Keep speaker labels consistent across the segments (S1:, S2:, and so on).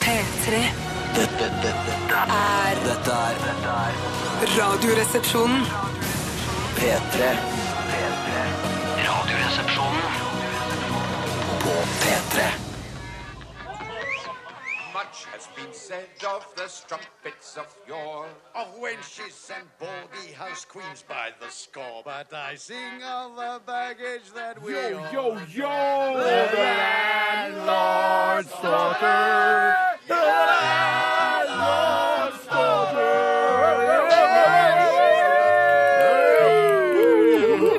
S1: P3
S2: Dette, dette, dette,
S1: er
S2: dette er dette er
S1: Radioresepsjonen.
S2: P3. P3. Radioresepsjonen på P3.
S3: Much has been said of the strumpets of yore, of wenches and baldy house queens by the score. But I sing of the baggage that we yo, yo, yo, the landlord's daughter.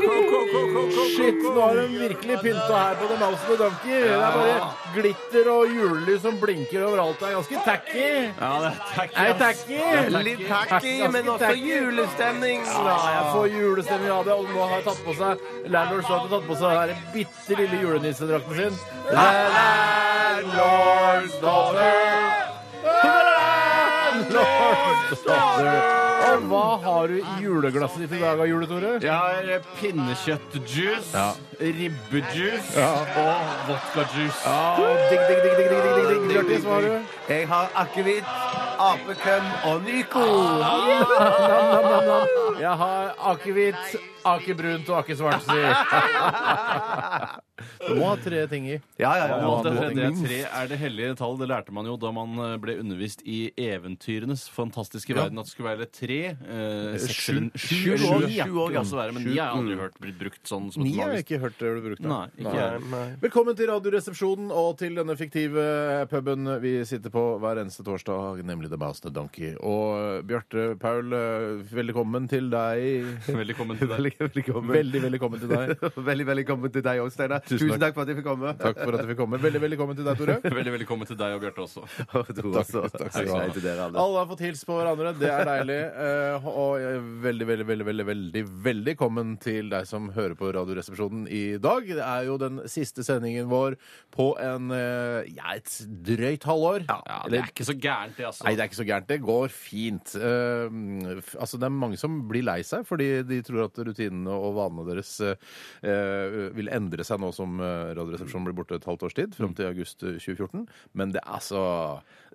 S4: Shit, nå har de virkelig pynta her på The Mouse and the Donkey. Det er bare glitter og julelys som blinker overalt. Det er ganske tacky.
S5: Ja, det er takk.
S4: Er det tacky?
S5: Litt tacky,
S4: men også
S5: julestemning.
S4: Ja, jeg får julestemning av det. Og nå har jeg tatt på seg Landlord Slaughter tatt på seg den her bitte lille julenissedrakten sin. The Landlord's Daughter. The Landlord's Daughter. Og hva har du i juleglasset ditt i dag, av jule, Tore?
S5: Jeg har eh, pinnekjøttjuice,
S4: Ja.
S5: ribbejuice
S4: Ja.
S5: og vodkajuice.
S4: Digg, digg, digg, digg, digg, digg, digg, digg, Bjørtis, hva har du?
S6: Jeg har akevitt, apekøm og Nico.
S4: Ah. Nam, nam, nam. Jeg har akevitt, akebrunt og akesvart, du må ha tre ting i.
S6: Ja, ja,
S5: Ja,
S6: ja.
S5: det, det, det er
S4: minst.
S5: tre er det hellige tall. Det lærte man jo da man eh, ble undervist i eventyrenes fantastiske verden. At det skulle være tre, eh,
S4: seks
S5: sju,
S4: eller-
S5: sju,
S4: sju
S5: år.
S4: år, ja.
S5: Sju år kan det også være, men
S4: Sju, mm.
S5: ni har jeg aldri hørt blitt brukt sånn som
S4: Ni
S5: et
S4: har jeg
S5: magisk
S4: ikke hørt det ble brukt. da.
S5: Nei, ikke jeg.
S4: Velkommen til Radioresepsjonen og til denne fiktive puben vi sitter på hver eneste torsdag, nemlig The Mouse and the Donkey. Og Bjarte Paul, eh, velkommen til deg.
S5: Velkommen til deg.
S6: Veldig velkommen.
S4: Veldig velkommen til deg.
S6: Veldig velkommen til deg òg, Steinar.
S4: Tusen
S6: Tusen
S4: takk.
S6: takk for at jeg fikk komme.
S4: Takk for at du fikk komme. Veldig velkommen til deg, Tore.
S5: Veldig velkommen til deg og Bjarte også.
S6: Og du også.
S4: takk skal
S6: Hei,
S4: du ha.
S6: hei til dere alle.
S4: Alle har fått hilst på hverandre. Det er deilig. Eh, og jeg er veldig, veldig, veldig, veldig, veldig velkommen til deg som hører på Radioresepsjonen i dag. Det er jo den siste sendingen vår på en eh, ja, et drøyt halvår.
S5: Ja, det er ikke så gærent, det, altså.
S4: Nei, det er ikke så gærent. Det går fint. Eh, f- altså, det er mange som blir lei seg fordi de tror at rutinene og vanene deres eh, eh, vil endre seg nå som eh, Radioresepsjonen blir borte et halvt års tid, fram til august eh, 2014. Men det er altså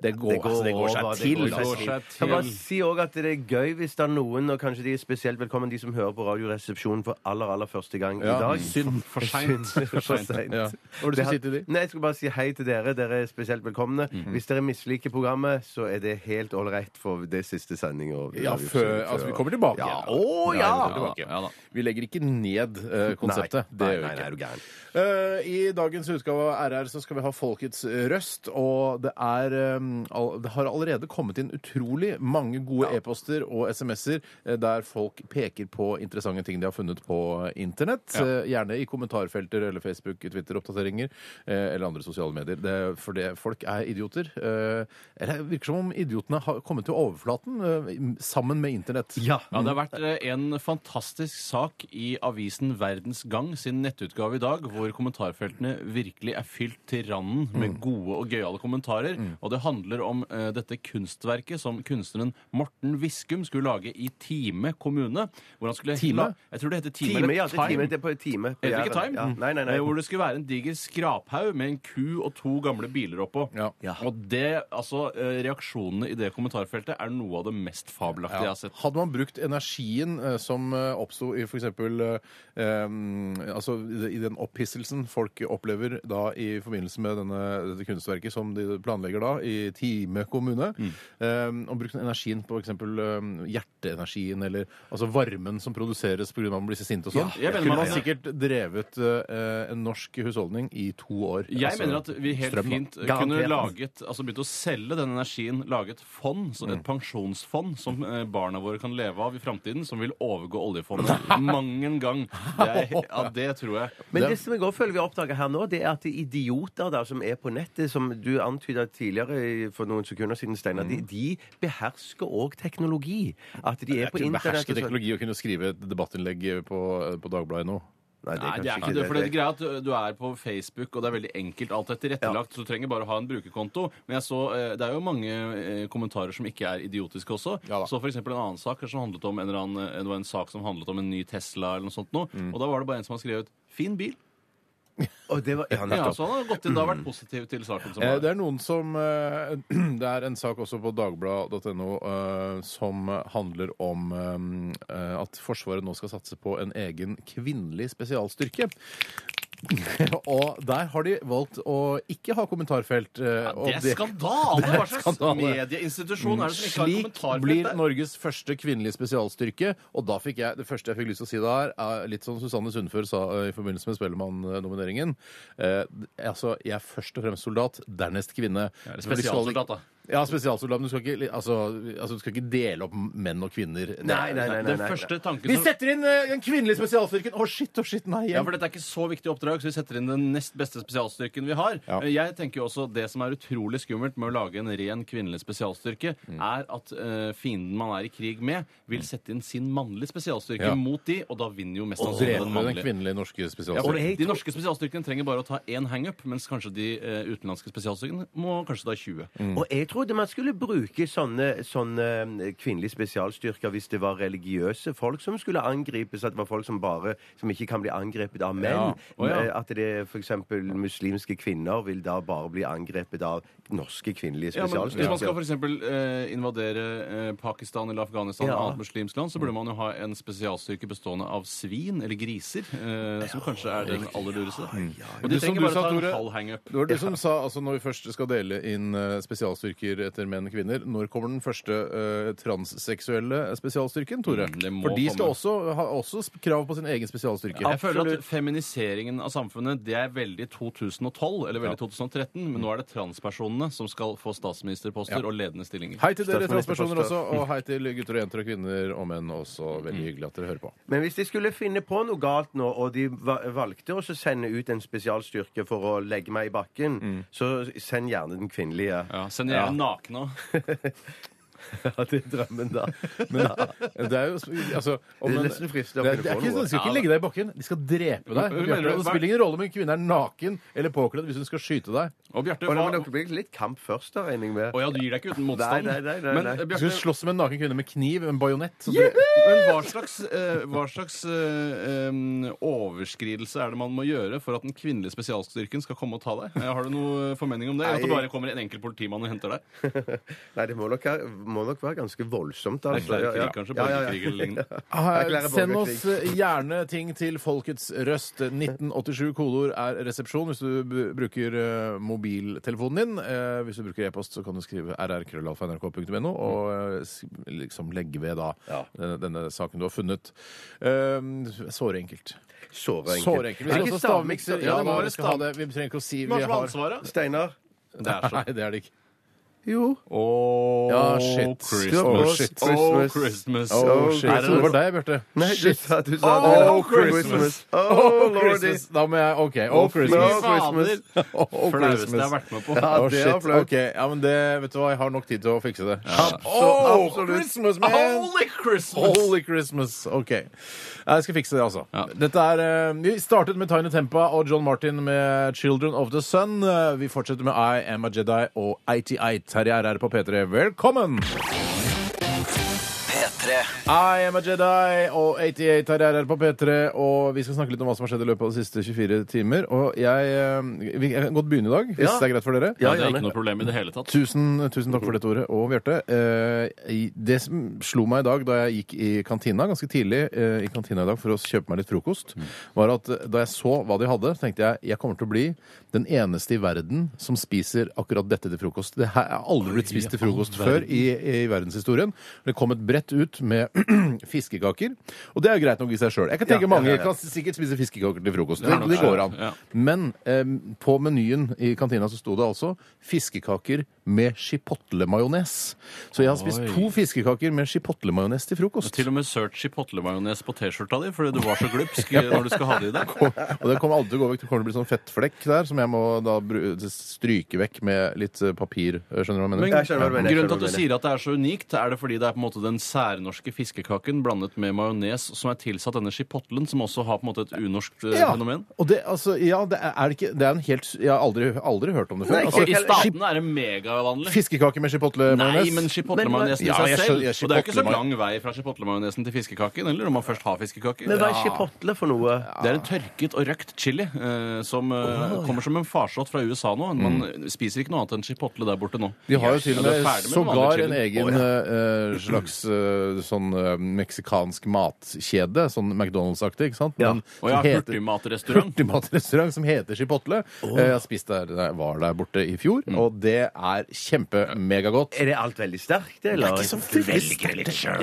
S4: Det går, altså, det går seg
S6: over, det
S4: til.
S6: går seg
S4: altså.
S5: til.
S6: Kan bare si også at det er gøy hvis det er noen, og kanskje de er spesielt velkommen, de som hører på Radioresepsjonen for aller, aller første gang
S4: Ja. Mm.
S6: i dag.
S5: Synd. For
S6: Synd.
S5: seint.
S6: For sent.
S4: Ja. Hva var det du skulle si til de? Mhm.
S6: Nei, jeg skulle bare si hei til dere. Dere er spesielt velkomne. Hvis dere misliker programmet, så er det helt ålreit, for det er siste sending. og-
S4: Ja, før, altså vi kommer tilbake.
S6: Ja.
S4: igjen.
S6: Å,
S4: Ja, vi
S6: ja!
S4: kommer tilbake.
S5: Ja, ja da.
S4: Vi legger ikke ned eh, konseptet.
S6: Nei,
S4: det
S6: nei,
S4: gjør
S6: nei, nei,
S4: vi
S6: er du
S4: ikke.
S6: gæren.
S4: Eh, I dagens utgave av RR så skal vi ha Folkets røst, og det er eh, all, Det har allerede kommet inn utrolig mange gode e-poster og SMS-er eh, der folk peker på interessante ting de har funnet på internett. Eh, gjerne i kommentarfelter eller Facebook, Twitter-oppdateringer eh, eller andre sosiale medier. Det, er- for det, folk er idioter. Eh, eller det virker som om idiotene har kommet til overflaten eh, sammen med internett.
S5: Ja, Det har vært eh, en fantastisk sak i avisen Verdens Gang sin nettutgave i dag, hvor kommentarfeltene virkelig er fylt til randen med
S6: Mm.
S5: gode og gøyale kommentarer. Og det handler om eh, dette kunstverket som kunstneren Morten Viskum skulle lage i Time kommune. Hvor han skulle
S4: Time?
S5: la- Jeg tror det heter Time,
S6: Time, ja.
S5: eller
S6: Det er time.
S5: Time.
S6: Det er på en time. på
S5: Heter det ikke
S6: Jæren.
S5: Time?
S6: Ja. Nei, nei, nei.
S5: Eh, Hvor det skulle være en diger skraphaug med en ku og to gamle biler oppå.
S4: Ja.
S6: Ja.
S5: Og det, altså, eh, reaksjonene i det kommentarfeltet er noe av det mest fabelaktige jeg har sett.
S4: Hadde man brukt energien eh, som eh, oppsto i f.eks. Eh, em, altså i den opphisselsen folk opplever da i forbindelse med denne, dette kunstverket som de planlegger da i Time kommune,
S5: Mm.
S4: em, og brukt den energien på f.eks. Eh, hjerteenergien eller altså varmen som produseres pga. at man blir så sint og sånn,
S5: Ja, jeg mener
S4: kunne
S5: man-
S4: man sikkert drevet eh, en norsk husholdning i to år.
S5: Jeg
S4: Altså,
S5: mener at vi helt
S4: strøm, da.
S5: fint kunne
S6: Garantert.
S5: laget, altså begynt å selge den energien, lage et fond, så et pensjonsfond som eh, barna våre kan leve av i framtiden, som vil overgå oljefondet mang en gang. Det, er, ja, det tror jeg.
S6: Men
S4: Det-
S6: det som jeg også føler vi har oppdaget her nå, det er at de idioter der som er på nettet, som du antyda tidligere i- for noen sekunder siden, Steinar,
S5: Mm.
S6: de, de behersker òg teknologi. At de er,
S4: Jeg
S6: på
S4: kunne
S6: internett
S4: beherske
S6: og sånn.
S4: teknologi og kunne skrive et debattinnlegg på,
S5: eh,
S4: på Dagbladet nå.
S5: Nei, det er
S6: kanskje
S5: ikke det. For det er
S6: det.
S5: greia at du- du er på Facebook, og det er veldig enkelt. Alt er tilrettelagt, så du trenger bare å ha en brukerkonto. Men jeg så, eh, det er jo mange eh, kommentarer som ikke er idiotiske også.
S4: Ja da.
S5: så for eksempel en annen sak som handlet om en eller annen, Mm. eh, det var en sak som handlet om en ny Tesla eller noe sånt noe. Og da var det bare en som hadde skrevet 'fin bil'.
S6: Og det var, ja,
S5: Ja,
S6: nettopp.
S5: så han har gått inn og vært positiv til saken som
S4: Eh, Det
S5: var.
S4: er noen som eh, Det er en sak også på dagblad.no eh, som handler om eh, at Forsvaret nå skal satse på en egen kvinnelig spesialstyrke. og der har de valgt å ikke ha kommentarfelt. eh, og
S5: Det er skandale! Hva slags
S4: skandale.
S5: medieinstitusjon er det som ikke har
S4: Slik
S5: kommentarfelt
S4: blir
S5: der?
S4: Norges første kvinnelige spesialstyrke. Og da fikk jeg, det første jeg fikk lyst til å si da, her, er litt som Susanne Sundfør sa eh, i forbindelse med Spellemann-nomineringen. Eh, altså, jeg er først og fremst soldat, dernest kvinne.
S5: Ja,
S4: Men
S5: eller
S4: de skal ikke-
S5: spesialsoldat, da.
S4: Ja, spesialsoldat. Men du skal ikke, li- altså, altså, du skal ikke dele opp menn og kvinner.
S6: Nei, nei, nei. nei,
S5: Den
S6: nei.
S5: første tanken
S4: Vi
S5: som
S4: setter inn eh, den kvinnelige spesialstyrken! Å, shit, å, shit, nei.
S5: Ja,
S4: Jeg,
S5: for dette er ikke så viktig oppdrag, så vi setter inn den nest beste spesialstyrken vi har. Eh,
S4: Ja.
S5: Jeg tenker jo også Det som er utrolig skummelt med å lage en ren kvinnelig spesialstyrke, er at eh, fienden man er i krig med, vil sette inn sin mannlige spesialstyrke
S4: Ja.
S5: mot de, og da vinner jo mest
S4: og
S5: sannsynlig
S4: dreper
S5: den
S4: du den
S5: mannlige.
S4: kvinnelige norske
S5: Ja, for
S4: spesialstyrken?
S5: de norske spesialstyrkene trenger bare å ta én hangup, mens kanskje de eh, utenlandske spesialstyrkene må kanskje ta 20.
S6: Og jeg trodde man skulle bruke sånne, sånne eh, kvinnelige spesialstyrker hvis det var religiøse folk som skulle angripes, at det var folk som bare som ikke kan bli angrepet av menn.
S5: Ja. Å, ja.
S6: Eh, At det er f.eks. muslimske kvinner vil da bare bli angrepet av norske kvinnelige
S5: Ja, men Hvis man skal
S6: spesialstyrker.
S5: f.eks. Eh, invadere eh, Pakistan eller Afghanistan
S6: Ja.
S5: eller annet muslimsk land, så burde man jo ha en spesialstyrke bestående av svin eller griser, eh, som kanskje er den aller lureste. Og
S4: Det
S5: de
S4: som du
S5: trenger bare
S4: sa,
S5: å ta
S4: Tore-
S5: en halv hangup.
S4: Det var du som sa altså når vi først skal dele inn eh, spesialstyrker etter menn og kvinner. Når kommer den første eh, transseksuelle spesialstyrken, Tore?
S5: Mm, det må
S4: For de skal
S5: komme.
S4: også ha også sp- krav på sin egen spesialstyrke.
S5: Jeg føler at Feminiseringen av samfunnet det er veldig 2012, eller veldig 2013, men nå er det transpersonene som skal få statsministerposter og ledende stillinger.
S4: Hei til dere transpersoner
S6: Statsministerposter.
S4: også, og hei til gutter og jenter og kvinner og menn også. Veldig hyggelig at dere hører på.
S6: Men hvis de skulle finne på noe galt nå, og de va- valgte å så sende ut en spesialstyrke for å legge meg i bakken, så send gjerne den kvinnelige.
S5: Mm. Ja, Send gjerne nakne òg.
S6: Ja, det er drømmen, da.
S4: Men det er jo altså,
S6: Det er
S4: en-
S6: nesten fristende å
S4: det er- det
S6: finne
S4: er
S6: på
S4: ikke-
S6: noe.
S4: De skal ikke legge deg i bakken. De skal drepe deg.
S5: Hva mener
S4: Bjarte.
S5: du?
S4: Det spiller ingen rolle om en kvinne er naken eller påkledd hvis hun skal skyte deg.
S5: Og Bjarte,
S6: Og da må
S5: hva
S6: dere bli litt kamp først, da, regner jeg med.
S5: Å ja, du gir deg ikke uten motstand.
S6: Nei, nei, nei, nei,
S5: Men,
S6: nei.
S5: eh,
S4: Du
S5: Bjarte,
S4: skal slåss med en naken kvinne med kniv, en bajonett. så dre-
S5: Men hva slags, eh, hva slags eh, em, overskridelse er det man må gjøre for at den kvinnelige spesialstyrken skal komme og ta deg? Eh, Har du noe formening om det? At det
S6: Nei.
S5: bare kommer en enkel politimann og henter deg?
S6: Nei, det må nok, være- må nok være ganske voldsomt.
S5: Det er
S6: Altså.
S5: krig, kanskje, borgerkrig eller lignende.
S4: Eh,
S6: Erklære
S4: Send
S6: borgerkrig.
S4: oss eh, gjerne ting til Folkets Røst. 1987 kodeord er resepsjon hvis du b- bruker eh, mobiltelefonen din. Eh, Hvis du bruker e-post, så kan du skrive rrkrøllalfa.nrk.no og eh, s- liksom legge ved da denne, denne saken du har funnet. Eh, Såre enkelt.
S6: Såre enkelt.
S4: Såre enkelt. Vi
S6: Er
S4: skal
S6: det ikke
S4: også ha stavmikser.
S6: stavmikser?
S4: Ja,
S5: det må
S4: da,
S5: være
S4: vi skal ha det. Vi trenger ikke å si vi
S5: Hvem har
S4: har
S5: ansvaret?
S6: Steinar?
S5: Det er så
S4: Nei, det er det ikke.
S6: Jo.
S5: Oh,
S4: Ja, shit.
S5: Christmas.
S4: Oh,
S5: Oh,
S4: shit.
S5: Christmas.
S4: Oh,
S6: Åh,
S4: shit.
S5: Er det-
S4: Det var deg, Bjarte.
S6: Nei, du sa, du sa
S5: Oh,
S6: det.
S5: Christmas.
S6: Oh, lordy.
S4: Christmas. Da må jeg OK. Oh, Christmas.
S6: Christmas.
S5: Fader!
S4: Oh,
S5: Flaueste jeg har vært med på.
S4: Ja,
S6: Ja, det
S4: det
S6: er flaut.
S4: Ok, ja, men det, vet du hva, jeg har nok tid til å fikse det.
S6: Absolutt.
S4: Christmas,
S5: Holy Christmas!
S4: Holy Christmas! OK. Jeg skal fikse det, altså.
S5: Ja.
S4: Dette er, eh, vi startet med Tiny Tempa og John Martin med 'Children of the Sun'. Eh, Vi fortsetter med 'I Am a Jedi' og 88 her i RR på P3. Velkommen!
S2: P3.
S4: I am a Jedi og 88 her er her på P3, og vi skal snakke litt om hva som har skjedd i løpet av de siste 24 timer. Og jeg, eh, vi jeg kan godt begynne i dag, hvis
S6: Ja.
S4: det er greit for dere.
S5: Ja,
S6: Ja,
S5: det er
S6: gjerne.
S5: ikke noe problem i det hele tatt.
S4: Tusen, tusen takk for dette ordet. Og Bjarte, eh, i- det som slo meg i dag da jeg gikk i kantina ganske tidlig eh, i kantina i dag for å kjøpe meg litt frokost, var at eh, da jeg så hva de hadde, så tenkte jeg jeg kommer til å bli den eneste i verden som spiser akkurat dette til frokost. Det her har aldri blitt spist til frokost før i, i verdenshistorien. Det kom et brett ut med fiskekaker, og det er jo greit nok i seg sjøl. Jeg kan tenke
S6: Ja, ja,
S4: mange
S6: ja, ja.
S4: kan sikkert spise fiskekaker til frokost.
S5: Ja,
S4: det, det går an.
S5: ja.
S4: Men eh, på menyen i kantina så sto det altså fiskekaker med chipotle-majones. Så jeg har spist
S5: Oi.
S4: to fiskekaker med chipotle-majones til frokost.
S5: Til og med search chipotle-majones på T-skjorta di fordi du var så glupsk når du skal ha det i deg.
S4: Og det kommer aldri til å gå vekk. Det kommer til å bli sånn fettflekk der som jeg må da bru- stryke vekk med litt eh, papir. Skjønner du hva jeg mener?
S5: Men
S6: Jeg skjønner hva du mener, jeg skjønner hva
S5: grunnen til at
S6: du
S5: du sier at det er så unikt, er det fordi det er på en måte den s- særnorske fiskekaken blandet med majones som er tilsatt denne chipotlen, som også har på en måte et unorskt eh,
S4: Ja.
S5: fenomen.
S4: Og det, altså, ja, det er, er det ikke Det er en helt Jeg har aldri, aldri hørt om det før.
S6: Nei,
S4: altså,
S5: Og i
S4: chip-
S5: statene er det megavanlig.
S4: Fiskekake med chipotle-majones?
S5: Nei, men chipotle-majonesen
S4: Ja,
S5: i
S4: jeg
S5: seg
S4: skjønner-
S5: selv.
S4: jeg
S5: Og det er jo ikke så
S4: chipotle-majon-
S5: lang vei fra chipotle-majonesen til fiskekaken, eller når man først har fiskekaker.
S6: Men hva er chipotle for noe?
S5: Det er en tørket og røkt chili eh, som eh, kommer som en farsott fra USA nå. Man spiser ikke noe annet enn chipotle der borte nå.
S4: Mm. De har jo til og
S5: Ja,
S4: med
S5: det er ferdig med den vanlige
S4: sågar en
S5: chilien.
S4: egen
S5: Å, ja.
S4: eh, slags eh, sånn eh, meksikansk matkjede, sånn McDonald's-aktig, ikke sant?
S6: Ja.
S4: Men
S5: Og ja,
S4: som heter-
S5: hurtigmatrestaurant.
S4: Hurtigmatrestaurant som heter Chipotle. Eh, Jeg spiste der, jeg var der borte i fjor,
S5: Mm.
S4: og det er kjempe-megagodt.
S6: Er det alt veldig sterkt, eller? Det er ikke så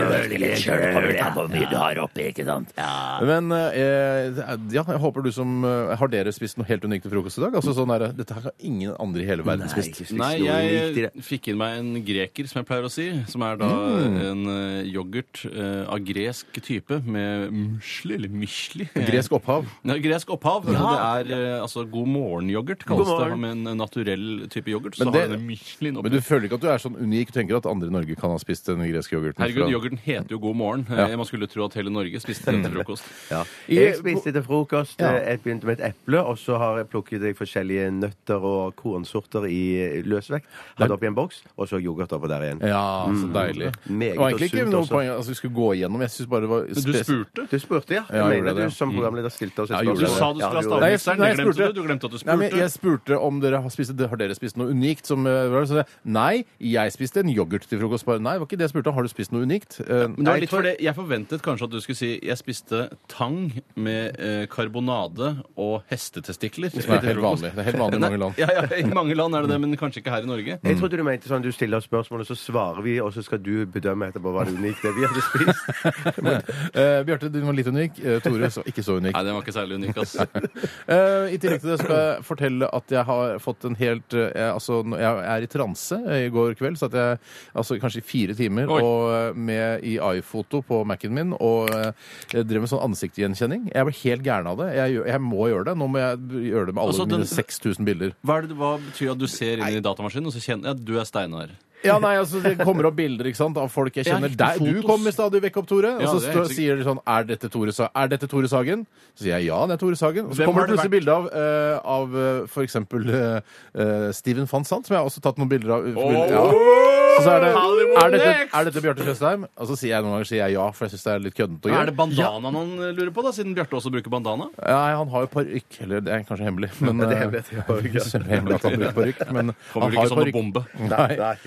S4: Men eh, ja, jeg håper du som eh, Har dere spist noe helt unikt til frokost i dag? Altså sånn er det- Dette her har ingen andre i hele verden spist.
S5: Nei,
S6: unikt i det.
S5: jeg fikk inn meg en greker, som jeg pleier å si. Som er da
S4: Mm.
S5: en eh, yoghurt eh, av gresk type med musli, eller misli.
S4: Gresk opphav.
S5: Nei, gresk opphav. Det er eh, altså god morgen-yoghurt, kalles
S6: God
S5: det.
S6: morgen.
S5: Med en naturell type yoghurt. Så
S4: Men
S5: har
S4: det-
S5: den Michelin oppi.
S4: Men du føler ikke at du er sånn unik? Du tenker at andre i Norge kan ha spist den greske yoghurten?
S5: Herregud,
S4: fra-
S5: yoghurten heter jo God morgen. Eh, Man skulle tro at hele Norge spiste den til frokost.
S6: Ja.
S4: I-
S6: Jeg spiste til frokost.
S4: Ja.
S6: Jeg begynte med et eple, og så har jeg plukket i forskjellige nøtter og kornsorter i eh, løsvekt. Hadde oppi en boks, og så yoghurt oppå der igjen.
S4: Ja, så
S5: Mm.
S4: deilig.
S6: Meget
S4: det var egentlig
S6: og
S4: ikke
S6: sunt
S4: noe
S6: også.
S4: poeng altså, vi skulle gå igjennom. Jeg synes bare det var
S5: Men du
S4: spes-
S5: spurte.
S6: Du spurte, ja. Jeg
S4: Ja, jeg
S6: mener
S4: gjorde det,
S6: at
S4: ja. Mm.
S6: du som programleder stilte oss et
S4: Ja, jeg gjorde
S5: Du
S6: spørsmål.
S4: det.
S5: sa du
S6: Ja,
S5: skulle ha
S6: gjorde
S4: Nei, jeg-
S5: stavmikseren.
S4: nei,
S5: Det
S4: jeg
S5: glemte
S4: spurte.
S5: du. Du glemte at du
S4: Nei, men
S5: spurte.
S4: jeg spurte om dere har spist, har dere spist noe unikt. Som, eh, var det, så jeg, nei, jeg spiste en yoghurt til frokost. Bare, nei, det var ikke det jeg spurte om. Har du spist noe unikt? Eh,
S5: Men det
S4: nei,
S5: var litt for det. Jeg forventet kanskje at du skulle si jeg spiste tang med eh, karbonade og hestetestikler.
S4: det er helt vanlig. Det er helt vanlig i mange land.
S5: Ja, ja, I mange land er det det, men kanskje ikke her i Norge.
S6: Jeg trodde du mente sånn du stiller spørsmål, og så svarer vi, og så skal du bedømme etterpå hva det unikt det vi hadde spist.
S4: Eh, Bjarte, du var litt unik. Eh, Tore, så, ikke så unik.
S5: Nei, den var ikke særlig unik, ass.
S4: Eh, I tillegg til det skal jeg fortelle at jeg har fått en helt eh, jeg, Altså, når jeg er i transe eh, i går kveld, satt jeg altså, kanskje i fire timer
S5: Oi.
S4: og, eh, med i iPhoto på Mac-en min og eh, jeg drev med sånn ansiktsgjenkjenning. Jeg ble helt gæren av det. Jeg, gjør- jeg må gjøre det. Nå må jeg gjøre det med alle
S5: Altså, den-
S4: mine 6000 bilder.
S5: Hva, er det, hva betyr at du ser inn i datamaskinen og så kjenner jeg at du er Steinar?
S4: Ja, nei, altså Det kommer opp bilder ikke sant, av folk jeg
S5: Ja,
S4: kjenner.
S5: riktig,
S4: Der, du
S5: fotos.
S4: kommer stadig vekk opp, Tore. Og
S5: Ja,
S4: så
S5: det er
S4: stå-
S5: helt sikkert.
S4: sier de sånn Er dette Tore, Sa er dette Tore Sagen? Så sier jeg ja, det er Tore Sagen. Og så
S5: Hvem
S4: kommer
S5: har
S4: det
S5: det
S4: plutselig bilde av, uh, av eh, for eksempel eh, eh, Steven van Sant, som jeg har også tatt noen bilder av. Ja. Og så er det Er dette, er dette Bjarte Tjøstheim? Og så sier jeg noen ganger sier jeg ja, for jeg syns det er litt køddent å
S5: Er
S4: gjøre.
S5: det bandanaen han lurer på, da, siden Bjarte også bruker bandana?
S4: Nei, han har jo parykk. Eller det er kanskje hemmelig. Men,
S6: det er
S4: eh,
S6: hemmelig at jeg har parykk, ja.
S4: det er hemmelig at han bruker parykk. Men
S5: Kommer
S4: han
S5: vel
S4: har jo
S5: ikke sånn noe
S4: parykk.
S5: bombe?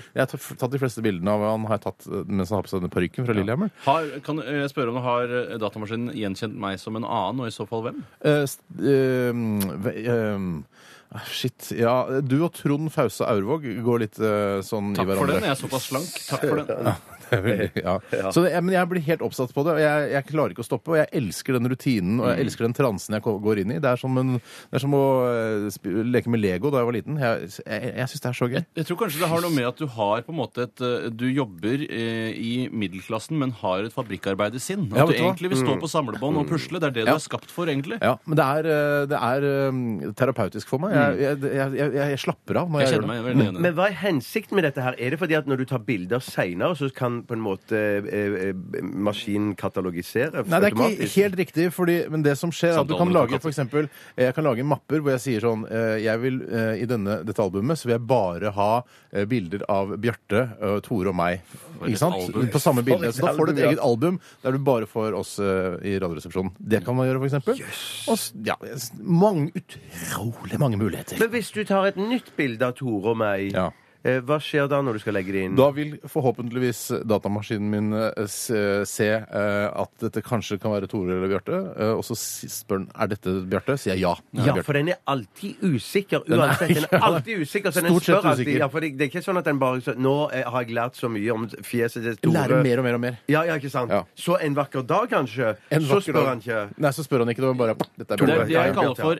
S4: Nei. Jeg har tatt- tatt de fleste bildene av han har jeg tatt eh, mens han har på seg denne parykken fra Lillehammer.
S5: Har, kan jeg spørre om har eh, datamaskinen gjenkjent meg som en annen, og i så fall hvem?
S4: Eh, st- ehm, ve- ehm, ah, Shit. Ja, du og Trond Fausa Aurvåg går litt eh, sånn i
S5: Takk for
S4: hverandre.
S5: den, jeg er såpass slank. Takk for den.
S4: Det er veldig- ja. Så det, men jeg blir helt oppsatt på det, og jeg, jeg klarer ikke å stoppe. Og jeg elsker den rutinen og
S5: Mm.
S4: jeg elsker den transen jeg ko- går inn i. Det er som, en, det er som å eh, sp leke med Lego da jeg var liten. Jeg, jeg, jeg syns det er så gøy.
S5: Jeg tror kanskje det har noe med at du har på en måte et eh, Du jobber eh, i middelklassen, men har et fabrikkarbeidersinn. At
S4: Ja,
S5: du
S4: vet du hva? Mm.
S5: egentlig vil stå på samlebånd og pusle. Det er det du er skapt for, egentlig.
S4: Ja, Men det er, eh, det er eh, terapeutisk for meg. Jeg, jeg, jeg, jeg, jeg slapper av når
S5: Mm. Jeg
S4: jeg,
S5: kjenner
S4: gjør det.
S5: meg veldig enig.
S6: Men hva er hensikten med dette her? Er det fordi at når du tar bilder seinere, så kan på en måte eh, eh, maskinen katalogisere
S4: Nei, det er ikke helt riktig, fordi, men det som skjer er at du kan
S5: Sandalene
S4: lage
S5: for
S4: for eksempel, eh, Jeg kan lage mapper hvor jeg sier sånn eh, jeg vil, eh, I denne, dette albumet så vil jeg bare ha eh, bilder av Bjarte, eh, Tore og meg.
S5: et
S4: Ikke sant?
S5: album.
S4: På samme bilde. Så da får du
S6: album,
S4: et
S6: ja.
S4: eget album der du bare får oss eh, i Radioresepsjonen. Det kan man gjøre, for eksempel. Og s- ja, s- mange, utrolig mange muligheter.
S6: Men hvis du tar et nytt bilde av Tore og meg,
S4: Ja.
S6: eh, hva skjer da når du skal legge det
S5: Mm.
S6: inn?
S4: Da vil forhåpentligvis datamaskinen min eh, se se, eh, at dette kanskje kan være Tore eller Bjarte. eh, Og så s- spør den er dette Bjarte. Sier jeg ja. det er
S6: ja,
S4: Bjarte.
S6: for den er alltid usikker.
S4: er-
S6: Uansett, den er alltid usikker. Så den
S4: Stort sett
S6: spør alltid.
S4: usikker.
S6: Ja, for det, det er ikke sånn at den bare så, Nå eh, har jeg lært så mye om fjeset til Tore.
S4: Lære mer og mer og mer.
S6: Ja, ja, ikke sant?
S4: Ja.
S6: Så en vakker dag, kanskje?
S4: En
S6: så
S4: vakker
S6: spør
S4: dag.
S6: han ikke.
S4: Nei, så spør han ikke. Det var bare Dette er
S5: Det
S4: Bjarte.
S5: er det jeg
S6: Ja, ja.
S5: kaller for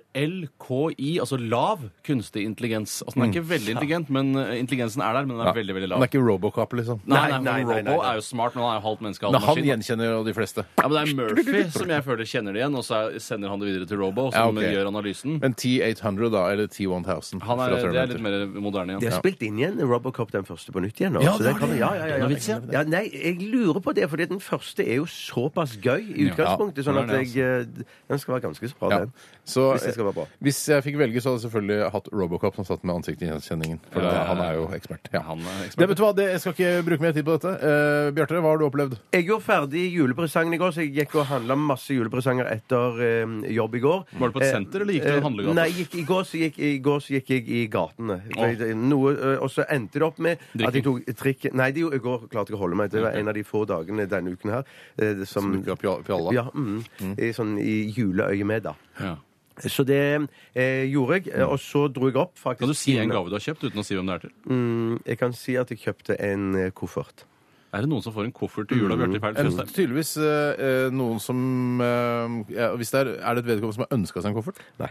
S5: LKI, altså lav kunstig intelligens. Altså Den er ikke veldig intelligent, men eh, intelligensen er der, men den er
S4: Mm. Ja.
S5: veldig veldig
S4: Han
S5: lav.
S4: er ikke Robocop, liksom.
S5: Nei, nei,
S1: Nei, nei, nei,
S5: Robo
S1: nei, nei.
S5: er jo smart, men han er jo halvt menneske. halvt
S4: Men han
S5: maskin.
S4: gjenkjenner jo de fleste.
S5: Ja, men Det er Murphy som jeg føler kjenner det igjen, og så er- sender han det videre til Robo, som
S4: Ja, ok.
S5: gjør analysen.
S4: Men T800, da, eller T1000
S5: Han er,
S4: fra
S5: det er
S4: Terminator.
S5: litt mer moderne
S1: De
S5: igjen.
S1: har spilt inn igjen Robocop den første på nytt igjen nå.
S4: Ja,
S1: så
S4: det
S1: det
S4: har
S1: kan,
S4: de.
S1: ja, ja, ja,
S5: Nå vil jeg
S1: ja.
S5: se.
S1: ja, nei, jeg lurer på det, fordi den første er jo såpass gøy i utgangspunktet, sånn
S5: den er
S1: at
S5: det,
S1: jeg
S6: altså-
S1: eh, Den skal være ganske så bra,
S4: Ja.
S1: den.
S4: Så
S1: Hvis det skal være bra.
S4: hvis jeg fikk velge, så hadde jeg selvfølgelig hatt Robocop som satt med ansiktsgjenkjenningen. For
S5: Ja,
S4: det,
S5: ja, ja.
S4: han er jo ekspert. Ja.
S5: Han er ekspert.
S4: Det, vet du hva, det, jeg skal ikke bruke mer tid på dette. Eh, Bjarte, hva har du opplevd?
S1: Jeg gjorde ferdig julepresangen i går, så jeg gikk og handla masse julepresanger etter eh, jobb i går. Eh,
S5: Var du på et senter, eller gikk du i en handlegate?
S1: Nei, gikk, i, går så gikk, i går så gikk jeg i gatene.
S5: Åh.
S1: Jeg- Noe, eh, og så endte det opp med at jeg
S5: Drikking.
S1: tok trikk Nei, det, er jo- i går klarte jeg å holde meg. Det var en av de få dagene denne uken her eh, det som,
S4: Som du ikke har pja- pjalla.
S1: Ja, mm, I, sånn i juleøyemed, da.
S5: Ja.
S1: Så det eh, gjorde jeg, eh, og så dro jeg opp faktisk
S5: Mm. Kan du si en gave du har kjøpt, uten å si hvem det er til?
S1: Mm, jeg kan si at jeg kjøpte en eh, koffert.
S5: Er det noen som får en koffert til jul av Bjarte Perl
S4: Eh,
S5: Tjøstheim?
S4: Tydeligvis eh, eh, noen som eh, ja, hvis det er, er det et vedkommende som har ønska seg en koffert?
S1: Nei.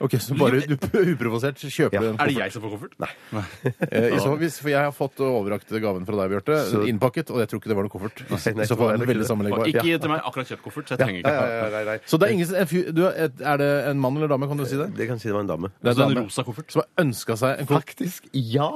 S4: Ok, Så bare du, uprovosert kjøper du
S1: Ja.
S4: en
S5: Er det
S4: koffert?
S5: jeg som får koffert? Nei.
S4: Eh, i så, fall, hvis, for jeg har fått overrakt gaven fra deg, Bjarte.
S1: Så-
S4: Innpakket. Og jeg tror ikke det var noen koffert. I
S1: nei,
S4: så
S1: det var
S4: fall er den
S1: heller ikke
S4: veldig
S1: det.
S4: sammenleggbar.
S5: Ikke gi til meg. Akkurat kjøpt koffert, så jeg trenger ikke.
S1: Ja, ja, nei, nei.
S4: Så det er ingen en fyr- du, er- Er det en mann eller dame, kan du si det?
S1: Det kan si det var en dame.
S4: Det er
S5: Så
S4: en dame
S5: en sånn rosa koffert.
S4: som har ønska seg en koffert.
S1: Faktisk, ja.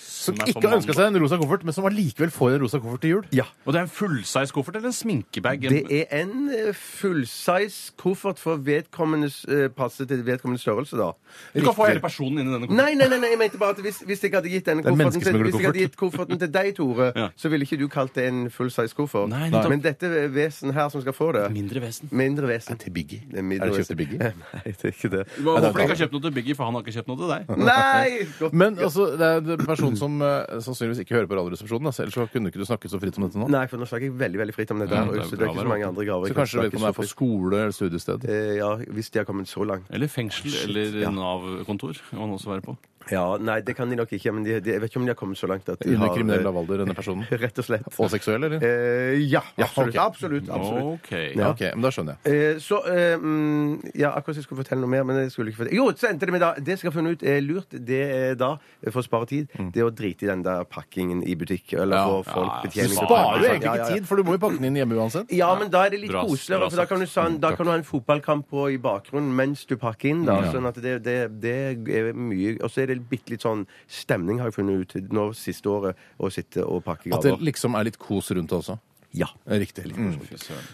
S4: Som ikke
S1: sånn
S4: har ønska seg en rosa koffert, men som allikevel får en rosa koffert til jul.
S1: Ja.
S5: Og det er en fullsize koffert eller en sminkebag? En-
S1: Det er en eh, fullsize koffert for vedkommendes eh, passe til vedkommendes størrelse, da.
S5: Du kan få hele personen inn i denne kofferten.
S1: Nei, nei, nei, nei, jeg mente bare at hvis, hvis jeg hadde gitt denne
S4: Det er
S1: kofferten
S4: mennesker som
S1: til,
S4: har
S1: hvis jeg hadde
S4: koffert.
S1: gitt kofferten til deg, Tore,
S5: Ja.
S1: så ville ikke du kalt det en fullsize koffert.
S5: Nei, nettopp.
S1: Men dette vesen her som skal få det
S5: Mindre vesen.
S1: Mindre vesen.
S4: Til Biggie.
S1: Det er mindre
S4: Er det
S1: vesen.
S4: kjøpt til Biggie?
S1: Nei, det er ikke det.
S5: Hva- Hvorfor ikke har kjøpt noe til Biggie, for han har ikke kjøpt noe til deg?
S1: Nei! Godt.
S4: Men altså, det er en person som eh, sannsynligvis ikke hører på Radioresepsjonen. Altså, ellers så kunne ikke du snakket så fritt om dette nå.
S1: Nei, for nå snakker jeg veldig veldig fritt om dette.
S5: Ja,
S1: her,
S5: det er
S1: så det
S5: bra,
S1: er ikke
S5: det
S1: så
S5: er
S1: mange andre gaver. jeg
S4: Så
S1: kan
S4: kanskje
S1: snakke
S4: vedkommende er
S1: så
S4: på
S1: fritt.
S4: skole eller studiested.
S1: Eh, Ja, hvis de har kommet så langt.
S5: Eller fengsel eller Nav-kontor. kan man også være på.
S1: Ja, Nei, det kan de nok ikke. Men de, de, jeg vet ikke om de har kommet så langt at de har
S4: Under kriminell
S1: eh,
S4: lavalder, denne personen.
S1: Rett og slett.
S4: Og seksuell, eller?
S1: Eh, ja,
S4: Ja,
S1: absolutt.
S4: ok.
S1: absolutt, absolutt.
S5: Ok.
S4: Ja, ok, men da skjønner jeg.
S1: Eh, så eh, mm, Ja, akkurat jeg skulle fortelle noe mer, men jeg skulle ikke fortelle Jo, så endte det med da Det jeg skal ha funnet ut er lurt, det er da, eh, for å spare tid, det er å drite i den der pakkingen i butikk, eller
S4: Mm. Ja.
S1: for folk
S5: Ja,
S1: betjening.
S5: du
S1: på pakken.
S4: Sparer jo
S5: Ja,
S4: egentlig
S1: Ja, ja, ja.
S4: ikke tid, for du må jo pakke den inn hjemme uansett.
S1: Ja, men da er det litt
S5: Bra-
S1: koseligere,
S5: bra
S1: for da kan, du, sa- da kan du ha en fotballkamp på i bakgrunnen mens du pakker inn. da,
S4: Ja.
S1: sånn at det, det, det er mye, Og så er det bitte litt sånn stemning, har jeg funnet ut, nå siste året, å sitte og pakke
S4: At det
S1: gaver.
S4: liksom er litt kos rundt det også.
S1: Ja.
S4: Riktig. Mm.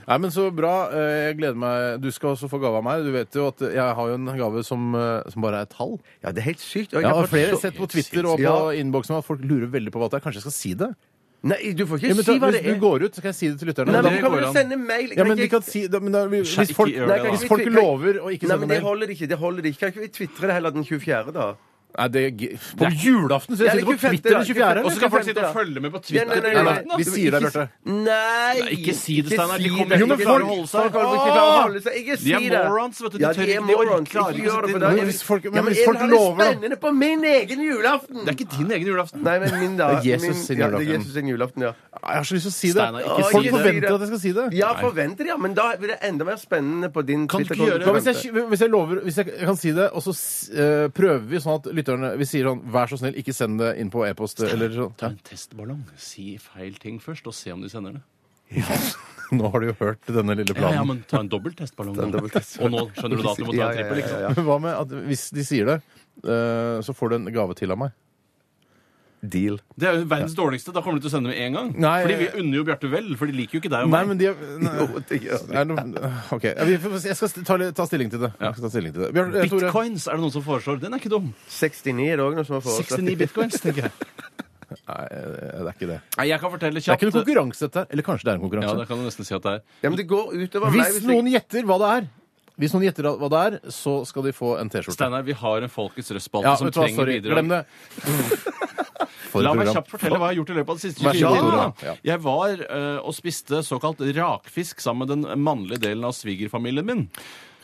S4: Nei, men Så bra. Eh, Jeg gleder meg. Du skal også få gave av meg. Du vet jo at jeg har jo en gave som, eh, som bare er et tall.
S1: ja, det er helt sykt. og jeg
S4: Jeg
S1: har
S4: har
S1: fått
S4: flere
S1: så-
S4: sett på Twitter og på
S1: Ja.
S4: innboksen at folk lurer veldig på hva det er. Kanskje jeg skal si det?
S1: Nei, du får ikke
S4: Ja, men
S1: si
S4: ta,
S1: hva
S4: hvis
S1: det
S4: du
S1: er.
S4: går ut, så kan jeg si det til lytterne.
S1: Nei,
S4: Da-
S1: men
S5: det
S1: Du kan
S5: går
S1: vel
S5: an.
S1: sende mail?
S4: ja,
S1: Kan ikke
S4: men vi
S1: jeg-
S4: kan si da, men da, Hvis
S5: ikke
S4: folk,
S1: Nei,
S5: gjør
S1: kan
S5: det,
S1: ikke
S4: hvis
S1: vi
S4: folk
S1: tvi- kan-
S4: lover å ikke
S1: Nei, men
S4: sende
S1: det
S4: mail
S1: holder ikke. det holder ikke. Kan ikke vi tvitre det heller den 24., da?
S4: Nei, det, På julaften? Så
S1: Ja, det er
S4: jeg sitter på
S1: 25,
S4: Twitter
S1: det
S4: den
S1: er
S4: 24.
S5: Og så skal folk
S1: femte,
S5: sitte
S1: da.
S5: og følge med på
S1: Ja,
S5: Twitter.
S1: nei, nei,
S5: på
S1: nei,
S5: julaften, da.
S1: nei.
S4: Vi sier det,
S1: Ikke
S4: Bjarte.
S1: si- Nei!
S5: Nei, ikke si det, Steinar. De
S1: si det.
S5: kommer ikke
S4: Jo, men
S5: til å klare
S4: folk-
S1: Folk
S5: å holde seg.
S1: holder ikke til å holde seg. Ikke si
S5: De
S1: det.
S5: er morons, vet du. De
S1: Ja,
S5: tør
S1: de er
S5: ikke- de
S1: morons.
S5: klarer
S1: Ikke gjør
S5: ikke å
S1: det,
S5: sitte
S1: for da
S5: inne.
S1: er-
S4: Hvis folk- men
S1: Ja,
S4: hvis
S1: jeg
S4: folk
S1: vil ha det
S4: lover, da.
S1: spennende på min egen julaften!
S5: Det er ikke din egen julaften.
S1: Nei, men min, da.
S4: Det er
S1: min,
S4: Jesus sin
S1: ja,
S4: julaften.
S1: det er Jesus sin julaften, ja.
S4: Jeg har så lyst til å si det.
S5: Steinar, ikke
S4: folk
S1: si det.
S4: forventer at jeg skal si det.
S1: Ja, forventer det, ja, men da blir det enda mer spennende på din
S5: Kan du ikke
S1: Twitter-konto.
S5: gjøre-
S4: Ja, hvis, jeg, hvis jeg lover Hvis jeg kan si det, og så s- eh, prøver vi sånn at lytterne Vi sier sånn Vær så snill, ikke send det inn på e-post eller sånn.
S5: Ta en testballong. Si feil ting først, og se om de sender det.
S4: Nå har du jo hørt denne lille
S5: Ja,
S4: planen.
S5: ja, men ta en dobbelt testballong.
S1: en
S5: da.
S1: dobbel test.
S5: Og nå skjønner du da at du må ta en trippel, ikke
S1: Ja,
S5: sant?
S1: ja, ja,
S4: Men Hva med at hvis de sier det, eh, så får du en gave til av meg?
S1: ja. Deal.
S5: Det er jo verdens dårligste. Da kommer de til å sende med en gang.
S4: Nei,
S5: fordi vi
S4: jeg-
S5: unner jo Bjarte vel, for de liker jo ikke deg og
S4: Nei,
S5: meg.
S4: men de nei.
S1: Jo, det gjør det.
S4: Er det noe, OK. Ja, vi får- Jeg skal st- ta, litt- ta stilling til det. Jeg skal ta stilling til det. Bjørn, eh, Tore.
S5: Bitcoins er det noen som foreslår. Den er ikke dum.
S1: 69 er det òg noe som har foreslått.
S5: 69 bitcoins, tenker jeg.
S4: Nei, eh, det er ikke det.
S5: Nei, jeg kan fortelle
S4: Det er
S5: kjapt.
S4: ikke noe konkurranse, dette her. Eller kanskje det er en konkurranse.
S5: Ja, det kan du nesten si at det er.
S1: Ja, men det går utover meg.
S4: Hvis
S1: jeg-
S4: noen gjetter hva det er, Hvis noen gjetter hva det er, så skal de få en T-skjorte.
S5: Steinar, vi har en Folkets Røst-spalte
S4: Ja,
S5: som
S4: vet du hva,
S5: trenger
S4: sorry.
S5: bidrag.
S4: Glem det. For
S5: La meg
S4: program.
S5: kjapt fortelle hva jeg har gjort i løpet av de siste
S4: Vær så
S5: 24
S4: god,
S5: timene.
S4: Tore. Ja.
S5: Jeg var eh, og spiste såkalt rakfisk sammen med den mannlige delen av svigerfamilien min.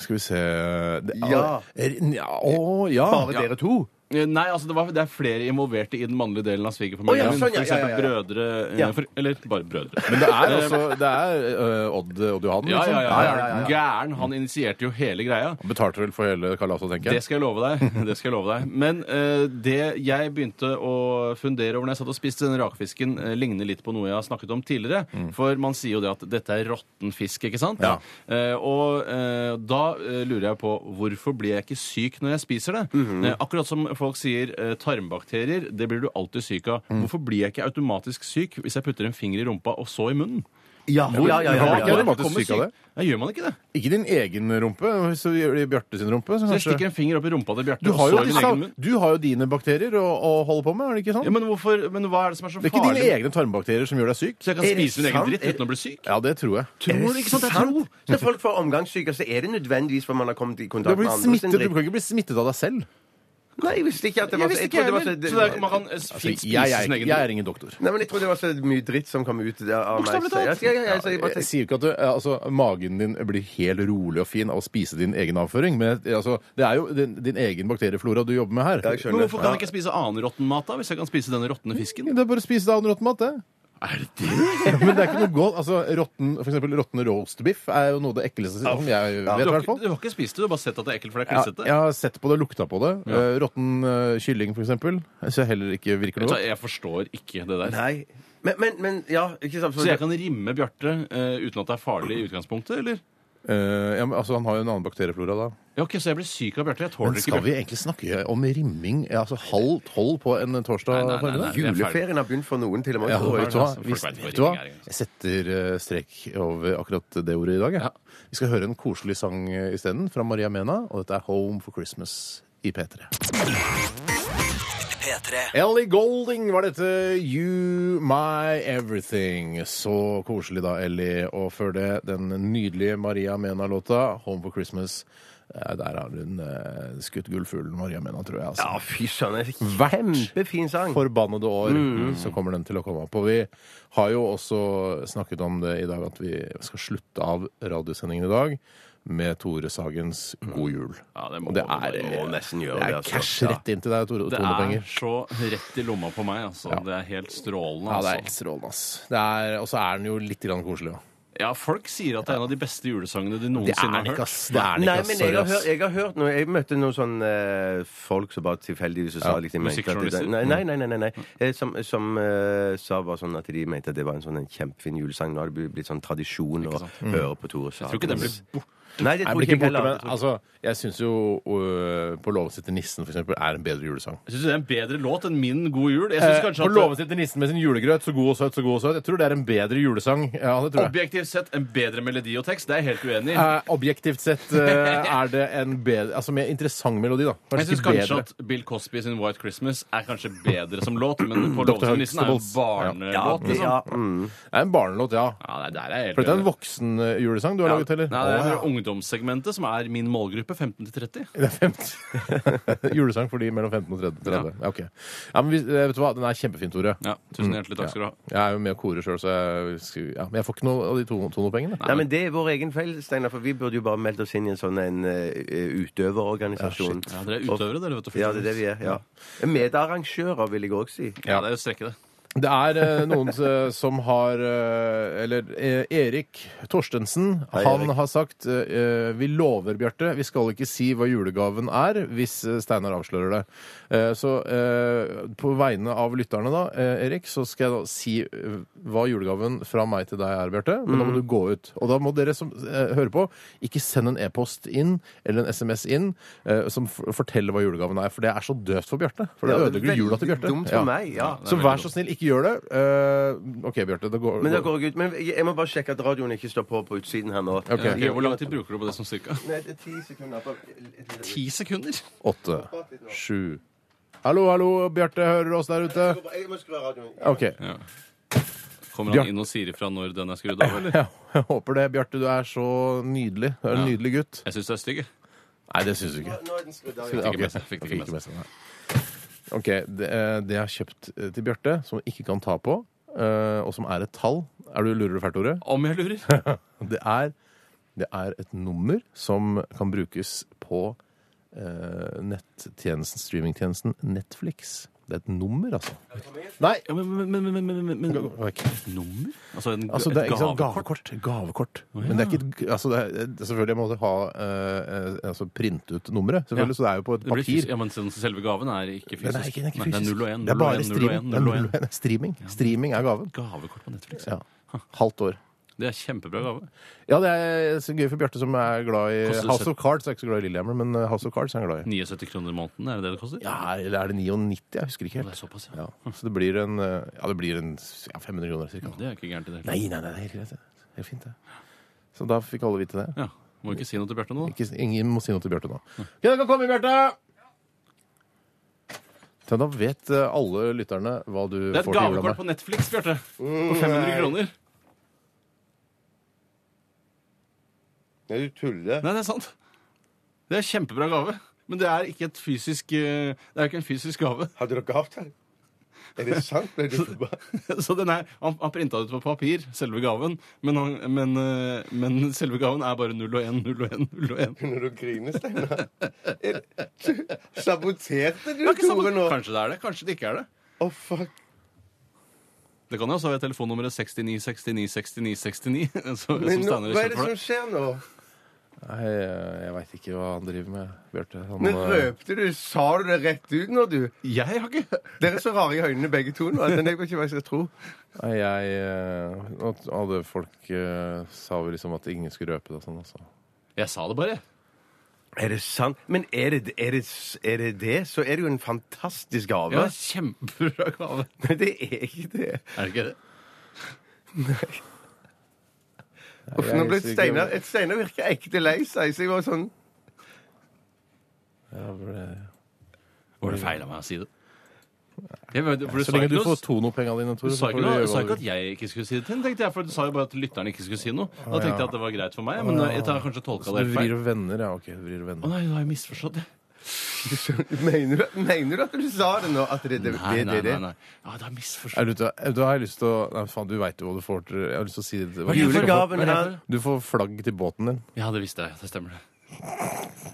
S4: Skal vi se det,
S1: Ja.
S4: er- ja, Å, ja.
S1: Bare dere to?
S5: Eh, Nei, altså det, var, det er flere involverte i den mannlige delen av svigerfamilien.
S6: Å, ja, sånn, ja,
S5: for eksempel
S6: ja, ja, ja.
S5: brødre eh,
S6: Ja.
S5: for, Eller bare brødre. Eh,
S4: Men det er altså det er, øh, Odd, Odd Johan,
S5: Ja,
S4: liksom?
S5: ja, ja. Gæren. Han initierte jo hele greia.
S4: Han Betalte vel for hele kalaset, tenker
S5: Det
S4: jeg.
S5: skal jeg love deg. Det skal jeg love deg. Men eh, det jeg begynte å fundere over når jeg satt og spiste denne rakfisken, eh, ligner litt på noe jeg har snakket om tidligere. For man sier jo det at dette er råtten fisk, ikke sant?
S4: Mm. Ja.
S5: Eh, og eh, da eh, lurer jeg på hvorfor blir jeg ikke syk når jeg spiser det?
S4: Mhm.
S5: Eh, akkurat som folk sier eh, tarmbakterier, det blir du alltid syk av.
S4: Mm.
S5: Hvorfor blir jeg ikke automatisk syk hvis jeg putter en finger i rumpa og så i munnen?
S6: Ja, ja, ja, ja,
S4: Hvor-
S6: ja,
S4: Blir
S6: ja.
S4: du automatisk
S5: Kommer
S4: syk av det?
S5: Ja, gjør man ikke det?
S4: Ikke din egen rumpe, hvis du gjør det i Bjarte sin rumpe. Så
S5: Så jeg
S4: kanskje...
S5: stikker en finger opp i rumpa til Bjarte
S4: du,
S5: og
S4: har
S5: så
S4: jo
S5: i min
S4: disse,
S5: egen munn.
S4: du har jo dine bakterier å, å holde på med, er det ikke sånn?
S5: Ja, men, hvorfor, men hva er det som er så
S4: det er
S5: farlig?
S4: ikke dine egne tarmbakterier som gjør deg syk?
S5: Så jeg kan
S6: Er det
S5: spise min egen
S6: sant?
S5: dritt
S6: Er-
S5: uten å bli syk?
S4: Ja, det tror jeg.
S5: Tror du ikke sant? Jeg
S6: Sant?
S5: tror.
S6: Når folk får omgangssyke, så er det nødvendigvis for man har kommet i
S4: Du,
S6: kontakt
S4: har
S6: med
S4: blitt
S6: andre.
S4: smittet, du kan ikke bli smittet av deg selv.
S6: Nei, jeg visste ikke at det var
S5: Jeg visste
S6: jeg trodde det
S5: ikke
S6: var
S5: heller.
S6: så-
S5: Så det er, man kan eh,
S4: Altså, jeg,
S5: fint spise
S4: jeg,
S5: sin
S4: jeg,
S5: egen
S4: er ingen doktor.
S6: Nei, men jeg trodde det var så mye dritt som kom ut der av meg. Så-
S4: Bokstavelig talt.
S6: Ja, ja, ja, så jeg
S5: Eh,
S6: bare
S4: Jeg sier jo ikke at du, altså, magen din blir helt rolig og fin av å spise din egen avføring, men altså, det er jo din, din egen bakterieflora du jobber med her.
S6: Ja, jeg skjønner.
S5: Men hvorfor kan
S6: Ja.
S5: jeg ikke spise annen råtten mat, da? Hvis jeg kan spise denne råtne fisken?
S4: Det er bare å spise deg av en råtten mat, det.
S5: Er det det?
S4: Ja, men det er ikke noe godt. Altså, rotten, for eksempel råtne roastbiff er jo noe av det ekleste som jeg vet, i
S5: Du
S4: hvert
S5: har, ikke,
S4: fall.
S5: du har ikke spist det, du har bare sett at det er ekkelt for deg
S4: Ja,
S5: klissete?
S4: jeg har sett på det, lukta på det.
S5: Ja.
S4: Eh, Råtten eh, kylling, for eksempel. Jeg ser heller ikke virker noe
S5: Vet du hva,
S4: godt.
S5: Jeg forstår ikke det der.
S6: Nei. Men, men, men ja, ikke sant? for-
S5: Så jeg kan rimme Bjarte eh, uten at det er farlig i utgangspunktet, eller?
S4: Eh, ja, men, altså, han har jo en annen bakterieflora da.
S5: Ja, ok, Så jeg blir syk av Bjarte. Jeg
S4: Men
S5: tåler ikke
S4: skal
S5: Bjarte.
S4: vi egentlig snakke om rimming ja, altså halv tolv på en torsdag?
S5: Nei, nei, nei,
S4: formiddag?
S5: nei.
S6: Juleferien har begynt for noen, til og med.
S4: Ja,
S6: tror jeg.
S4: vet du hva?
S5: altså, folk
S4: Vi,
S5: vet
S4: vet
S5: ikke hva
S4: du hva?
S5: rimming er engang.
S4: Jeg setter eh, strek over akkurat det ordet i dag. jeg. Vi skal høre en koselig sang eh, isteden, fra Maria Mena, og dette er 'Home for Christmas' i P3.
S2: P3.
S4: Ellie Golding var dette. You My Everything. Så koselig, da, Ellie. Og før det, den nydelige Maria Mena-låta, 'Home for Christmas'. Eh, Der har hun eh, skutt gullfuglen, Maria Mena, tror jeg. altså.
S6: Ja, fy søren. det er
S4: Hvert
S6: Kjempefin sang.
S4: forbannede år, så kommer den til å komme opp. Og vi har jo også snakket om det i dag, at vi skal slutte av radiosendingen i dag med Tore Sagens God jul.
S5: Ja, det må
S4: Og det
S5: man-
S4: er,
S5: man må
S6: nesten gjøre
S4: det
S6: det,
S4: er
S6: altså.
S4: cash rett inn til deg, Tore.
S5: Det
S4: Tonepenger.
S5: er så rett i lomma på meg, altså. Det er helt strålende.
S4: Ja, det er
S5: altså.
S4: helt strålende, ass. Det er- Og så er den jo litt grann koselig òg.
S5: Ja, Folk sier at det er en av de beste julesangene de
S4: Det er
S5: noensinne
S4: den
S5: har
S4: ikke,
S5: hørt.
S4: ass. Det er
S6: Nei,
S4: den ikke, ass.
S6: men
S4: Sorry,
S6: jeg har
S4: ass.
S6: hørt, jeg har hørt noe, jeg møtte noen sånne eh, folk som bare tilfeldigvis sa liksom, mente at det-
S5: musikkjournalister?
S6: Nei, nei, nei. nei, nei, nei. Eh, Som, som eh, sa bare sånn at de mente at det var en sånn en kjempefin julesang. Nå har det blitt sånn tradisjon å høre på Tore Sagen.
S5: Jeg tror ikke den blir borte.
S6: Nei, det
S4: Nei,
S6: tror
S4: men
S6: ikke
S4: ikke
S6: jeg
S4: borte,
S6: heller.
S4: men altså, jeg syns jo øh, 'På låven sitter nissen' for eksempel, er en bedre julesang.
S5: Jeg syns det er en bedre låt enn min God jul. Jeg synes
S4: Eh,
S5: kanskje
S4: på
S5: at-
S4: låven sitter nissen med sin julegrøt, så god og søt, så god og søt. Jeg tror det er en bedre julesang. Ja, det tror jeg.
S5: Objektivt sett en bedre melodi og tekst. Det er jeg helt uenig i.
S4: Eh, objektivt sett eh, er det en bedre Altså mer interessant melodi, da.
S5: Jeg syns
S4: ikke
S5: kanskje
S4: bedre.
S5: at Bill Cosby sin White Christmas er kanskje bedre som låt, men på
S4: Dr.
S5: Låten til nissen er jo en
S4: Huxtables.
S6: Ja,
S5: barnelåt.
S6: det-
S5: Liksom.
S6: ja,
S5: Ja,
S6: mm.
S4: Det er en barnelåt, ja.
S5: nei, der er jeg
S4: For
S5: helt
S4: dette er en
S5: uenig.
S4: voksen eh, julesang du har
S5: Ja.
S4: laget, eller?
S5: Nei, det er
S4: Å, ja.
S5: ungdomssegmentet som er min målgruppe, 15 til 30.
S4: Det er 50. julesang for de mellom 15 og 30. 30. Ja. ok. ja, men vi, eh, vet du hva, den er kjempefin, Tore.
S5: Ja, Tusen
S4: Mm.
S5: hjertelig takk skal du ha.
S4: Jeg er jo med og korer sjøl, så jeg, skulle- ja, men jeg får ikke noe av de to- tonopengene.
S6: Nei, men det er vår egen feil, Steinar, for vi burde jo bare meldt oss inn i en sånn en eh, utøverorganisasjon.
S5: Ja, dere er utøvere, dere, vet du.
S6: Ja, det er det vi er. ja. Medarrangører, vil jeg òg si.
S5: Ja, det er å strekke det.
S4: Det er eh, noen eh, som har eh, Eller eh, Erik Torstensen.
S6: Hei,
S4: han
S6: Erik.
S4: har sagt eh, Vi lover, Bjarte, vi skal ikke si hva julegaven er hvis eh, Steinar avslører det. Eh, så eh, på vegne av lytterne, da, eh, Erik, så skal jeg da si eh, hva julegaven fra meg til deg er, Bjarte. Men da
S6: Mm.
S4: må du gå ut. Og da må dere som eh, hører på, ikke send en e-post inn eller en SMS inn eh, som f forteller hva julegaven er, for det er så døvt for Bjarte. For det
S6: Ja,
S4: ødelegger
S6: veldig
S4: jula til Bjarte.
S6: Dumt for
S4: Ja.
S6: meg, ja.
S4: Så vær så snill, ikke gjør det. Eh, OK, Bjarte. Det går,
S6: Men da går jeg ut. Men jeg jeg må bare sjekke at radioen ikke står på på utsiden her nå.
S4: Ok.
S5: Ok, hvor lang tid bruker du på det som cirka?
S6: Nei, det er ti sekunder. Bare-
S5: Ti sekunder?
S4: Åtte, sju Hallo, hallo, Bjarte. Hører du oss der ute?
S6: Jeg må skru av radioen.
S4: OK.
S5: Kommer han inn og sier ifra når den er skrudd av, eller?
S4: Ja, jeg håper det. Bjarte, du er så nydelig. Du er en nydelig gutt.
S5: Jeg syns du er stygg, jeg.
S4: Nei, det syns du ikke.
S6: Nå er den skrudd av.
S4: Fikk
S5: ikke med seg, fikk ikke med
S4: seg. nei. OK. Det, eh, det jeg har kjøpt eh, til Bjarte, som jeg ikke kan ta på, eh, og som er et tall Er du lurer du fælt, Tore?
S5: Om jeg lurer.
S4: Det er, det er et nummer som kan brukes på eh, nettjenesten, streamingtjenesten Netflix. Det er et nummer, altså. Nei!
S5: Ja, men, men, men, men, men, men, men
S4: ok.
S5: Nummer? Altså, en,
S4: Altså, det er
S5: et
S4: ikke sant,
S5: gavekort?
S4: gavekort. Gavekort. Men det er ikke et, g- altså, det er, det- selvfølgelig må du ha eh, eh, altså, printe ut nummeret. Selvfølgelig,
S5: Ja.
S4: Så det er jo på et
S5: Det blir
S4: papir.
S5: fysisk, ja, men sånn, så- så selve gaven er ikke fysisk.
S4: Men det er ikke, det er ikke
S5: Nei, det er
S4: fysisk.
S5: 0 og 1.
S4: Det er bare streaming. Det er 0 og 1. Streaming. Streaming er gaven.
S5: Gavekort på Netflix.
S4: Ja. Halvt år.
S5: Det er kjempebra gave.
S4: Ja, det er så gøy for Bjarte, som er glad i
S5: Koster det
S4: House of Cards. Er ikke så glad i Lillehammer, men eh, House of Cards er han glad i.
S5: 79 kroner i måneden, er det det det koster?
S4: Ja, eller er det 99? Jeg husker ikke
S5: Det er
S4: helt.
S5: såpass, ja.
S4: Ja. Så det blir en, eh, ja, det blir en ja, 500 kroner cirka.
S5: Det er ikke gærent i det hele tatt.
S4: Nei, nei, nei, det er helt greit. det. Helt fint, det. Så da fikk alle vite det.
S5: Ja. Må ikke si noe til Bjarte nå. da.
S4: Ikke, ingen må si noe til Bjarte nå. Ok, dere kan komme, Bjarte! Så da vet eh, alle lytterne hva du
S5: Det er et
S4: får til
S5: gavekort
S4: julegave.
S5: på Netflix, Bjarte.
S1: Mm.
S5: På 500 kroner.
S4: Du tuller.
S5: Nei, det er sant. Det er kjempebra gave. Men det er ikke et fysisk eh, Det er ikke en fysisk gave.
S1: Hadde dere avtale? Er det sant? Ble du forbanna?
S5: Så den er, han, han printa det ut på papir, selve gaven, men, han, men, eh, men selve gaven er bare 0 og 1, 0 og 1, 0 og 1.
S1: Når du griner, Steinar. Er det- Saboterte du
S5: Det er ikke
S1: Tore
S5: sammen-
S1: nå?
S5: Kanskje det er det, kanskje det ikke er det.
S1: Å, fuck.
S5: Det kan jo også være telefonnummeret 69 69 69 69. Så,
S1: Men
S5: som
S1: nå, hva
S5: Steiner
S1: er det
S5: kjemper
S1: som
S5: for.
S1: skjer nå?
S4: Nei, eh, jeg veit ikke hva han driver med, Bjarte. Han,
S1: Men
S4: eh,
S1: røpte du? Sa du det rett ut nå, du?
S5: Jeg har ikke
S1: Dere er så rare i øynene begge to nå. at Jeg vet ikke hva jeg skal tro.
S4: Nei, jeg eh, at Alle folk eh, sa vel liksom at ingen skulle røpe det og sånn, altså.
S5: Jeg sa det bare.
S6: Er det sant?
S1: Men er det er det, er det, det, så er det jo en fantastisk gave.
S5: Ja, kjempebra gave.
S1: Men det er ikke det.
S5: Er det ikke det?
S1: Uff,
S4: jeg
S1: nå ble
S4: er sikker-
S1: Steinar Steinar virker ekte lei seg. Så jeg var sånn
S4: Ja, for det-
S5: Var det feil av meg å si det? Jeg vet, for
S4: Så
S5: du, sa
S4: lenge
S5: ikke
S4: du
S5: noe,
S4: får Tono-pengene dine, Tore,
S5: du,
S4: så
S5: sa
S4: får
S5: ikke
S4: du
S5: noe,
S4: gjøre
S5: du sa
S4: hva du
S5: ikke at
S4: vil.
S5: jeg ikke skulle si det til henne, tenkte jeg. For du sa jo bare at lytterne ikke skulle si noe. Da tenkte jeg at det var greit for meg, men jeg tar kanskje tolka
S4: Så
S5: det
S4: du
S5: helt
S4: vrir
S5: feil.
S4: og vender, ja. Ok, du vrir og
S5: Å
S4: vender.
S5: nei, da har jeg misforstått det.
S1: Mener du, mener du at du sa det nå? At det er det,
S5: Nei,
S1: det,
S5: nei,
S1: det,
S5: nei.
S1: det?
S5: nei. Ja, det er misforstått.
S4: Er du, ute- da har jeg lyst til å Nei, faen, du veit jo hva du får til Jeg har lyst til å si det. til-
S1: Julegaven her.
S4: Du får flagg til båten din.
S5: Ja, det visste jeg. Det stemmer, det.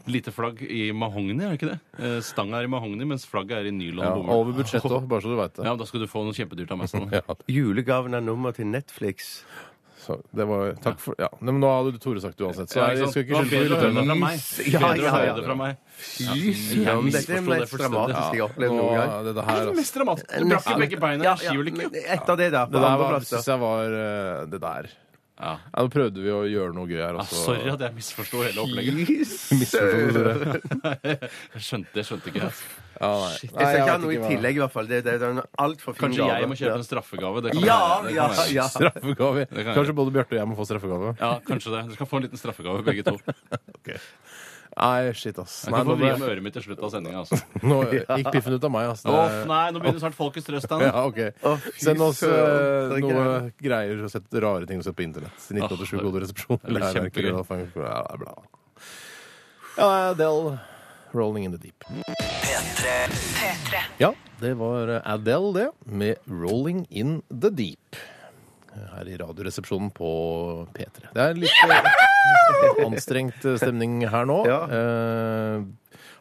S5: Lite flagg i mahogni, er det ikke det? Eh, Stanga er i mahogni, mens flagget er i nylon
S4: Ja,
S5: og bomull.
S4: over budsjettet òg, bare så du veit det.
S5: Ja, men da skal du få noe kjempedyrt av meg. Sånn.
S4: Ja,
S6: Julegaven er nummer til Netflix.
S4: så det var, takk for, ja. Nei, men nå hadde du Tore sagt det uansett, så
S5: Ja,
S4: jeg,
S5: ikke sant?
S4: skal
S5: Det
S4: ikke
S5: var
S4: skylde på
S5: bedre å høre det fra
S4: lytterne.
S5: meg.
S1: Ja,
S5: Bedre å
S1: ja,
S5: høre
S1: ja.
S5: det fra meg.
S1: Fy
S5: Jeg
S1: søren, dette er det
S5: misforstod det
S1: mest
S5: fullstendig.
S1: dramatiske jeg har opplevd noen gang.
S4: Nå, det, det her,
S5: Det er
S4: altså.
S5: det mest dramatiske. Du brakk jo begge beina i en skiulykke.
S1: men etter det, da. På
S4: Det der var,
S1: andreplass, da.
S4: synes jeg var eh, Det der.
S5: Ja.
S4: Ja, Nå prøvde vi å gjøre noe gøy her. altså.
S5: Ja,
S4: og så-
S5: Ah, sorry at jeg misforsto hele opplegget.
S1: Fy søren.
S5: Jeg skjønte, jeg skjønte ikke.
S4: Ja, nei. Nei,
S1: Jeg skal ikke ha
S4: vet
S1: noe i
S4: hva-
S1: tillegg, i hvert fall. Det, det, det er en altfor fin
S5: Kanskje
S1: gave.
S5: jeg må kjøpe en sånn. straffegave. Det kan
S1: Ja,
S5: være- det
S1: ja,
S5: kan være.
S1: ja.
S4: Straffegave.
S5: kan jeg
S4: Kanskje både Bjarte og jeg må få straffegave.
S5: Ja, kanskje det. Dere skal få en liten straffegave, begge to. Jeg
S4: Nei, shit, ass. Nei,
S5: kan
S4: nå,
S5: få vri om
S4: ble,
S5: øret mitt til slutt av sendinga. Altså. Eh,
S4: nå gikk piffen ut av meg, ass. Det-
S5: Åh, nei, nå begynner snart folkets trøst. da.
S4: Ja, ok.
S1: fy
S4: Send oss eh,
S1: søren, det er
S4: noe greier og sett rare ting du ser på internett. 1987
S5: Åh,
S4: Gode resepsjon.
S5: det blir
S4: Lærer-
S5: kjempegøy.
S4: Ja, det er bra. Ja, Adele, Rolling in the Deep.
S2: P3.
S4: Ja, det var Adele, det, med 'Rolling in the Deep'. eh, Her i Radioresepsjonen på P3. Det er litt eh, anstrengt stemning her nå.
S1: Ja.
S4: Eh,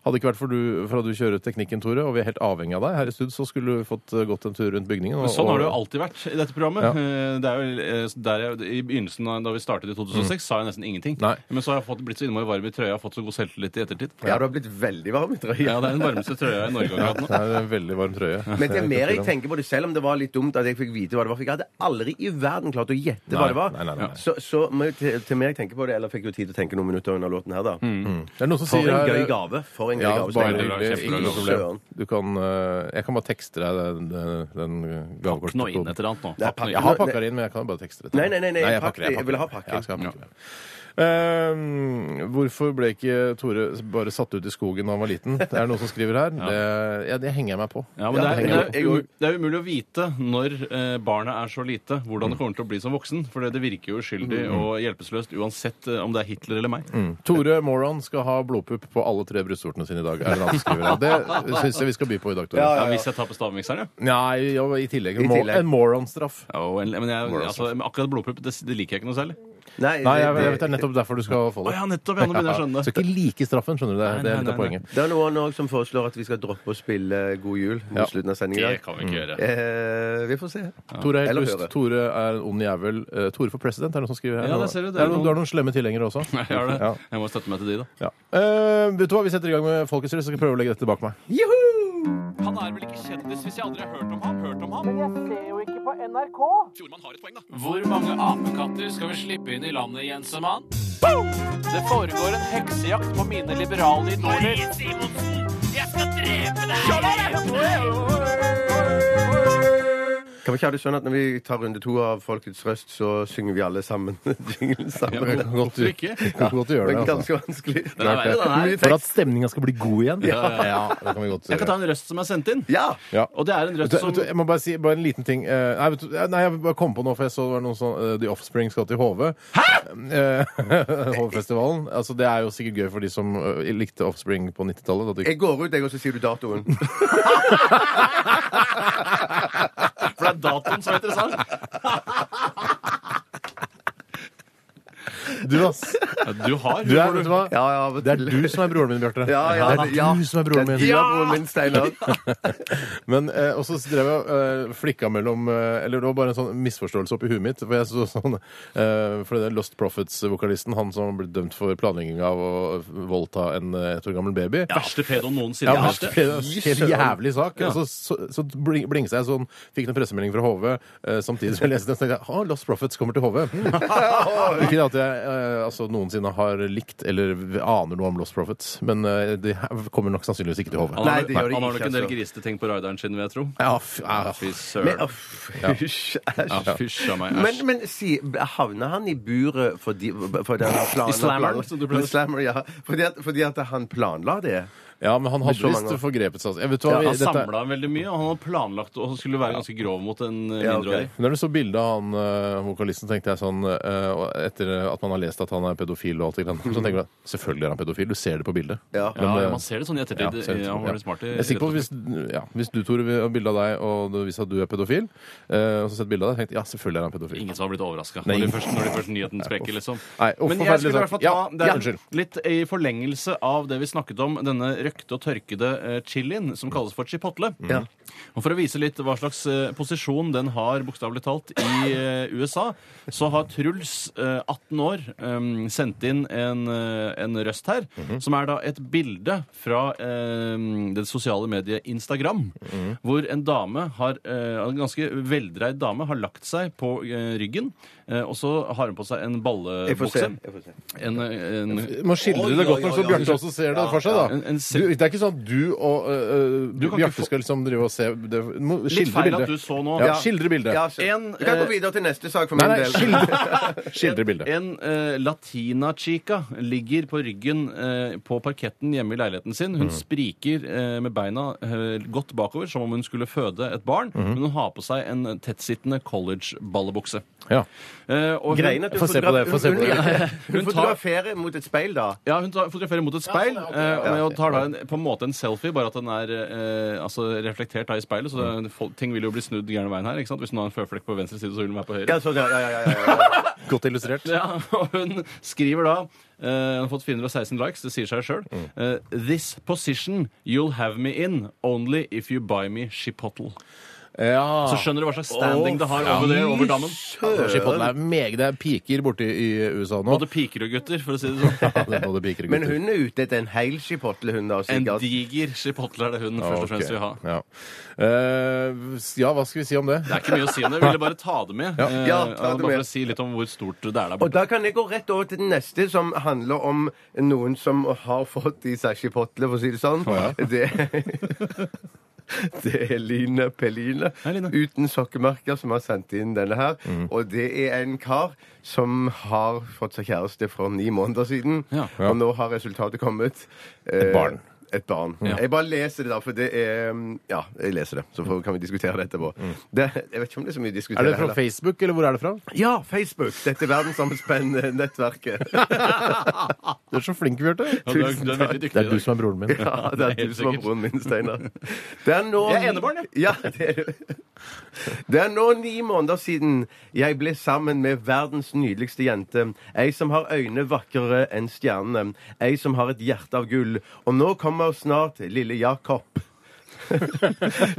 S4: hadde ikke vært for, du, for at du kjører teknikken, Tore, og vi er helt avhengig av deg her i stud, så skulle du fått eh, gått en tur rundt bygningen. Og,
S5: Men Sånn har det jo
S4: og-
S5: alltid vært i dette programmet. Eh, Det er jo, eh, der jeg, I begynnelsen av- da vi startet i 2006, sa jeg nesten ingenting.
S4: Nei.
S5: Men så har jeg fått, blitt så innmari varm i trøya og fått så god selvtillit i ettertid.
S1: Ja, du har blitt veldig varm i
S5: Ja,
S1: trøya.
S5: Det er den varmeste trøya i Norge akkurat nå.
S4: Det er en veldig varm trøye.
S1: Men det er mer jeg tenker på det, selv om det var litt dumt at jeg fikk vite hva det var. For jeg hadde aldri i verden klart å gjette hva
S4: Nei,
S1: det var.
S4: nei, nei, nei.
S1: Så, så må jeg til, til mer jeg tenker på det, eller fikk jo tid til å tenke noen minutter under låten her, da.
S4: Det er noen som
S1: For
S4: sier
S1: en
S4: her
S1: gøy gave. For en gøy
S4: Mm. Ja,
S1: gave.
S4: bare
S1: Steinar.
S5: Kjempebra,
S4: hyggelig. Ikke
S5: kjempebra.
S4: noe problem.
S1: Søren.
S4: Du kan, eh, jeg kan bare tekste deg den, den, den gavekortet.
S5: Nå inn et eller annet nå.
S1: Det er
S5: Papp nå
S1: pakk-
S5: inn.
S4: Jeg har pakka det inn, men jeg kan jo bare tekste det. til
S1: Nei,
S4: deg.
S1: nei, nei, nei,
S4: jeg,
S1: pakk
S4: pakker, det,
S1: det. Jeg vil ha pakken.
S4: Ja, jeg skal ha pakken. Ehm, hvorfor ble ikke Tore bare satt ut i skogen da han var liten? Det er noen som skriver her. Det, ja, det henger jeg meg på.
S5: Ja, men det er,
S4: henger
S5: det,
S4: jeg
S5: er, umu- det er umulig å vite når eh, barnet er så lite, hvordan det kommer til å bli som voksen. For det, det virker jo uskyldig og hjelpeløst uansett eh, om det er Hitler eller meg.
S4: på. Mm. Tore Moron skal ha blodpupp på alle tre brystvortene sine i dag. Er det, han som skriver her. det syns jeg vi skal by på i dag, Tore.
S5: Ja, hvis jeg tar på stavmikseren, ja.
S4: Nei, ja, i tillegg.
S1: I tillegg.
S4: En moron-straff.
S5: ja og en, men jeg, altså, men akkurat blodpupp det, det liker jeg ikke noe særlig.
S1: Nei,
S4: Nei, jeg,
S1: det-
S4: jeg vet det er nettopp derfor du skal få det.
S5: Å ja, nettopp, ja, nå begynner jeg å skjønne.
S4: Så ikke like straffen, skjønner du. Det,
S5: Nei,
S4: er- det er litt av
S5: nei, nei, nei.
S4: poenget.
S1: Det er noen også som foreslår at vi skal droppe å spille God jul mot
S4: Ja.
S1: slutten av sendingen. i
S5: Det
S1: dag.
S5: kan vi ikke gjøre.
S1: Eh, vi får se.
S4: Tore er helt
S1: Eller
S4: lyst.
S1: høre.
S4: Tore er en ond jævel. Eh, Tore for president er det noen som skriver her.
S5: Ja, der ser du, det
S4: er
S5: er
S4: noen,
S5: noen-
S4: du har noen slemme tilhengere også.
S5: Jeg gjør det.
S4: Ja,
S5: Jeg må støtte meg til de, da.
S4: ja. Eh, vet du hva, Vi setter i gang med Folkets røst. Jeg skal prøve å legge dette bak meg.
S5: Han er vel ikke kjendis hvis jeg aldri har hørt om ham? Hørt om ham? Hvor mange apekatter skal vi slippe inn i landet, Jensemann? Det foregår en heksejakt på mine liberale idoler.
S1: Kan vi ikke ha det sånn at når vi tar runde to av Folkets røst, så synger vi alle sammen jinglen sammen?
S5: Ja, men hvorfor
S1: du-
S5: ikke?
S1: Ja,
S4: Kan godt gjøre det,
S1: men
S4: altså.
S1: ganske vanskelig.
S5: er verre, den her.
S4: For at stemninga skal bli god igjen. Ja, det kan vi godt
S5: Jeg kan ta en røst som er sendt inn.
S1: Ja!
S4: Ja.
S5: Og det er en
S4: Vet du,
S5: røst som
S4: vet du, jeg må bare si bare en liten ting. Eh, Nei, vet du, nei jeg bare kom på noe, for jeg så det var noen sånn eh, The Offspring skal til HV. HV-festivalen. Altså, det er jo sikkert gøy for de som eh, likte Offspring på 90-tallet. da du-
S1: Jeg går ut, jeg, og så sier du datoen.
S5: For det er datoen som er interessant.
S4: Du, ass!
S5: Du har
S4: Du er, vet du hva?
S1: Ja, ja, av og
S4: Det er
S1: til.
S4: du som er broren min, Bjarte.
S1: Ja, ja,
S4: det er
S1: ja.
S4: du som er broren min.
S1: Det er du er broren min, Steinar.
S4: Men eh, og så drev jeg eh, flikka mellom eh, Eller det var bare en sånn misforståelse oppi huet mitt. For jeg så sånn eh, For den Lost Profits-vokalisten, han som ble dømt for planlegging av å voldta en eh, ett år gammel baby
S5: Verste pedoen noensinne.
S4: Ja, men
S5: verste.
S4: det er en helt jævlig sak.
S5: Ja.
S4: Og så, så, så bling- blingsa jeg sånn, fikk en pressemelding fra HV eh, samtidig som jeg leste den. Så tenkte jeg ah, Lost Profits kommer til HV. Ikke at jeg eh, altså, noensinne har likt eller aner noe om Lost Profits, men eh, det her kommer nok sannsynligvis ikke til HV.
S5: Han har-
S1: Nei, det gjør det
S5: Han har
S1: ikke,
S5: nok en del
S1: altså.
S5: grisete ting på rideren sin, vil jeg tro.
S4: Ja, f ja,
S5: Fy
S1: Men,
S5: søren.
S1: uff, Hysj.
S5: Ja,
S1: Æsj.
S5: Fysj a meg. Æsj.
S1: Men, men si, havner han i buret fordi, fordi han planla
S5: slammeren, som du pleier å si.
S1: Slammer, ja. fordi, at, fordi at han planla det?
S4: ja, men han hadde
S1: så mange
S4: visst
S1: år.
S4: forgrepet seg. altså. Jeg vet hva,
S5: Han
S4: dette-
S5: samla veldig mye, og han hadde planlagt og han skulle være ganske grov mot en eh,
S1: Ja, ok.
S5: mindreårig.
S4: Men Da du så bildet av han eh, vokalisten, tenkte jeg sånn eh, og Etter at man har lest at han er pedofil og alt det grann, så tenker man selvfølgelig er han pedofil. Du ser det på bildet.
S1: Ja.
S5: Ja,
S4: Men, eh,
S5: ja, man ser det sånn i
S4: ja,
S5: ettertid.
S4: ser det ut
S5: Ja,
S4: som-
S5: han
S4: ja.
S5: var litt smart i
S4: Jeg er sikker på at hvis, ja, hvis du, Tore, vil ha bilde av deg, og det viser at du er pedofil, eh, og så sett bilde av deg, tenkte jeg, ja, selvfølgelig er han pedofil.
S5: Ingen som har blitt overraska
S4: Nei,
S5: når, de
S4: ingen.
S5: først- når de først nyheten sprekker, liksom.
S4: Nei, uff,
S5: Men jeg skulle i
S4: forferdelig
S5: hvert fall
S4: sak.
S5: ta
S4: Ja,
S5: det er
S4: ja, unnskyld.
S5: litt i forlengelse av det vi snakket om, denne røkte og tørkede eh, chilien
S4: Mm.
S5: som kalles for chipotle. Og For å vise litt hva slags eh, posisjon den har bokstavelig talt i eh, USA, så har Truls, eh, 18 år, eh, sendt inn en, eh, en røst her, som er da et bilde fra eh, det sosiale mediet Instagram, hvor en dame har, eh, en ganske veldreid dame har lagt seg på eh, ryggen, eh, og så har hun på seg en
S1: Jeg får se.
S5: ballebukse.
S1: Jeg får se.
S5: En, eh, en,
S4: Må skildre det
S1: Oi,
S4: godt nok,
S1: oi,
S4: så
S1: oi,
S4: Bjarte
S1: oi.
S4: også ser det for seg. da.
S5: En- en se-
S4: Du, det er ikke sånn at du og eh,
S5: Du kan ikke
S4: Bjarte
S5: få-
S4: skal liksom drive og se det. Må
S5: litt
S4: skildre
S5: feil at
S4: bildet.
S5: du så nå.
S4: Ja, skildre bildet.
S1: Ja, så-
S5: En,
S1: du kan gå
S5: eh,
S1: videre til neste sak for
S4: Nei,
S1: min
S4: nei,
S1: del.
S4: skildre, skildre bildet.
S5: En eh, latina-chica ligger på ryggen eh, på parketten hjemme i leiligheten sin. Hun
S1: Mhm.
S5: spriker eh, med beina eh, godt bakover, som om hun skulle føde et barn.
S1: Mhm.
S5: Men hun har på seg en tettsittende college-ballebukse.
S4: Ja.
S5: Eh, og hun-
S1: Greien er at du
S4: Få se på det,
S1: fotogra-
S4: få se på det.
S1: Hun, hun fotograferer mot et speil, da.
S5: Ja, hun tar, fotograferer mot et speil, eh,
S1: Ja,
S5: og tar da en, på en måte en selfie, bare at den er eh, altså reflektert da i speilet. Så
S1: Mhm.
S5: det, folk- ting vil jo bli snudd gærne veien her. ikke sant? Hvis hun har en føflekk på venstre side, så vil den være på høyre.
S1: Ja, så, ja, ja, ja, ja, ja.
S4: Godt illustrert.
S5: Ja, og hun skriver da eh, Hun har fått 416 likes, det sier seg sjøl. This position you'll have me in only if you buy me chipotle.
S4: Ja.
S5: Så skjønner du hva slags standing det har over det, over dammen.
S4: Chipotle er meget Det er piker borte i USA nå.
S5: Både piker og gutter, for å si det
S4: Ja,
S5: sånn.
S4: det er både piker og
S1: Men
S4: gutter.
S1: hun er ute etter en hel chipotle, hun, da.
S5: En
S1: sikkert.
S5: diger chipotle er det hun først og fremst vil ha.
S4: Ok, Ja. Eh, ja, hva skal vi si om det?
S5: Det er ikke mye å si om det. Jeg ville bare ta det med.
S4: Ja.
S5: eh,
S1: Ja, ta det
S5: bare
S1: med.
S5: for å si litt om hvor stort det er der
S1: Og
S5: borte.
S1: da kan jeg gå rett over til den neste, som handler om noen som har fått i seg chipotle, for å si det sånn. Det det er Line Pelline,
S5: Hei, Line.
S1: uten sokkemerker, som har sendt inn denne her. Og det er en kar som har fått seg kjæreste for ni måneder siden,
S5: Ja.
S1: og nå har resultatet kommet. Eh,
S4: barn.
S1: Et barn.
S5: Ja.
S1: Jeg bare leser det, da, for det er um, Ja, jeg leser det, så får, kan vi diskutere det etterpå. Det, jeg vet ikke om det er så mye å diskutere.
S4: Er det fra
S1: heller.
S4: Facebook, eller hvor er det fra?
S1: Ja, Facebook! Dette verdensomspennende nettverket.
S4: Du er så flink, Bjarte.
S5: Ja, du, er, du er veldig
S4: Det
S5: dyktig
S4: er
S5: i
S4: du
S5: dag.
S4: som er broren min.
S1: Ja, det er
S5: helt
S1: du som er
S5: sikkert.
S1: broren min, Steinar. Det er nå
S5: Jeg er enebarn, jeg.
S1: Ja, det er du. Det er nå ni måneder siden jeg ble sammen med verdens nydeligste jente. Ei som har øyne vakrere enn stjernene. Ei som har et hjerte av gull. Og nå kommer snart lille Jakob.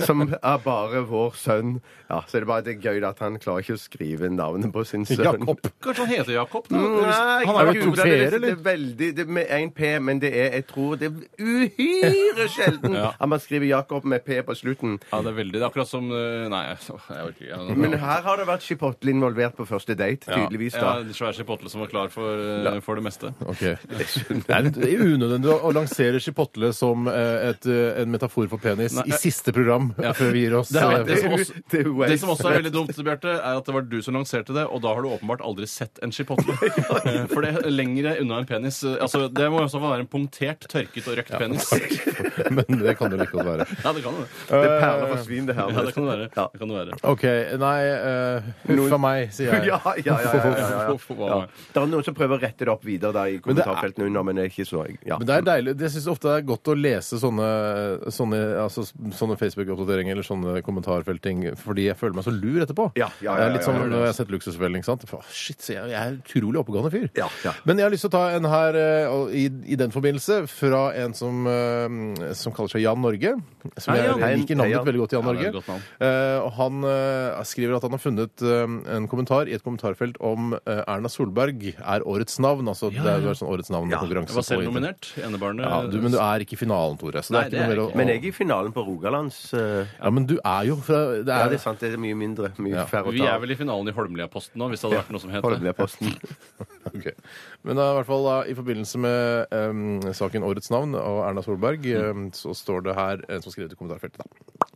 S1: som er bare vår sønn. Ja, Så er det bare det er gøy da at han klarer ikke å skrive navnet på sin sønn.
S4: Jakob.
S5: Kanskje han heter Jakob? Da?
S1: Nei,
S4: Han har jo
S1: Gud,
S4: to
S1: det er
S4: p-er,
S1: liksom-
S4: eller?
S1: Det er veldig, det er med én P, men det er, jeg tror det er uhyre sjelden
S5: Ja.
S1: at man skriver Jakob med P på slutten.
S5: Ja, det er veldig, det er akkurat som eh, Nei, jeg orker ikke. Jeg-
S1: Men her har det vært chipotle involvert på første date, tydeligvis.
S5: Ja,
S1: da.
S5: en svær chipotle som var klar for, eh, for det meste.
S4: Ok. Det er litt unødvendig å å lansere chipotle som eh, et, eh, en metafor for penis i siste program eh, før vi gir oss.
S5: Det, er, det,
S4: eh,
S5: som også,
S1: Det er jo
S5: det som også er veldig dumt, Bjarte, er at det var du som lanserte det, og da har du åpenbart aldri sett en chipotle. Eh, For det er lengre unna en penis eh, altså, Det må jo også være en punktert, tørket og røkt penis.
S4: Men det kan det like godt være.
S5: Ja, det kan det.
S1: Det er perler for svin, det her.
S5: Ja, det kan det være. Det kan det være.
S4: OK. Nei, eh, huff a meg, sier jeg.
S1: Ja, ja, ja, ja, ja, ja.
S5: Hvorfor var det?
S1: Det er noen som prøver å rette det opp videre da, i
S4: det er-
S1: kommentarfeltene under, men det er ikke så ja.
S4: Men det er deilig. Jeg syns ofte det er godt å lese sånne, sånne, altså, sånne Facebook-oppdateringer eller sånne kommentarfelting, fordi jeg føler meg så lur etterpå.
S1: Ja, ja, ja,
S4: Det er
S1: ja,
S4: litt
S1: ja,
S4: sånn
S1: ja.
S4: når jeg har sett Luksusfellen, ikke sant. Fa, Shit, så jeg, jeg er en utrolig oppegående fyr.
S1: Ja, ja.
S4: Men jeg har lyst til å ta en her eh, og i, i den forbindelse fra en som, eh, som kaller seg Jan Norge. Som
S5: Hei,
S4: jeg liker
S5: Jan.
S1: Hei, Jan.
S4: navnet ditt veldig godt, Jan
S5: Ja, det er
S4: Norge.
S5: et godt navn.
S4: Eh, og han eh, skriver at han har funnet eh, en kommentar i et kommentarfelt om eh, Erna Solberg er årets navn. Altså det er jo en sånn årets navn-konkurranse.
S5: Jeg var selv
S4: på internett.
S5: nominert. Enebarnet.
S4: Ja, du, men du er ikke i finalen, Tore. Så det
S5: Nei,
S4: er ikke
S5: det er
S4: noe mer
S5: jeg
S4: å...
S5: ikke.
S1: Men jeg Eh, er i finalen på Rogalands. eh,
S4: Ja, men du er jo fra det
S1: Ja,
S4: er,
S1: det er sant. Det er mye mindre. Mye færre å ta.
S5: Vi er vel i finalen i Holmlia-posten nå, hvis det hadde vært noe som het
S1: Hold
S5: det.
S1: med posten.
S4: Ok. Men da, i hvert fall da, i forbindelse med em, saken Årets navn og Erna Solberg,
S1: Mm.
S4: em, så står det her en som skrev i kommentarfeltet, da.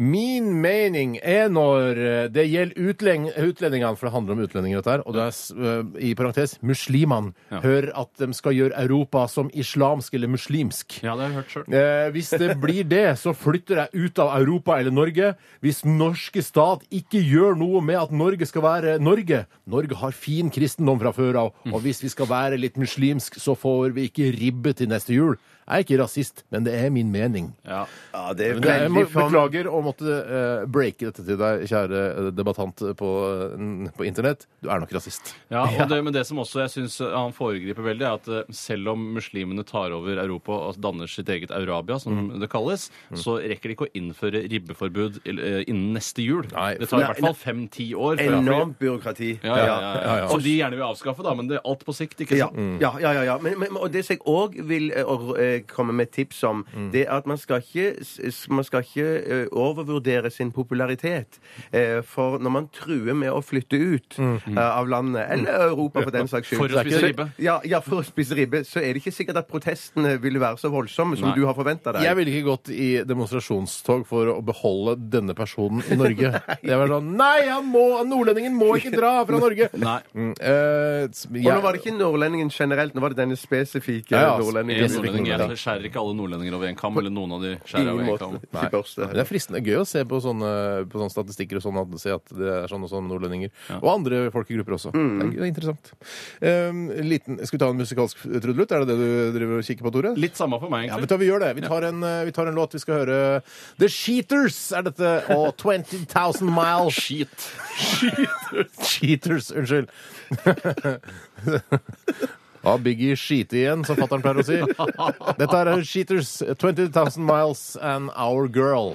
S4: Min mening er når eh, det gjelder utleng utlendingene, for det handler om utlendinger dette her, og det er s- eh, i parentes muslimene, hør at de skal gjøre Europa som islamsk eller muslimsk.
S5: Ja, det har jeg hørt sjøl.
S4: Eh, hvis det blir det, så flytter jeg ut av Europa eller Norge. Hvis norske stat ikke gjør noe med at Norge skal være Norge Norge har fin kristendom fra før av, og hvis vi skal være litt muslimsk, så får vi ikke ribbe til neste jul. Jeg er ikke rasist, men det er min mening.
S5: Ja.
S1: Ja, det er
S4: Men det, jeg må,
S1: veldig form-
S4: beklager å måtte eh, breake dette til deg, kjære eh, debattant på, eh, på internett. Du er nok rasist.
S5: Ja, og det, men det som også jeg syns han foregriper veldig, er at eh, selv om muslimene tar over Europa og danner sitt eget Eurabia, som det kalles, så rekker de ikke å innføre ribbeforbud i- eh, innen neste jul.
S4: Nei,
S5: det tar i
S1: nei,
S5: hvert fall fem-ti år. før-
S1: Enormt byråkrati.
S5: Ja, ja, ja, ja, ja. Som de gjerne vil avskaffe, da, men det er alt på sikt, ikke
S1: Ja, Mm.
S5: sant? Mm.
S1: ja, ja. ja, ja. Men, men, og det som jeg òg vil eh, og, eh, komme med tips om,
S5: Mm.
S1: det er at man skal ikke, s- man skal ikke eh, overvurdere sin popularitet. Eh, For når man truer med å flytte ut eh, av landet, eller Europa for den saks skyld
S5: Mm. For å
S1: så er ikke-
S5: spise ribbe.
S1: Ja, ja, for å spise ribbe, så er det ikke sikkert at protestene vil være så voldsomme som
S5: Nei.
S1: du har forventa deg.
S4: Jeg ville ikke gått i demonstrasjonstog for å beholde denne personen i Norge. Jeg var sånn Nei, han må, nordlendingen må ikke dra fra Norge!
S5: Nei.
S4: Mm, eh, jeg,
S1: Og nå var det ikke nordlendingen generelt, nå var det denne spesifikke
S4: Ja, ja,
S5: altså,
S1: nordlendingen.
S5: Jeg, nordlending, jeg skjærer ikke alle nordlendinger over en kam, eller noen av de skjærer
S1: Ingen
S5: over en
S1: måte.
S5: kam.
S1: Ikke børste.
S4: Men Det er fristende gøy å se på sånne, på sånne statistikker og sånn at, se at det er sånn og sånn nordlendinger. Og andre folkegrupper også.
S1: Mm.
S4: Det, er, gøy, det er interessant. Um, liten, skal vi ta en musikalsk trudelutt? Er det det du driver og kikker på, Tore?
S5: Litt samme for meg,
S4: Ja, vet
S5: egentlig.
S4: du hva, vi gjør det. Vi tar, en, eh, vi tar en låt. Vi skal høre The Cheaters er dette, og 20 000 Miles.
S5: Skit.
S4: Cheaters, unnskyld. Ja, Biggie skite igjen, som fatter'n pleier å si. Dette er Cheaters, 20 000 Miles and Our Girl.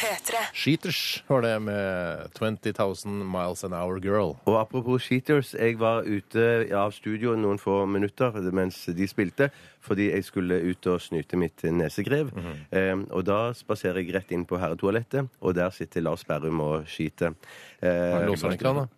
S7: P3.
S4: Cheaters var det med 20 000 Miles and Our Girl.
S1: Og apropos Cheaters, jeg var ute av studio noen få minutter mens de spilte, fordi jeg skulle ut og snyte mitt nesegrev.
S4: Mhm.
S1: eh, og da spaserer jeg rett inn på herretoalettet, og der sitter Lars Berrum og skiter. Eh,
S4: Låser han ikke han, da?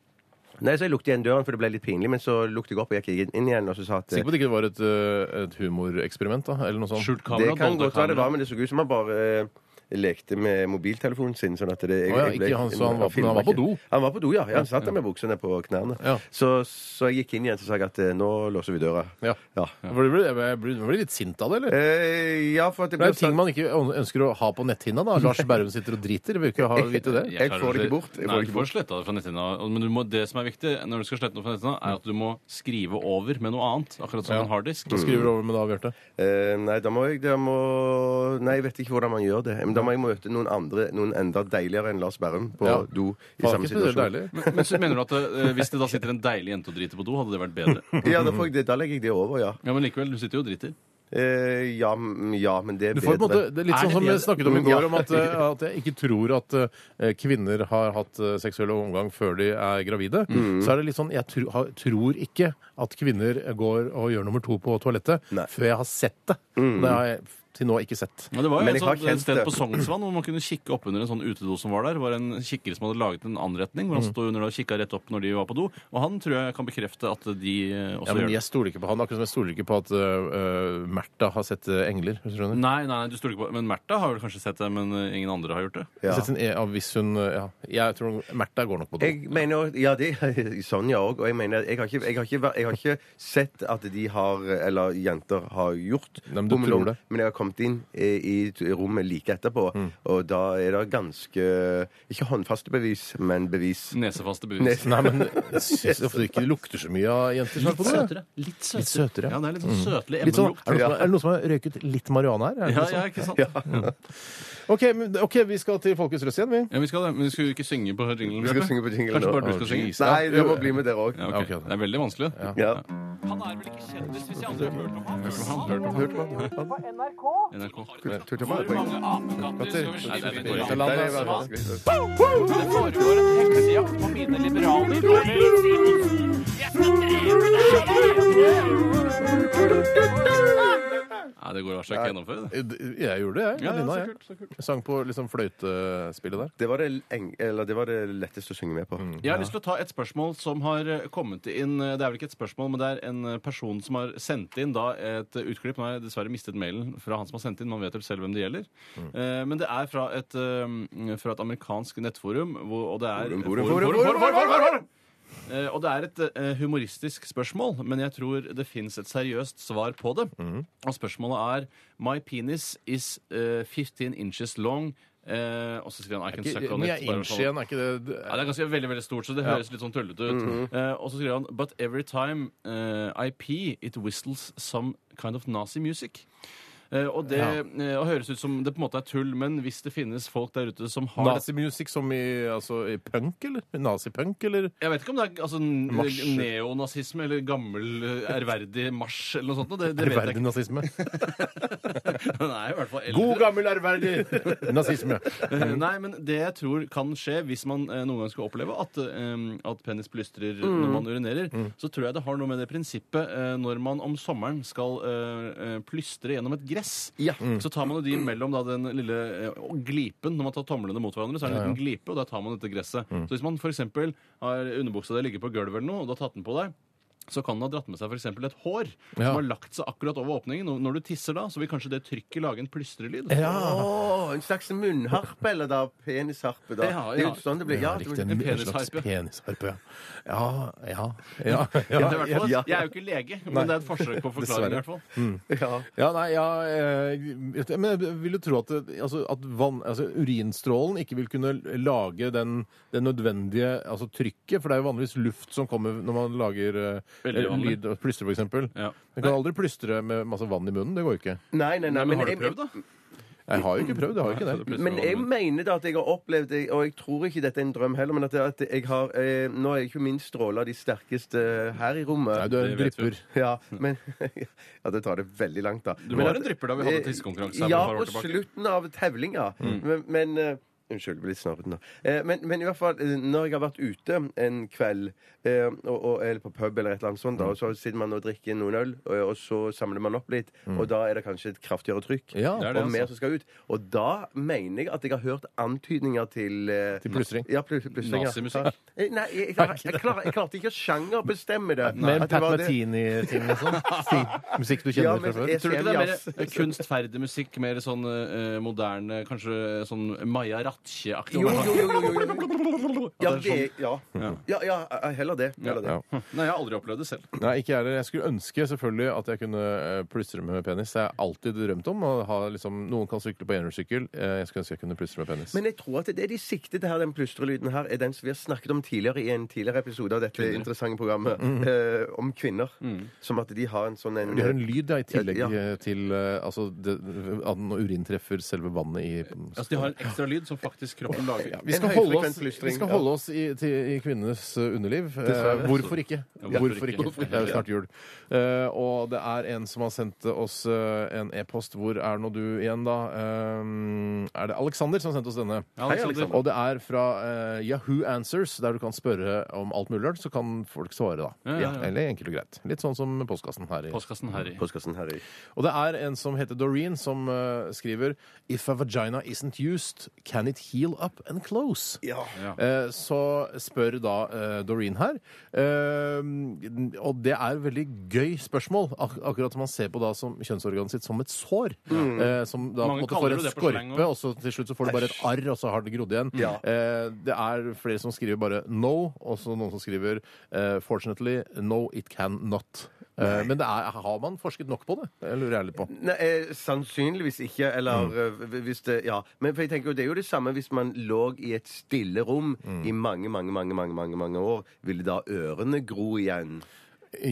S1: nei, så jeg lukket igjen døren, for det ble litt pinlig, men så lukket jeg opp og gikk inn- inn igjen, og så sa at
S4: Sikker på at det ikke var et, eh, et humoreksperiment, da? Eller noe sånt?
S5: Skjult kamera,
S1: det kan
S5: dolda
S1: godt være det
S5: kamera.
S1: var, men det så ut som han bare eh, lekte med mobiltelefonen sin. Sånn at det, jeg,
S4: Å ja,
S1: jeg ble-
S4: ikke han, så han var på-
S1: filmet
S4: han var på
S1: ikke.
S4: do?
S1: Han var på do, ja. ja han satt der med buksene på knærne.
S4: Ja.
S1: Så, så jeg gikk inn igjen og sa jeg at eh, nå låser vi døra.
S4: Ja.
S1: Ja,
S4: Blir du blir- blir du litt sint av det, eller?
S1: eh, ja for at det
S4: Det
S1: ble
S4: er jo ting man ikke ønsker å ha på netthinna. da. Lars Berrum sitter og driter. Vil ikke ha vite det.
S1: Jeg får det ikke bort. Jeg får
S5: Nei,
S1: det
S5: du
S1: ikke
S5: får
S1: bort.
S5: sletta det fra netthinna. Men du må, det som er viktig når du skal slette noe fra netthinna, er at du må skrive over med noe annet. Akkurat som
S4: Ja.
S5: en harddisk.
S1: Mm.
S4: Hva skriver du over med da, Bjarte?
S1: Eh, nei, da må jeg da må, Nei, jeg vet ikke hvordan man gjør det. Men da må jeg møte noen andre, noen enda deiligere enn Lars Bærum på
S4: Ja.
S1: do i
S4: Faen,
S1: samme
S4: ikke spesielt
S1: situasjon.
S4: deilig.
S5: Men, men så mener du at eh, hvis det da sitter en deilig jente og driter på do, hadde det vært bedre?
S1: Ja, da, får jeg det, da legger jeg det over, ja.
S5: Ja, men likevel, du sitter jo og driter.
S1: Eh, ja, mm, ja, men det er
S4: Du får på en måte,
S1: bedre.
S4: det er litt
S5: Er
S4: sånn
S5: det
S4: som vi
S5: bedre?
S4: snakket om i går,
S1: Ja.
S4: om at, eh, at jeg ikke tror at eh, kvinner har hatt eh, seksuell omgang før de er gravide. Så er det litt sånn Jeg tro, har, tror ikke at kvinner går og gjør nummer to på toalettet
S1: Nei.
S4: før jeg har sett det. Og det har jeg til nå ikke sett.
S5: Men det var jo
S1: Men
S5: et,
S1: jeg har
S5: sånt,
S1: kjent
S5: et sted
S1: det.
S5: på Sognsvann hvor man kunne kikke oppunder en sånn utedo som var der. var en kikker som hadde laget en anretning, hvor han
S1: Mm.
S5: sto under og kikka rett opp når de var på do. Og han tror jeg kan bekrefte at de eh, også
S4: Ja, men
S5: gjør det.
S4: jeg stoler ikke på han, akkurat som jeg stoler ikke på at eh, eh, Märtha har sett eh, engler. hvis du skjønner.
S5: Nei, nei, du stoler ikke på Men Märtha har vel kanskje sett det, men eh, ingen andre har gjort det.
S1: Ja.
S4: Sett en, e- ja, hvis hun, eh, ja. Jeg tror Märtha går nok på do.
S1: Jeg mener også- Ja, det Sonja òg. Og jeg mener jeg har, ikke, jeg, har ikke, vært- jeg har ikke sett at de har Eller jenter har gjort
S4: Nei, men du
S1: bommelom,
S4: tror det. Mm.
S1: men jeg har kommet inn eh, i, t- i rommet like etterpå, og da er det ganske Ikke håndfaste bevis, men bevis.
S5: Nesefaste bevis.
S1: Nes-
S4: Mm. Nei, men jeg syns ofte det ikke lukter så mye av jenter som er på do. jeg.
S5: Litt søtere.
S4: søtere, ja.
S5: Ja, det er litt sånn søtlig
S4: Litt sånn,
S5: emnelukt.
S4: er, det noen som, er det noen som har røyket litt marihuana her? Er det
S5: Ja,
S4: sånn?
S5: ja, ikke sant? Ja.
S4: Ok, men, ok, vi skal til Folkets Røst igjen, vi.
S5: vi skal det. Men vi skulle ikke synge på jinglen?
S1: Vi skal
S5: Bjarte?
S1: synge på jingle
S5: Kanskje
S1: nå.
S5: bare du skal synge?
S1: Nei, det må bli med dere òg.
S5: Ja, ok.
S4: Ja, ok.
S5: Det er veldig vanskelig.
S1: Ja.
S5: NRK.
S4: Nei, det er litt
S5: dårlig.
S4: Nei, det er vanskelig.
S1: Nei,
S5: Nei, det går altså ikke å gjennomføre, det.
S4: Eh, Jeg gjorde det, jeg.
S5: Ja, ja,
S4: Lina,
S5: så
S4: jeg.
S5: kult, så kult.
S4: Jeg sang på liksom, fløytespillet der.
S1: det var det, eng eller, det var det letteste å synge med på.
S4: Mm.
S5: Jeg har lyst til å ta et spørsmål som har eh, kommet inn. eh, Det er vel ikke et spørsmål, men det er en eh, person som har sendt inn da et eh, utklipp. Nå har jeg dessverre mistet mailen fra han som har sendt inn. Man vet vel selv hvem det gjelder.
S1: Mm.
S5: Eh, Men det er fra et, eh, fra et amerikansk nettforum, hvor, og det er
S1: Forum, forum, forum, forum,
S5: Eh, Og det er et eh, humoristisk spørsmål, men jeg tror det fins et seriøst svar på det.
S1: Mm.
S5: Og spørsmålet er My penis is eh, 15 inches long. Eh, og så skriver han I can suck on
S4: Men
S5: it.
S4: jeg
S5: bare for sånn.
S4: innser er ikke det
S5: Ja, det er ganske veldig veldig stort, så det høres litt sånn tullete ut.
S4: Mhm.
S5: Eh, og så skriver han But every time eh, I pee, it whistles some kind of Nazi music. Eh, og det
S4: Ja.
S5: eh, og høres ut som det på en måte er tull, men hvis det finnes folk der ute som har dette-
S4: Nazimusikk som i, altså, i punk, eller? Nazipunk, eller?
S5: Jeg vet ikke om det er altså,
S4: Marsj.
S5: n- neonazisme eller gammel eh, ærverdig marsj eller noe sånt. Det, det vet jeg
S4: Ærverdig nazisme.
S5: ikke. Den er i hvert fall eldre.
S4: God gammel ærverdig nazisme.
S5: Eh, Nei, men det jeg tror kan skje hvis man eh, noen gang skulle oppleve at, eh, at penis plystrer
S4: Mm.
S5: når man urinerer, så tror jeg det har noe med det prinsippet eh, når man om sommeren skal eh, eh, plystre gjennom et gress. Mm.
S4: Mm.
S5: Så tar man jo de mellom da, den lille eh, og glipen når man tar tomlene mot hverandre, så er det en liten glipe, og der tar man dette gresset.
S4: Mm.
S5: Så hvis man f.eks. har underbuksa di ligger på gulvet eller noe, og du har tatt den på deg så kan den ha dratt med seg for eksempel et hår som
S4: Ja.
S5: har lagt seg akkurat over åpningen. Og når du tisser da, så vil kanskje det trykket lage en plystrelyd.
S4: Ja.
S1: Åh, en slags munnharpe, eller da penisharpe. Da.
S5: Ja, ja.
S1: Det er jo sånn det blir. Ja, det
S4: Riktig,
S1: blir-
S4: en, en
S5: penisharpe.
S4: slags penisharpe, ja. Ja, ja. ja,
S5: Ja, det er i hvert fall,
S1: ja. Mm.
S5: Jeg er jo ikke lege, men
S4: Nei.
S5: det er et forsøk på forklaring. i
S4: Dessverre.
S5: hvert fall.
S1: ja.
S4: Ja, nei, ja, eh, men jeg vil jo tro at, det- altså, at vann, altså, urinstrålen ikke vil kunne lage den, det nødvendige altså, trykket, for det er jo vanligvis luft som kommer når man lager eh,
S5: Veldig vanlig.
S4: lyd og plystre, for eksempel.
S5: Ja.
S4: Man kan aldri plystre med masse vann i munnen, det går jo ikke.
S1: Nei, nei, nei.
S5: Men har du
S1: jeg-
S5: prøvd, da?
S4: Jeg har jo ikke prøvd, jeg har jo ikke det.
S1: Men jeg mener da at jeg har opplevd det, og jeg tror ikke dette er en drøm heller, men at, at jeg har eh, Nå er ikke min stråle av de sterkeste her i rommet.
S4: Nei, du er en
S5: Det vet vi.
S4: drypper.
S1: Ja, men Ja, det tar det veldig langt, da.
S5: Eh, Du var en drypper da vi hadde tissekonkurranse her for
S1: Ja,
S5: et par år
S1: på
S5: tilbake.
S1: slutten av tevlinga. Men, men eh, Unnskyld, jeg ble litt snarpete nå. Eh, men, men i hvert fall, eh, når jeg har vært ute en kveld, eh, og, og, eller på pub eller et eller annet sånt, da, og så sitter man og drikker noen øl, og, og så samler man opp litt, og da er det kanskje et kraftigere trykk,
S4: Ja, det
S5: er det,
S1: og mer
S5: altså.
S1: som skal ut. Og da mener jeg at jeg har hørt antydninger til eh,
S4: Til plystring.
S1: Ja, plu- plystring. ja.
S5: Nazimusikk.
S1: Eh, Nei, jeg, jeg, jeg, jeg, klarer- jeg klarte ikke å sjangerbestemme det.
S4: Med
S1: At det
S4: Pat
S1: var det-
S4: Martini-ting og sånn. Si- Musikk du
S1: Ja,
S4: kjenner
S1: men
S4: fra før.
S1: jeg-
S5: Tror du ikke det er mer
S1: Jazz.
S5: eh, kunstferdig musikk, mer sånn eh, moderne, kanskje sånn Maja Ratche-aktig?
S1: Jo, jo, jo, jo, jo, jo. Ja,
S5: det er sånn-
S1: det, sånn. ja. Ja, ja, eh, heller det. Heller det.
S4: Ja.
S5: Nei, jeg har aldri opplevd det selv.
S4: Nei, ikke jeg heller. Jeg skulle ønske selvfølgelig at jeg kunne eh, plystre med penis. Jeg har alltid drømt om å ha liksom Noen kan sykle på enhjørssykkel. Eh, Jeg skulle ønske jeg kunne plystre med penis.
S1: Men jeg tror at det de sikter til her, den plystrelyden her, er den som vi har snakket om tidligere i en tidligere episode av dette interessante programmet, eh, om kvinner. Som at de har en sånn en,
S4: Mm. de har en lyd da, i tillegg
S1: Ja.
S4: eh, til eh, altså, det, at når urin treffer selve vannet i
S5: Altså, De har en ekstra lyd som faktisk kroppen lager.
S4: vi skal,
S1: en
S4: holde
S1: høyfrekvent
S4: oss,
S1: plystring,
S4: vi skal
S1: ja.
S4: holde oss i, til, i kvinnenes eh, underliv. Eh, hvorfor ikke?
S5: hvorfor
S4: Hvorfor
S5: ikke?
S4: ikke? Det er jo snart jul. Eh, og det er en som har sendt oss eh, en e-post. Hvor er nå du igjen, da? Eh, er det Aleksander som har sendt oss denne?
S5: Ja, liksom. Alexander.
S4: Og det er fra eh, Yahoo Answers, der du kan spørre om alt mulig rart. Så kan folk svare, da.
S5: Ja, ja, ja.
S4: Eller enkelt og greit. Litt sånn som postkassen her. i
S5: Postkassen her i.
S1: Postkassen her i
S4: og det er en som heter Doreen, som eh, skriver If a vagina isn't used, can it heal up and close?
S1: Ja.
S4: Eh, så spør da eh, Doreen her. Eh, og det er veldig gøy spørsmål. Ak akkurat som man ser på da som kjønnsorganet sitt som et sår. Eh, som da på en
S5: Mange
S4: måte
S5: kaller
S4: får
S5: jo
S4: en
S5: det på slang
S4: skorpe,
S5: også.
S4: og så til slutt så får du bare et arr, og så har det grodd igjen.
S1: Ja.
S4: Eh, det er flere som skriver bare no, og så noen som skriver eh, fortunately no, it can not. Eh, men det er, har man forsket nok på det? Det lurer jeg litt på.
S1: Nei, eh, sannsynligvis ikke,
S4: Mm.
S1: eller eh, hvis det Ja. Men for jeg tenker jo, det er jo det samme hvis man lå i et stille rom
S4: Mm.
S1: i mange, mange, mange, mange, mange, mange år. Ville da ørene gro igjen?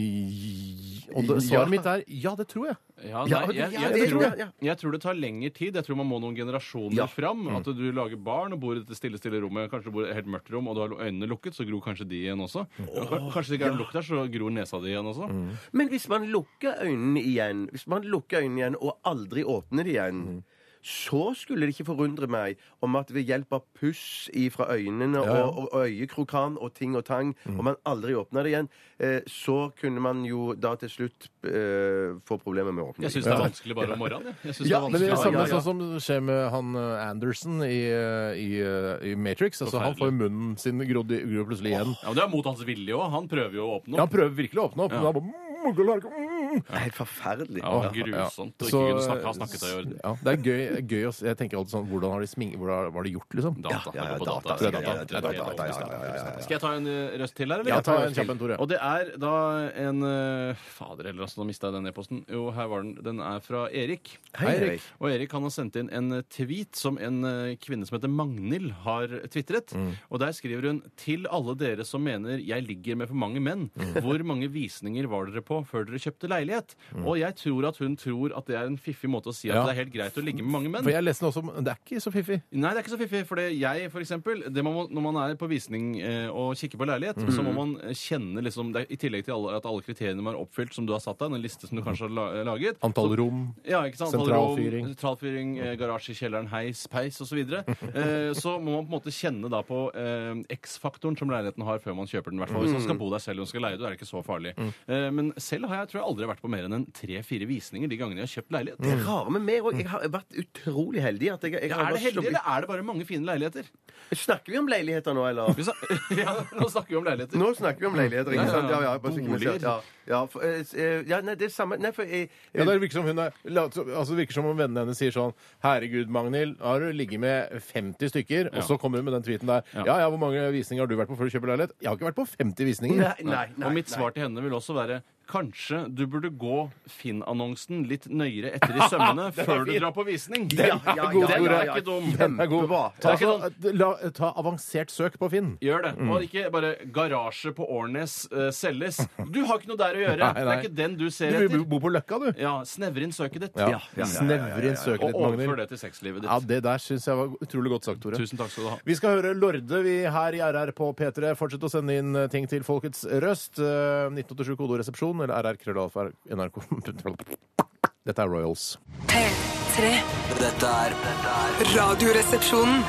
S4: I- Og det, svaret mitt er ja, det tror jeg.
S5: Ja,
S1: Ja,
S5: nei,
S1: ja,
S5: jeg,
S1: det
S5: jeg,
S1: tror jeg, ja.
S5: tror, jeg tror det tar lengre tid. Jeg tror man må noen generasjoner
S1: Ja.
S5: fram. At du lager barn og bor i dette stille, stille rommet. Kanskje du bor i et helt mørkt rom, og du har øynene lukket, så gror kanskje de igjen også. Og ka- Kanskje det ikke er lukt der, så gror nesa di igjen også.
S1: Men hvis man lukker øynene igjen, hvis man lukker øynene igjen og aldri åpner de igjen Så skulle det ikke forundre meg om at ved hjelp av puss fra øynene
S4: ja.
S1: og, og øyekrokan og ting og tang, om man aldri åpner det igjen, eh, så kunne man jo da til slutt eh, få problemer med å åpne
S5: Jeg
S1: det.
S5: syns det er vanskelig bare om morgenen. jeg. Jeg synes
S4: Ja, men det er det
S5: vanskelig
S4: samme
S5: bare-
S4: sånn som skjer med han eh, Anderson i, eh, i, eh, i Matrix. Altså, han får munnen sin grodd i- gror plutselig igjen.
S5: Ja, men Det er mot hans vilje òg. Han prøver jo å åpne
S4: Ja, han
S5: opp.
S4: prøver virkelig å åpne opp, men da bare mm, mugger larker, mm.
S1: Det er helt forferdelig.
S5: Ja, grusomt å ikke
S4: Så,
S5: kunne snakke, ha snakketøy i orden.
S4: ja, Det er gøy, gøy å se. Jeg tenker alltid sånn Hvordan har de sming... Hvordan var det gjort, liksom?
S5: Data.
S1: ja,
S5: Jeg går på
S1: data,
S5: data.
S1: ja,
S5: Det
S1: ja,
S5: er data.
S1: ja, ja,
S5: Det er
S1: ja,
S5: data.
S1: ja, ja, ja, ja, ja.
S5: Skal jeg ta en eh, røst til, her, eller?
S4: Ja, ta en kjapp en, Tore.
S5: Og det er da en eh, Fader heller, altså, nå mista jeg den e-posten. Jo, her var den. Den er fra Erik.
S1: Hei, Erik. Erik.
S5: Og Erik han har sendt inn en eh, tweet som en eh, kvinne som heter Magnhild, har tvitret.
S1: Mm.
S5: Og der skriver hun til alle dere som mener jeg ligger med for mange menn.
S1: Mm.
S5: Hvor mange visninger var dere på før dere kjøpte leilighet?
S1: Mm.
S5: Og jeg tror at hun tror at det er en fiffig måte å si at
S4: Ja.
S5: det er helt greit å ligge med mange menn.
S4: For jeg leste den også, men det er ikke så fiffig.
S5: Nei, det er ikke så fiffig. For det- jeg, for eksempel, det man må, når man er på visning eh, og kikker på leilighet, så må man eh, kjenne liksom, det er, I tillegg til alle, at alle kriteriene man har oppfylt, som du har satt deg, en liste som du kanskje har la- eh, laget
S4: Antall
S5: så-
S4: rom.
S5: ja, ikke sant?
S4: Sentralfyring.
S5: Antall rom, Sentralfyring, eh, garasje i kjelleren, heis, peis osv. Så, videre. eh, så må man på en måte kjenne da på eh, X-faktoren som leiligheten har før man kjøper den. i hvert fall. Hvis man skal bo der selv og skal leie, da er det ikke så farlig. Eh, men selv har jeg tror jeg aldri vært på mer enn en tre-fire visninger de gangene jeg har kjøpt leilighet.
S1: Det er rare med meg òg. Jeg har vært utrolig heldig. At jeg, jeg har
S5: Er det
S1: bare
S5: heldig,
S1: sluppet-
S5: eller er det bare mange fine leiligheter?
S1: Snakker vi om leiligheter nå, eller?
S5: Vi snak- ja, nå snakker vi om leiligheter.
S1: Nå snakker vi om leiligheter, ikke
S5: Ja, ja,
S1: sant? Ja, ja, bare så ikke
S5: boliger.
S1: minst, ja, ja, for, eh, s- eh, ja, nei, det er samme Nei, for jeg,
S4: Ja, det virker som hun er, la- altså det virker som om vennene hennes sier sånn Herregud, Magnhild, har du ligget med 50 stykker? Og så kommer hun med den tweeten der.
S5: Ja.
S4: Ja ja, hvor mange visninger har du vært på før du kjøper leilighet? Jeg har ikke vært på 50 visninger.
S1: Nei, nei, nei,
S5: og mitt
S1: nei.
S5: svar til henne vil også være Kanskje du burde gå Finn-annonsen litt nøyere etter i sømmene før du drar på visning.
S1: Ja, ja, ja,
S4: god,
S1: ja,
S5: Den
S4: Tore.
S5: er ikke dum.
S4: Det er god.
S1: Kjempebra.
S4: Ta,
S5: Det er ikke
S4: så- la, ta avansert søk på Finn.
S5: Gjør det. Og ikke bare 'garasje på Årnes eh, selges'. Du har ikke noe der å gjøre.
S4: Nei,
S5: Det
S4: nei.
S5: er ikke den du ser
S4: Du
S5: etter.
S4: bor på Løkka, du.
S5: Ja, Snevre inn søket ditt.
S4: Ja. Snevre inn søket ditt,
S5: Og overfør
S4: Magnhild.
S5: det til sexlivet
S4: Ja,
S5: ditt.
S4: det der syns jeg var utrolig godt sagt, Tore.
S5: Tusen takk skal du ha.
S4: Vi skal høre Lorde vi her i RR på P3. Fortsett å sende inn eh, ting til Folkets Røst. Eh, 1987 kodoresepsjon eller rrkrøllalfa.nrk. Dette er Royals.
S7: P3.
S2: Dette er Dette er
S7: Radioresepsjonen.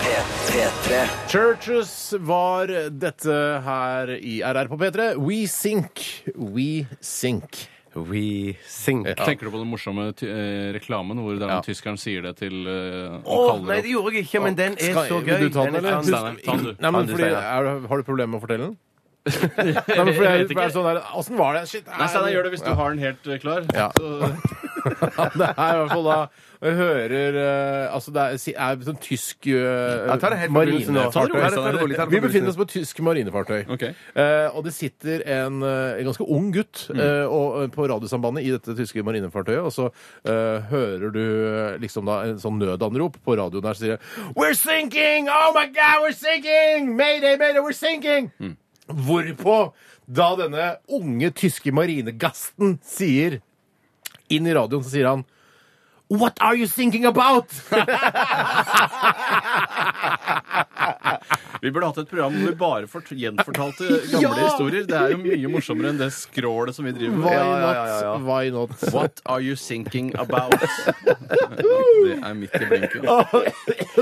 S2: P3.
S4: Churches var dette her i RR på P3. We Sink. We Sink.
S1: We sink.
S5: Tenker du på den morsomme ty- eh, reklamen hvor det er
S4: Ja.
S5: noen tyskeren sier det til eh, han
S1: Å,
S5: kaller
S1: nei,
S5: opp-
S1: det gjorde jeg ikke, men den er
S4: Skal-
S1: så gøy.
S4: Vil du ta den,
S1: Den er
S4: eller?
S1: fan-
S5: Steinar, ta den du.
S4: Nei,
S1: Ta den
S4: men
S1: du,
S4: fordi,
S1: Steinar.
S4: er, du- har du problemer med å fortelle den? Nei, men fordi
S5: Jeg
S4: jeg,
S5: vet ikke.
S4: er sånn der, Åssen var det? Shit.
S5: Nei, Steinar, gjør det hvis du har den helt eh, klar.
S4: Ja.
S5: Så,
S4: det er i hvert fall da Jeg hører eh, Altså, det er, si- er sånn tysk uh,
S1: Ja, ta det helt fra begynnelsen nå. Ta det rolig, ta det rolig, ta det fra
S4: Vi befinner
S1: begynnelsen.
S4: oss på et tysk marinefartøy.
S5: Ok.
S4: Eh, og det sitter en, eh, en ganske ung gutt eh, og, eh, på radiosambandet i dette tyske marinefartøyet, og så eh, hører du eh, liksom da en sånn nødanrop på radioen der, så sier det We're sinking! Oh my God, we're sinking! Mayday, mayday, we're sinking! Hvorpå da denne unge tyske marinegasten sier inn i radioen, så sier han What are you thinking about?
S5: vi burde hatt et program hvor vi bare fort, gjenfortalte gamle
S4: Ja!
S5: historier. Det er jo mye morsommere enn det skrålet som vi driver
S4: Why
S5: med.
S4: not? Why not?
S5: What are you thinking about? Det er midt i blinken.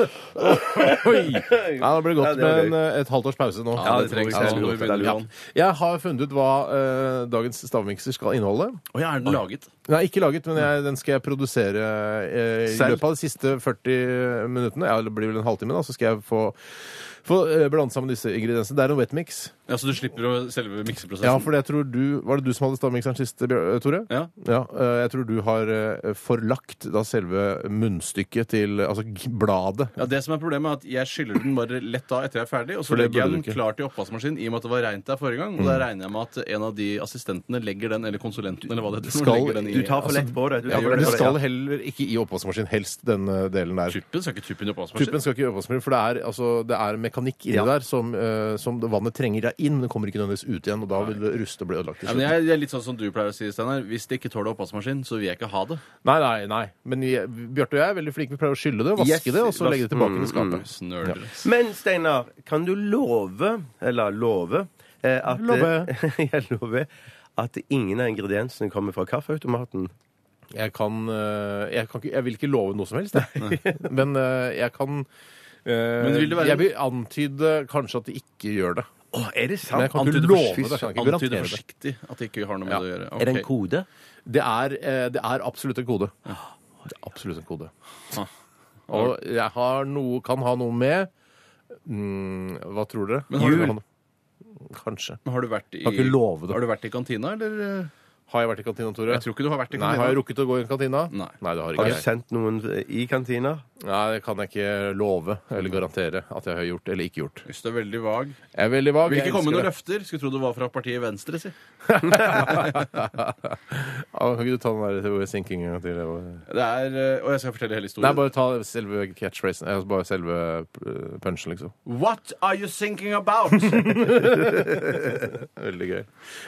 S4: Oi! Ja, det blir
S1: Ja,
S4: godt
S1: det var
S4: med
S1: gøy.
S4: en, eh, et halvt års pause nå.
S5: Ja, det trengs.
S1: Ja, det
S5: altså,
S1: blir
S5: når vi
S1: godt, det blir
S5: begynner
S1: godt.
S5: igjen.
S4: Jeg har funnet ut hva eh, dagens stavmikser skal inneholde.
S5: Å ja, er den laget?
S4: Nei, ikke laget, men jeg, den skal jeg produsere eh, i
S1: Selv?
S4: løpet av de siste 40 minuttene. Ja, det blir vel en halvtime, da, så skal jeg få, få eh, blande sammen disse ingrediensene. Det er en wetmix.
S5: Ja, Så du slipper å selve mikseprosessen?
S4: Ja, for jeg tror du Var det du som hadde stavmikseren sist, Bjør- Tore?
S5: Ja.
S4: eh, Jeg tror du har eh, forlagt da selve munnstykket til Altså g- bladet.
S5: Ja, det som er Problemet er at jeg skyller den bare lett av etter jeg er ferdig, og så
S4: For det
S5: legger jeg
S4: burde
S5: den
S4: du ikke. Mm.
S5: klar til oppvaskmaskinen i og med at det var reint der forrige gang. Og da regner jeg med at en av de assistentene legger den, eller konsulenten, eller hva det heter. som
S4: skal-
S5: legger den i.
S1: Du tar for lett på det. Du tar for
S4: Altså, det
S1: lett på
S4: skal
S1: det.
S4: heller ikke i oppvaskmaskinen, helst den eh, delen der.
S5: Tuppen skal ikke tuppen
S4: Tuppen
S5: i oppvaskmaskinen.
S4: skal ikke i oppvaskmaskinen, for det er, altså, det er mekanikk inni
S1: Ja.
S4: der som, eh, som det vannet trenger deg inn. Det kommer ikke nødvendigvis ut igjen, og da vil det ruste og bli ødelagt. til
S5: Ja,
S4: slutt.
S5: men jeg, jeg er litt sånn som du pleier å si, Steinar. Hvis det ikke tåler oppvaskmaskin, så vil jeg ikke ha det.
S4: Nei, nei, nei. Men vi- Bjarte og jeg er veldig flinke. Vi pleier å skylle det, vaske
S1: Yes,
S4: det, og så
S1: vas-
S4: legge det
S5: Mm,
S4: tilbake i skapet.
S5: Snøler.
S1: Men Steinar, kan du love, eller love eh, at
S4: Love.
S1: Jeg lover at ingen av ingrediensene kommer fra kaffeautomaten.
S4: Jeg kan, eh, jeg kan ikke Jeg vil ikke love noe som helst, jeg. Men eh, jeg kan eh,
S5: Men vil det være-
S4: Jeg vil antyde kanskje at de ikke gjør det.
S1: Å, er det
S4: Men
S1: sant?
S4: jeg kan ikke
S5: antyde
S4: love
S5: forsiktig-
S4: det. Jeg kan ikke
S5: Antyde
S4: garantere det.
S5: forsiktig at det ikke har noe med
S4: Ja.
S5: det å gjøre.
S1: Er det en
S5: Ok.
S1: kode?
S4: Det er, eh, det er absolutt en kode. Det er absolutt en kode.
S5: Ah.
S4: Og jeg har noe, kan ha noe med mm, Hva tror dere?
S5: Men har du-
S4: Jul? Kanskje.
S5: Men har du vært i,
S4: Kan ikke love det.
S5: Har du vært i kantina, eller?
S4: Har jeg vært i kantina, Tore?
S5: Jeg tror ikke du har vært i
S4: Nei,
S5: kantina.
S4: Har jeg rukket å gå i kantina?
S5: Nei.
S4: det har
S1: Har
S4: ikke
S1: du
S4: jeg.
S1: sendt noen i kantina?
S4: Nei, Det kan jeg ikke love eller garantere at jeg har gjort eller ikke gjort.
S5: Hvis du er veldig vag.
S4: Jeg er veldig vag.
S5: Vil ikke
S4: jeg
S5: komme
S4: elsker
S5: med noen
S4: det.
S5: løfter. Skulle tro det var fra partiet Venstre, si.
S4: Ja, Kan ikke du ta den der sinkinga til
S5: Det er, eh, og jeg skal fortelle hele
S4: Nei,
S5: historien.
S4: bare ta selve catchphrasen. eh, Bare selve eh, punchen, liksom.
S5: What are you thinking about?
S4: Veldig gøy.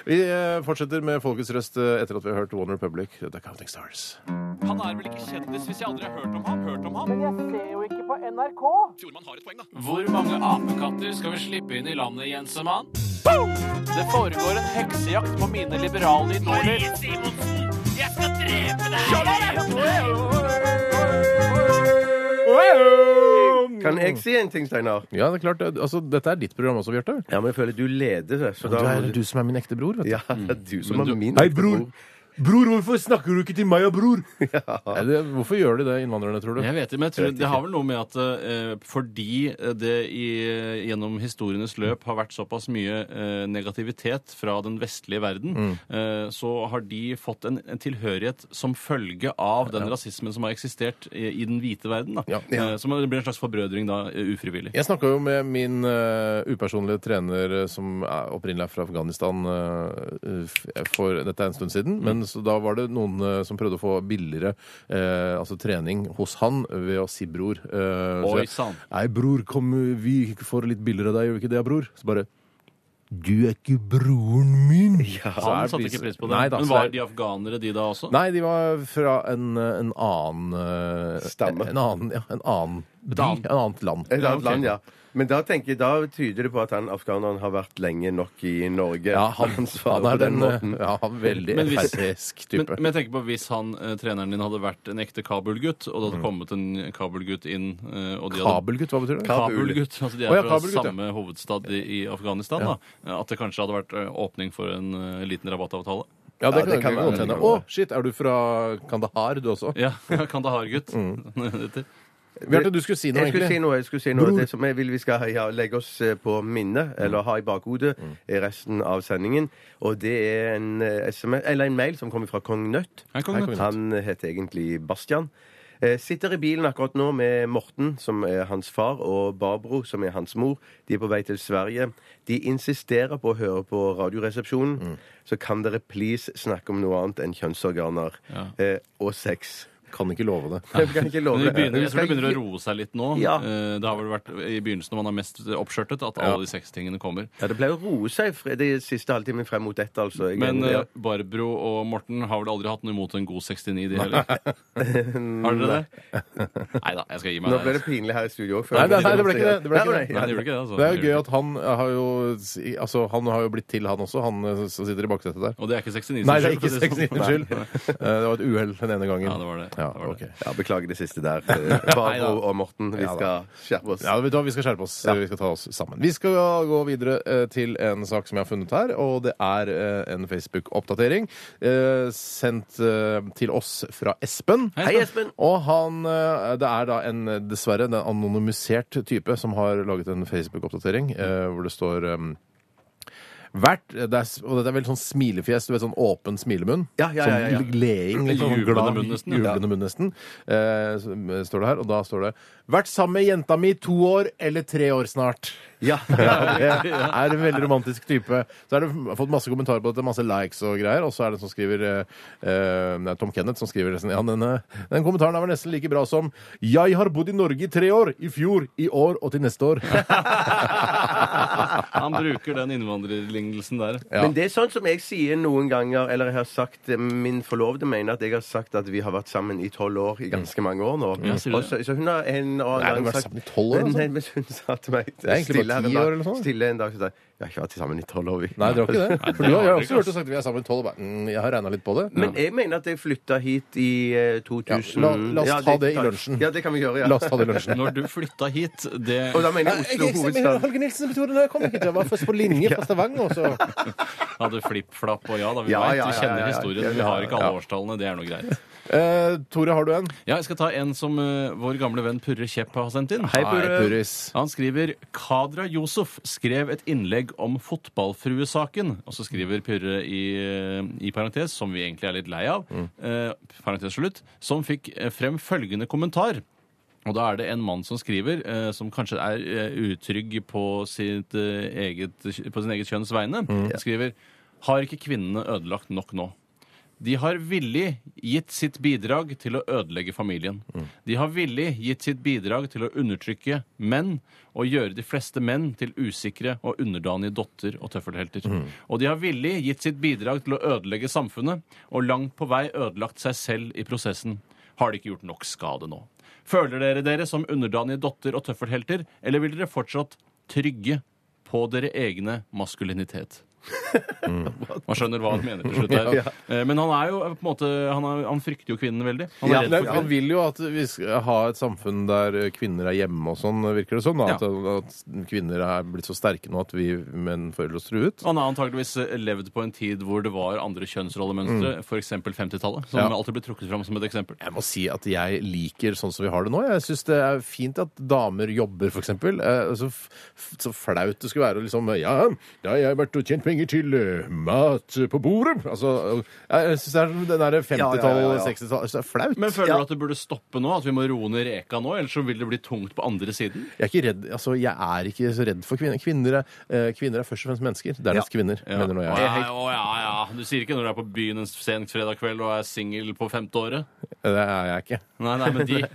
S4: Vi eh, fortsetter med Folkets røst eh, etter at vi har hørt One Republic. Dette er Counting Stars.
S7: Han er vel ikke kjendis hvis jeg aldri har hørt om ham? Hørt om ham? Hvor mange apekatter skal vi slippe inn i landet, Jensemann? Det foregår en heksejakt på mine liberale idoler.
S1: Kan jeg si en ting, Steinar?
S4: Ja, det er klart. det- Altså, dette er ditt program også, Bjarte.
S1: Ja, men jeg føler du leder det. Så da må
S4: som er Mm. min ekte bror, vet
S1: Ja, det er du som
S5: Men
S1: er
S5: du-
S1: min.
S4: Hei, bror! Bror, hvorfor snakker du ikke til meg og bror?
S1: Ja.
S4: Nei, det, hvorfor gjør de det, innvandrerne, tror du?
S5: Jeg vet det, men jeg tror det har vel noe med at eh, fordi det i, gjennom historienes løp har vært såpass mye eh, negativitet fra den vestlige verden,
S1: Mm.
S5: eh, så har de fått en, en tilhørighet som følge av den rasismen som har eksistert i, i den hvite verden. Da.
S4: Ja.
S5: Eh, som det blir en slags forbrødring da, eh, ufrivillig.
S4: Jeg snakka jo med min eh, upersonlige trener eh, som er opprinnelig er fra Afghanistan eh, f- for dette er en stund siden. Men så da var det noen eh, som prøvde å få billigere eh, altså trening hos han ved å si bror. Eh, så
S5: Oi,
S4: jeg,
S5: sann.
S4: Nei, bror, kom, vi får litt billigere av deg, gjør vi ikke det, bror? Så bare Du er ikke broren min!
S5: Han satte ikke pris på det.
S4: Nei, da,
S5: men
S4: så
S5: var
S4: det er-
S5: de afghanere de da også?
S4: Nei, de var fra en, en annen eh,
S1: Stamme.
S4: En annen, ja, en annen By? Et annet land.
S1: Et annet
S4: ok.
S1: land, ja. Men da tenker jeg, da tyder det på at han afghaneren har vært lenge nok i Norge.
S4: Ja, han,
S1: Han svarer
S4: han er
S1: på den
S4: den
S1: måten.
S4: ja, han er veldig
S7: Men hvis-
S4: frp-esk
S7: Men,
S4: type.
S7: men jeg tenker på hvis han, eh, treneren din hadde vært en ekte Kabul-gutt, og det
S4: Mm.
S7: hadde kommet en Kabul-gutt inn eh, og de hadde
S4: Kabelgutt, hva betyr det?
S7: Kabul-gutt. Altså de er
S4: Å ja,
S7: fra
S4: Kabul-gutt, ja.
S7: samme hovedstad i, i Afghanistan. da At det kanskje hadde vært eh, åpning for en eh, liten rabattavtale.
S4: Ja, det
S1: Ja,
S4: kan,
S1: det kan
S4: godt
S1: være-
S4: hende.
S1: det kan
S4: Å,
S1: være.
S4: shit, er du fra Kandahar, du også?
S7: Ja, Kandahar-gutt.
S4: Mm.
S7: Dette.
S4: Bjarte, du skulle si noe,
S1: Jeg skulle
S4: egentlig.
S1: si noe. jeg skulle si noe Det som jeg vil vi skal ja, legge oss eh, på minnet,
S4: Mm.
S1: eller ha i bakhodet, i resten av sendingen. Og det er en, eh, SMS, eller en mail som kommer fra kong Nøtt.
S7: Hei, Kong Hei, Nøtt. Kong Nøtt.
S1: Han heter egentlig Bastian. Eh, Sitter i bilen akkurat nå med Morten, som er hans far, og Barbro, som er hans mor. De er på vei til Sverige. De insisterer på å høre på
S4: Mm.
S1: Radioresepsjonen. Så kan dere please snakke om noe annet enn kjønnsorganer eh, og sex.
S4: Kan ikke love det.
S1: Jeg kan ikke love
S7: Men det begynner, jeg tror
S1: skal
S7: det begynner å
S1: gi-
S7: roe seg litt nå.
S1: Ja.
S7: Eh, Det har vel vært i begynnelsen når man er mest oppskjørtet, at alle de seks tingene kommer.
S1: Ja, det pleier å roe seg fre- de siste halvtimen frem mot ett, altså. Jeg-
S7: Men
S1: ja.
S7: eh, Barbro og Morten har vel aldri hatt noe imot en god 69, de heller? Har dere det? Nei da, jeg skal gi meg
S1: Nå
S7: der,
S1: ble det
S7: altså.
S1: pinlig her i studio.
S4: Nei, nei, nei, det ble ikke det. Det ble ikke
S1: Nei,
S4: det.
S1: nei,
S7: Nei, det gjorde ikke det, altså.
S4: Det er jo gøy at han har jo, altså, han har jo blitt til, han også, han eh, som sitter i baksetet der.
S7: Og det er ikke 69
S4: Nei, det er ikke
S7: for å si
S4: sexy,
S7: sånn.
S4: unnskyld. Eh, Det var et uhell den ene gangen.
S7: Ja, det var det.
S4: Ja,
S7: Det var
S4: ok.
S7: det.
S1: Ja, beklager det siste der. eh, Barbro og Morten, vi
S4: Ja da.
S1: skal skjerpe oss.
S4: Ja, vet du hva, Vi skal skjerpe oss. Vi skal ta oss sammen. Vi skal gå videre eh, til en sak som jeg har funnet her, og det er eh, en Facebook-oppdatering eh, sendt eh, til oss fra Espen.
S1: Hei, Espen!
S4: Og han, eh, det er da en eh, dessverre en anonymisert type som har laget en Facebook-oppdatering eh, hvor det står eh, Hvert, det er, s- og dette er vel sånn smilefjes, du vet, sånn åpen smilemunn.
S1: Ja, ja, ja, ja, ja.
S4: Sånn leing. Liksom,
S7: Jublende
S4: glad,
S7: munn nesten, ja.
S4: jublende munn nesten. Eh, så, eh, står det her, og da står det 'Vært sammen med jenta mi to år eller tre år snart'.
S1: Ja.
S4: Det er en veldig romantisk type. Så er det jeg har fått masse kommentarer på dette, masse likes og greier. Og så er det en som skriver eh, eh, det er Tom Kenneth som skriver nesten Ja, den, eh, den kommentaren er vel nesten like bra som Jeg har bodd i Norge i tre år. I fjor, i år og til neste år.
S7: Han bruker den innvandrerlignelsen der.
S4: Ja.
S1: Men det er sånn som jeg sier noen ganger, eller jeg har sagt eh, Min forlovede mener at jeg har sagt at vi har vært sammen i tolv år, i
S4: Mm.
S1: ganske mange år nå.
S7: Ja, sier du
S1: Og så, så hun har en og annen
S4: Nei, vi har vært
S1: sagt-
S4: sammen i 12 år, altså.
S1: Nei, men hun sa til meg
S4: er egentlig bare 10 år eller sånn.
S1: stille en dag så sa jeg, Jeg har ikke vært sammen i tolv år, vi.
S4: Nei, det var ikke det. For du har, jeg har
S7: det
S4: også hørt og sagt at vi er sammen i tolv. og bare, Mm, jeg har regna litt på det.
S1: Men jeg mener at jeg flytta hit i eh, 2000
S4: Ja, la- la oss ta det i
S1: kan-
S4: lunsjen.
S1: Ja, det kan vi gjøre. ja.
S4: La oss ta det i lunsjen.
S7: Når du flytta hit, det
S1: Og da mener jeg Oslo hovedstad.
S4: Holger Nilsen-metoden. Jeg kom ikke til. Jeg var først på linje fra Stavanger. Så.
S7: hadde flipp-flapp og ja da, vi
S1: Ja,
S7: vet,
S1: ja,
S7: vi
S1: ja, ja,
S7: kjenner
S1: ja.
S7: historien. Vi har ikke alle årstallene, det er noe greit.
S4: Eh, Tore, har du en?
S7: Ja, jeg skal ta en som eh, vår gamle venn Purre Kjepp har sendt inn.
S4: Nei, Puris.
S7: Han skriver Kadra Yusuf skrev et innlegg om fotballfruesaken. Og så skriver Pyrre i, i parentes, som vi egentlig er litt lei av, eh, parentes slutt, som fikk eh, frem følgende kommentar. Og da er det en mann som skriver, eh, som kanskje er eh, utrygg på, sitt, eh, eget, på sin eget kjønns vegne, skriver Har ikke kvinnene ødelagt nok nå? De har villig gitt sitt bidrag til å ødelegge familien. De har villig gitt sitt bidrag til å undertrykke menn og gjøre de fleste menn til usikre og underdanige dotter og tøffelhelter. Og de har villig gitt sitt bidrag til å ødelegge samfunnet og langt på vei ødelagt seg selv i prosessen. Har de ikke gjort nok skade nå? Føler dere dere som underdanige dotter og tøffelhelter, eller vil dere fortsatt trygge på dere egne maskulinitet? Man skjønner hva han mener til slutt. her. Eh, Men han er jo eh, på en måte Han, er, han frykter jo kvinnene veldig. Han er
S4: Ja,
S7: redd
S4: det,
S7: for
S4: han
S7: kvinner.
S4: vil jo at vi skal ha et samfunn der kvinner er hjemme og sånn, virker det sånn? Da,
S7: Ja.
S4: at, at kvinner er blitt så sterke nå at vi menn føler oss truet?
S7: Han har antageligvis eh, levd på en tid hvor det var andre kjønnsrollemønstre, for f.eks. 50-tallet, som
S4: Ja.
S7: alltid blir trukket fram som et eksempel.
S4: Jeg må si at jeg liker sånn som vi har det nå. Jeg syns det er fint at damer jobber, f.eks. Så, altså, f- så flaut det skulle være å liksom Ja, da har jeg vært og tjent penger til eh, mat på bordet. Altså, jeg syns det er sånn den derre 50-tall, 60-tall Jeg synes Det er flaut.
S7: Men føler du at det burde stoppe nå? At vi må roe ned reka nå? Ellers så vil det bli tungt på andre siden?
S4: Jeg er ikke redd, altså jeg er ikke så redd for kvinner. Kvinner er, eh, kvinner er først og fremst mennesker. Dernest kvinner, mener nå
S7: Å,
S4: jeg.
S7: ja, å, ja, ja. Du sier ikke når du er på byen en sen fredag kveld og er singel på femte året?
S4: Eh, Det er jeg ikke.
S7: Nei, nei, men de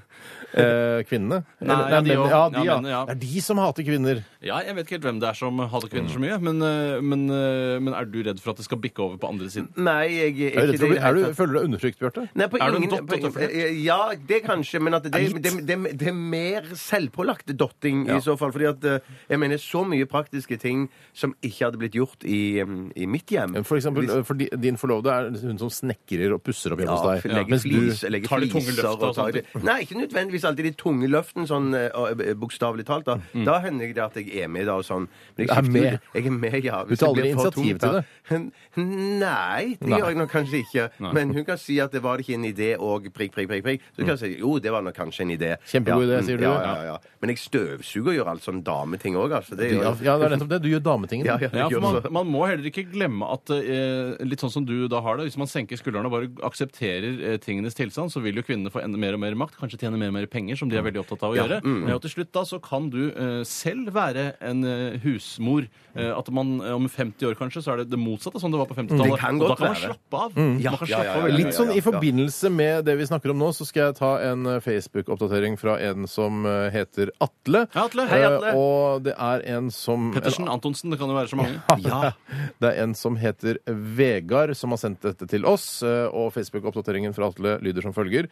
S4: Eh, kvinnene?
S7: Nei,
S4: Eller-
S7: ja, de
S4: mennene.
S7: også.
S4: ja, de,
S7: Ja,
S4: ja.
S7: mennene, ja.
S4: Det er de som hater kvinner.
S7: Ja, jeg vet ikke helt hvem det er som hater kvinner så mye, men, øh, men, øh, men er du redd for at det skal bikke over på andre siden?
S1: Nei, jeg
S4: Er
S1: er ikke
S4: du, redd for å bli-
S1: det.
S4: er du, føler du deg undertrykt, Bjarte?
S1: Nei, på
S7: Er du en
S1: ingen,
S7: dott-
S1: på- eh,
S7: dotteflørt?
S1: Ja, det kanskje, men at det,
S4: Ja, litt.
S1: det, det, det er mer selvpålagt dotting
S4: Ja.
S1: i så fall. Fordi at eh, jeg mener så mye praktiske ting som ikke hadde blitt gjort i, mm, i mitt hjem.
S4: For eksempel,
S1: Hvis-
S4: eh, for di- din forlovede er hun som snekrer og pusser opp hjemme
S1: ja,
S4: hos deg.
S1: legge
S4: Mens du
S1: flis, legge
S7: tar de tunge
S1: fliser
S7: løfta
S1: og
S7: og
S1: tar
S7: sånne
S1: de- Nei, ikke nødvendigvis alltid de tunge løftene, sånn eh, og, eh, bokstavelig talt. Da Da hender det at jeg er med, da, og sånn. Men jeg
S4: Mm. Du er
S1: skifter
S4: med?
S1: ut- Jeg er med, ja. hvis
S4: tar
S1: det blir
S4: aldri
S1: for
S4: initiativ
S1: tungt, da.
S4: til det?
S1: Nei, det
S4: Nei.
S1: gjør jeg nok kanskje ikke. Men hun kan si at det var ikke en idé og prikk, prikk, prikk. prikk. Så kan jeg si jo, det var nok kanskje en idé.
S4: Mm. Kjempegod idé,
S1: mm,
S4: sier du.
S1: Ja, ja, ja. Men jeg støvsuger og gjør alt sånn dameting òg, altså. Det
S4: ja,
S1: gjør jeg.
S4: ja, det er nettopp det. Du gjør dametingen.
S1: Ja, ja,
S7: Ja,
S1: jeg
S7: for
S1: gjør
S7: man,
S1: så.
S7: man må heller ikke glemme at eh, litt sånn som du da har det, hvis man senker skuldrene og bare aksepterer eh, tingenes tilstand, så vil jo kvinnene få enda mer og mer makt, kanskje tjene mer og mer penger, som de
S1: Mm.
S7: er veldig opptatt av å gjøre. Ja, og til slutt da så kan du eh, selv være en eh, husmor. Eh, at man eh, om 50 år kanskje, så er det det motsatte som det var på
S1: Mm.
S7: 50-tallet.
S1: Det kan
S7: Og da
S1: godt
S7: kan man
S1: være.
S7: slappe av.
S1: Ja,
S7: Man kan
S1: ja, ja,
S7: slappe av
S1: ja,
S7: veldig
S1: ja,
S4: Litt
S7: mye.
S4: sånn i forbindelse med det vi snakker om nå, så skal jeg ta en eh, Facebook-oppdatering fra en som eh, heter Atle.
S7: Ja, Atle. Hei, Atle.
S4: Eh, Og det er en som
S7: Pettersen, Antonsen, det kan jo være så mange.
S4: Ja. Det er en som heter Vegard, som har sendt dette til oss. eh, Og Facebook-oppdateringen fra Atle lyder som følger.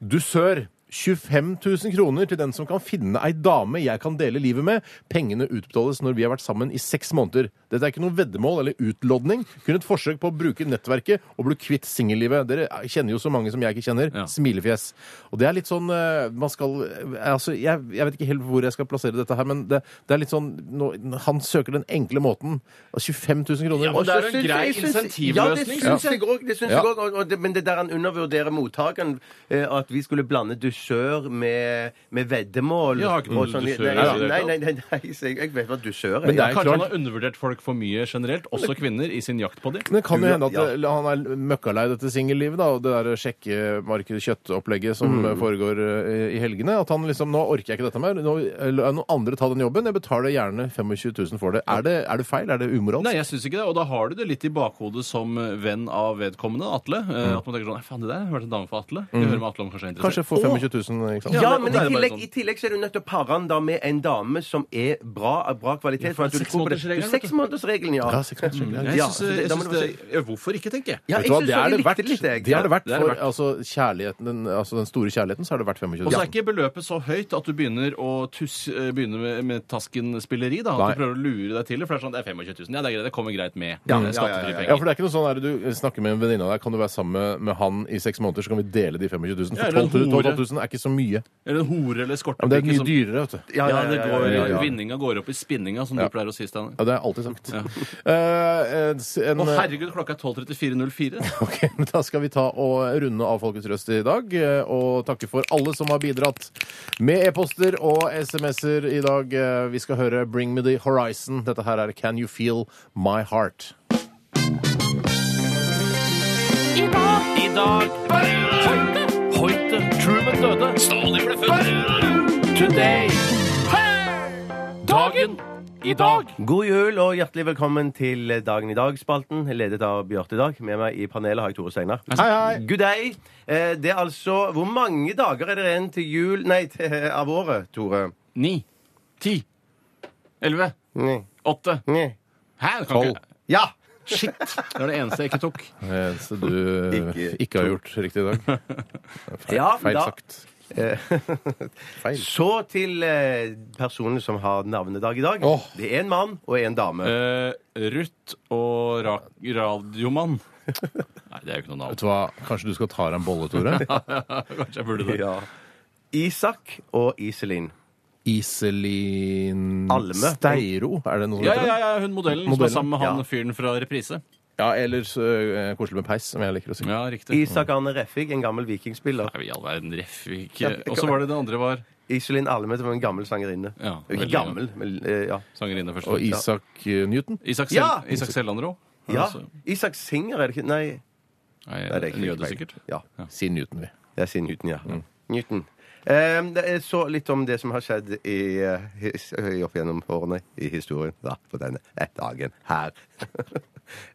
S4: Dusør. 25 000 kroner til den som kan finne ei dame jeg kan dele livet med. Pengene utbetales når vi har vært sammen i seks måneder. Dette er ikke noe veddemål eller utlodning. Kun et forsøk på å bruke nettverket og bli kvitt singellivet. Dere kjenner jo så mange som jeg ikke kjenner.
S7: Ja.
S4: Smilefjes. Og det er litt sånn eh, Man skal eh, Altså, jeg, jeg vet ikke helt hvor jeg skal plassere dette her, men det, det er litt sånn nå, Han søker den enkle måten. Og 25 000 kroner.
S7: Ja, og det er en
S1: synes-
S7: grei
S1: jeg synes- Ja, det
S7: insentivløsning,
S1: syns jeg òg. Det syns jeg
S4: Ja.
S1: også, og- og det- Men det der han undervurderer mottakeren, eh, at vi skulle blande dusør med, med veddemål
S7: Jeg har ikke noe
S1: og sånn-
S7: dusør i
S1: nei,
S7: det hele
S1: nei, nei, nei, nei, så jeg, jeg vet hva dusør er.
S4: Men det
S1: ja.
S4: er jo
S7: Kanskje
S4: klart-
S7: han har undervurdert folk for mye generelt, også kvinner, i sin jakt på dem.
S4: Men det kan jo
S1: Ja,
S4: hende at det- han er møkkalei dette singellivet, da, og det der sjekkemarked-kjøttopplegget som
S7: Mm.
S4: foregår eh, i helgene. At han liksom Nå orker jeg ikke dette mer. Nå eh, lar jeg noen andre ta den jobben. Jeg betaler gjerne 25 000 for det. Er det, er det feil? Er det umoralsk?
S7: Nei, jeg syns ikke det. Og da har du det litt i bakhodet som eh, venn av vedkommende, Atle. eh,
S1: Mm.
S7: At man tenker sånn Nei, faen, det der har vært en dame for Atle. Vi hører med Atle om kanskje
S4: Kanskje
S7: er interessert.
S4: jeg får 25 000, ikke sant?
S1: Ja,
S7: men-
S1: men
S7: og da
S1: i
S7: er det bare
S1: tillegg,
S7: sånn-
S1: i tillegg så er du nødt til å pare han da med en dame som er bra, av bra kvalitet. For at du
S7: seks
S1: tror på det.
S7: måneders regelen,
S1: Du, Seks månedersregelen, ja.
S4: Ja, seks måneder.
S7: Jeg
S1: Ja,
S7: synes,
S1: så det-
S7: jeg
S1: da må
S7: synes
S1: du
S7: det,
S1: bare
S7: ja, hvorfor ikke, tenker jeg.
S1: Ja, jeg
S4: Vet du hva,
S1: synes
S4: det er
S1: jeg
S4: det
S1: likte
S4: verdt.
S1: det litt, jeg.
S4: Det er det verdt
S7: Det er det
S4: for
S7: verdt.
S4: altså, kjærligheten, den, altså, den store kjærligheten, så er det verdt 25
S7: Og så
S4: 000.
S7: er ikke beløpet så høyt at du begynner å tuss, eh, begynne med, med taskenspilleri. da, At du
S4: Nei.
S7: prøver å lure deg til det. For det er sånn, det er 25 000. Ja, det er greit. Det kommer greit med. Det er
S1: ja,
S7: Skattefrie
S1: ja, ja.
S4: Ja,
S7: penger.
S4: for det er ikke noe sånn der du snakker med en venninne av deg, kan du være sammen med, med han i seks måneder, så kan vi dele de 25 000.
S7: Ja,
S4: For
S7: eller en
S4: 12 000,
S7: hore.
S4: 12 000 er ikke så mye.
S7: Eller en hore
S4: Ja, men
S7: eller
S4: det er
S7: skortepikke.
S4: mye
S7: som-
S4: dyrere, vet du.
S7: Ja,
S1: Ja, ja,
S7: det
S1: ja, ja,
S7: går,
S1: ja, ja.
S7: Vinninga går opp i spinninga, som
S4: Ja.
S7: du pleier å si, Steinar.
S4: Ja, det har jeg alltid sagt. Eh, en,
S7: Å, herregud, klokka er 12.34,04.
S4: Ok, men Da skal vi ta og runde av Folkets Røst i dag, eh, og takke for alle som har bidratt med e-poster og SMS-er i dag. Eh, Vi skal høre Bring Me The Horizon. Dette her er Can You Feel My Heart.
S8: I dag Hoite Hoite Truman døde Stalin ble født Today Dagen I dag
S1: God jul og hjertelig velkommen til Dagen i dag-spalten, ledet av Bjarte i dag. Med meg i panelet har jeg Tore Steinar.
S4: Hei, hei!
S1: Good day. Eh, Det er altså Hvor mange dager er det igjen til jul Nei, til, eh, av året, Tore?
S7: Ni. Ti. Elleve.
S1: Nei.
S7: Åtte.
S1: Nei.
S7: Hæ? det Kan ikke.
S1: Ja!
S7: Shit! Det var det eneste jeg ikke tok.
S4: Eh, Så du
S1: Ikke-
S4: ikke har gjort riktig i dag.
S1: ja
S4: Feil
S1: da.
S4: sagt. Feil.
S1: Så til eh, personen som har navnedag i dag.
S4: Åh.
S1: Det er en mann og en dame.
S7: Uh, Ruth og ra Radiomann. Nei, det er jo ikke noe navn.
S4: Vet du hva, kanskje du skal ta deg en bolle, Tore?
S7: Kanskje jeg burde det.
S1: Ja. Isak og Iselin.
S4: Iselin
S1: Alme.
S4: Steiro, er det noe som
S7: Ja,
S4: heter?
S7: ja, ja, ja, hun modellen, som
S4: Modellen,
S7: er sammen med han
S1: ja.
S7: fyren fra Reprise.
S4: Ja, eller så, eh, koselig med peis, som jeg liker å si.
S7: Ja, riktig.
S1: Isak Arne Refvik, en gammel vikingspiller.
S7: Nei, vi i all verden Refvik Og så var det det andre var
S1: Iselin Almet var en gammel sangerinne.
S7: Ja,
S1: Ikke
S7: veldig.
S1: gammel, men eh, ja.
S7: sangerinne først.
S4: Og Isak eh, Newton.
S7: Isak, Sel
S1: Ja!
S7: Isak Sellandrå.
S1: ja.
S7: Altså,
S1: Isak Singer, er det ikke? Nei.
S7: Nei,
S1: Nei, det er
S7: en
S1: ikke
S7: jøde, sikkert.
S1: Ja.
S4: Si Newton, vi.
S1: Jeg sier Newton, ja.
S4: Mm.
S1: Newton. Ehm, det er så litt om det som har skjedd i, eh, his, opp gjennom årene i historien da, på denne eh, dagen her.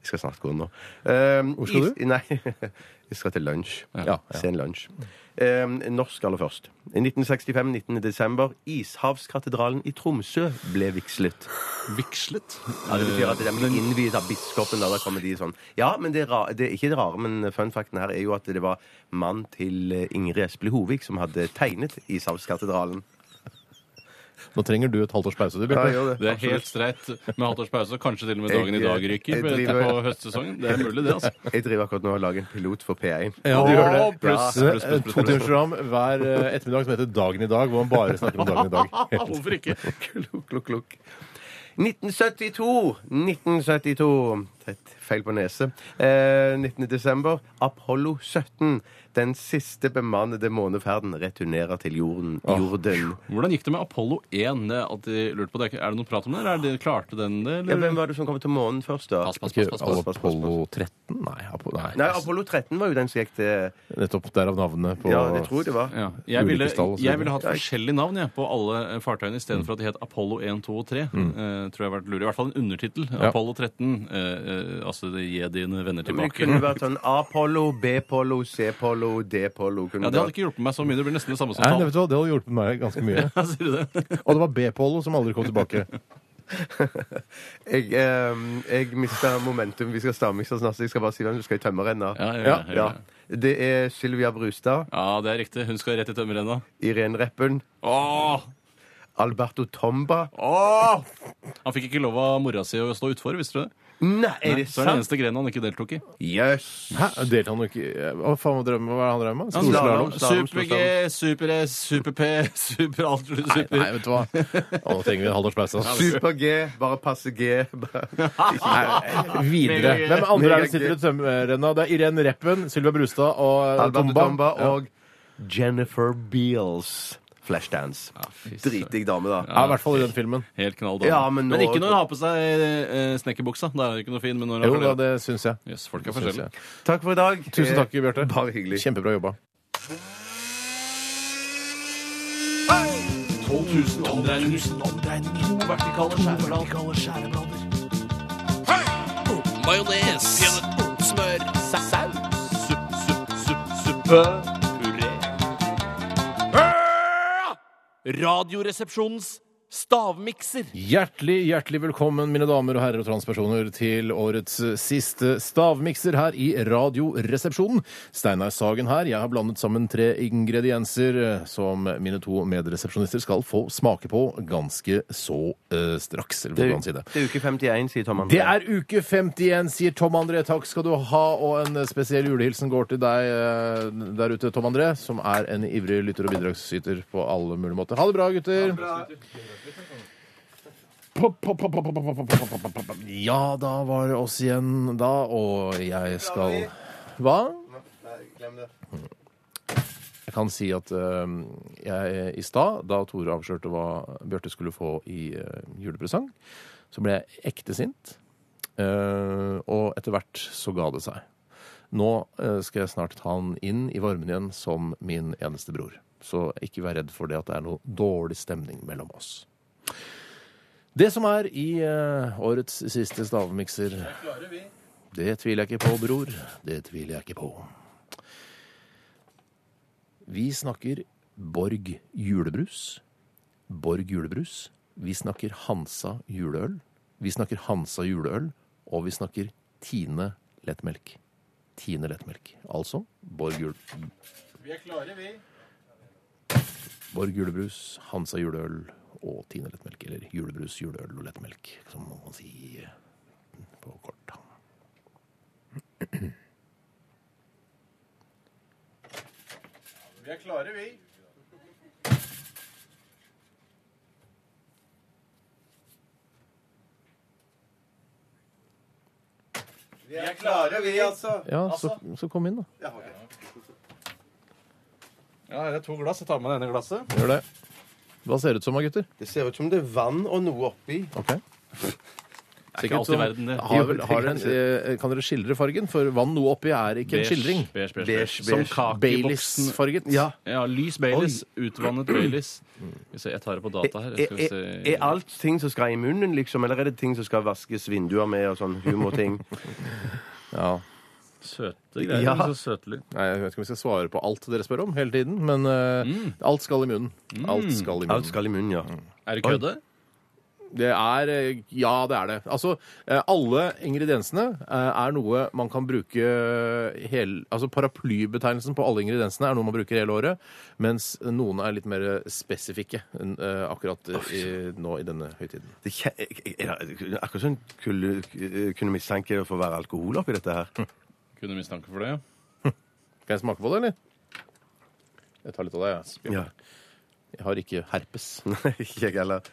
S1: Jeg skal snart gå nå. Um,
S4: Hvor skal du?
S1: Nei, jeg skal til lunsj.
S5: Ja.
S1: Sen lunsj. Um, norsk aller først. I 1965, 19. desember, Ishavskatedralen i Tromsø ble vigslet.
S5: Vigslet.
S1: Ja, det betyr at det er med innviet av biskopen. Da, da kommer de sånn. Ja, men det er, ra- det er ikke det rare, men fun facten her er jo at det var mann til eh, Ingrid Espelid Hovig som hadde tegnet Ishavskatedralen.
S4: Nå trenger du et halvt års pause, du, Bjarte.
S5: Det er helt streit med halvt års pause. Kanskje til og med dagen i dag ryker
S1: Jeg
S5: på
S1: driver-
S5: på høstsesongen. Det er mulig, det. altså.
S1: Jeg driver akkurat nå og lager en pilot for P1.
S4: Ja, du gjør det.
S5: Å, pluss,
S4: Ja.
S5: pluss, pluss,
S4: To
S5: pluss, pluss.
S4: timers program hver eh, ettermiddag som heter Dagen i dag, hvor man bare snakker om dagen i dag.
S5: Hvorfor ikke?
S1: Klukk, klukk, klukk. 1972. 1972. Tett feil på nese. Eh, 19. desember. Apollo 17. Den siste bemannede måneferden returnerer til jorden. Jorden.
S5: Hvordan gikk det med Apollo 1? Det er alltid lurt på det. Er det noe prat om det? eller Er det, klarte den det?
S1: Ja,
S5: Eller?
S1: hvem var det som kom til månen først, da?
S5: Pass, pass, pass, pass, pass.
S4: Apollo 13? Nei, Apo-
S1: Nei,
S4: nei.
S1: Apollo 13 var jo den som gikk til
S4: Nettopp derav navnet på
S1: Ja, det tror jeg det var.
S5: Ja. Jeg, ville,
S4: Ulykkestall og så
S5: jeg ville hatt
S1: videre.
S5: forskjellige navn jeg, på alle eh, fartøyene istedenfor at de het Apollo 1, 2 og 3.
S4: Mm.
S5: Eh, tror jeg har vært lurt. I hvert fall en undertittel. Apollo 13. eh, eh, altså det gir dine venner
S1: Men det
S5: tilbake.
S1: kunne vært sånn Apollo, B-pollo, C-pollo, D-pollo
S5: Ja, Det hadde ikke hjulpet meg så mye. Det blir nesten det samme som
S4: Nei, det
S5: tall.
S4: vet du hva, det hadde hjulpet meg ganske mye.
S5: Ja, sier du det?
S4: Og det var B-Polo som aldri kom tilbake.
S1: Jeg, eh, jeg mista momentum. Vi skal stamme så snart. så Jeg skal bare si hvem du skal i tømmerrenna.
S5: Ja, jeg gjør det, jeg
S1: ja.
S5: gjør det.
S1: Det er Sylvia Brustad,
S5: ja, det er riktig. Hun skal rett i tømmerrenna.
S1: Irene Reppen,
S5: Åh!
S1: Alberto Tomba
S5: Åh! Han fikk ikke lov av mora si å stå utfor, visste du det?
S1: Nei, er det
S5: Så er det
S1: sant?
S5: eneste grenen han ikke deltok i.
S1: Jøss!
S4: Hæ? Delte han jo ikke Hva faen var drømmen? Hva er det han drev med?
S5: Han
S4: Storslalåm?
S1: slalom, slalom,
S5: Super-G, Super-S, Super-P, Super-alt,
S4: Nei,
S5: Super...
S4: vet du hva. Å, nå trenger vi en halvårs pause. ass.
S1: Super-G, bare passe G.
S4: Nei, Videre. Hvem andre er det som sitter i tømmerrenna? Det er Irene Reppen, Sylvia Brustad og eh,
S1: Alberto
S4: Tomba.
S1: Tomba og Jennifer Beals. Flashdance. Dritdigg dame, da.
S4: Ja, i hvert fall i den filmen.
S5: Helt knall dame.
S1: Ja, men
S5: men,
S1: nå-
S5: ikke når hun har på seg eh, snekkerbuksa. Da er det ikke noe fin, men når hun
S4: Jo
S5: har
S4: da,
S5: flere-
S4: det syns jeg.
S5: Jøss, folk er
S4: Syns jeg.
S5: forskjellige.
S1: Takk for i dag.
S4: Tusen takk, Bjarte.
S1: Bare hyggelig.
S4: Kjempebra jobba.
S7: 12 000 omdreininger. To vertikale skjæreblader. Majones. Smør. Saus. Supp, supp, supp, suppe. Puré. Radioresepsjonens stavmikser.
S4: Hjertelig hjertelig velkommen, mine damer og herrer og transpersoner, til årets siste stavmikser her i Radioresepsjonen. Steinar Sagen her. Jeg har blandet sammen tre ingredienser eh, som mine to medresepsjonister skal få smake på ganske så eh, straks. Eller hvordan man sier det.
S1: Det er uke 51, sier Tom André.
S4: Det er uke 51, sier Tom André. Takk skal du ha. Og en spesiell julehilsen går til deg eh, der ute, Tom André, som er en ivrig lytter og bidragsyter på alle mulige måter. Ha det bra, gutter. Pop, pop, pop, pop, pop, pop, pop, pop, pop, pop, pop. Ja, da var det oss igjen da, og jeg skal Hva? Jeg kan si at eh, jeg i stad, da Tore avslørte hva Bjarte skulle få i eh, julepresang, så ble jeg ekte sint. Eh, og etter hvert så ga det seg. Nå eh, skal jeg snart ta han inn i varmen igjen som min eneste bror. Så ikke vær redd for det at det er noe dårlig stemning mellom oss. Det som er i eh, årets siste stavmikser Det tviler jeg ikke på, bror. Det tviler jeg ikke på. Vi snakker Borg julebrus. Borg julebrus. Vi snakker Hansa juleøl. Vi snakker Hansa juleøl. Og vi snakker Tine lettmelk. Tine lettmelk. Altså Borg jul... Vi er klare, vi. Borg julebrus, Hansa juleøl og Tine lettmelk. Eller julebrus, juleøl og lettmelk, som man kan si på kort. Ja, så, så kom inn, da.
S5: Ja, det er to glass. Jeg tar med det ene glasset.
S4: Gjør det. Hva ser det ut som, da, gutter?
S1: Det ser ut som det er vann og noe oppi.
S4: Ok.
S7: ikke alt i
S4: sånn-
S7: verden, det.
S4: Har, vel-
S1: Jo, det
S4: har en,
S1: kan jeg
S4: eh, kan dere skildre fargen? For vann noe oppi er ikke en skildring.
S7: Beige, beige,
S1: Beige,
S7: beige. Som
S1: beige.
S7: kakeboksen.
S4: Baileys-farget.
S1: Ja.
S7: Ja, lys Baileys. Utvannet Baileys.
S5: Mm.
S7: Skal vi se, Jeg tar det på
S5: E,
S7: data her.
S1: Er,
S7: Skal vi
S1: er,
S7: se.
S1: er alt ting som skal i munnen, liksom? Eller er det ting som skal vaskes vinduer med, og sånn humorting?
S4: Ja.
S7: Søte greier.
S1: Ja.
S7: Så søte lyd.
S4: Nei, jeg vet ikke om vi skal svare på alt dere spør om hele tiden, men eh, alt skal i munnen. Alt skal i munnen.
S1: Alt skal i munnen, ja.
S7: Er det kødde?
S4: Det er eh, Ja, det er det. Altså, eh, alle ingrediensene eh, er noe man kan bruke hele Altså paraplybetegnelsen på alle ingrediensene er noe man bruker hele året, mens noen er litt mer spesifikke enn, eh, akkurat eh, i, nå i denne høytiden.
S1: Det kje- er det akkurat sånn kunne, kunne mistenke det for å være alkohol oppi dette her.
S7: Kunne mistanke for det. ja.
S4: Skal jeg smake på det, eller? Jeg tar litt av det, jeg.
S1: Ja.
S4: Jeg har ikke herpes.
S1: Nei, ikke jeg heller.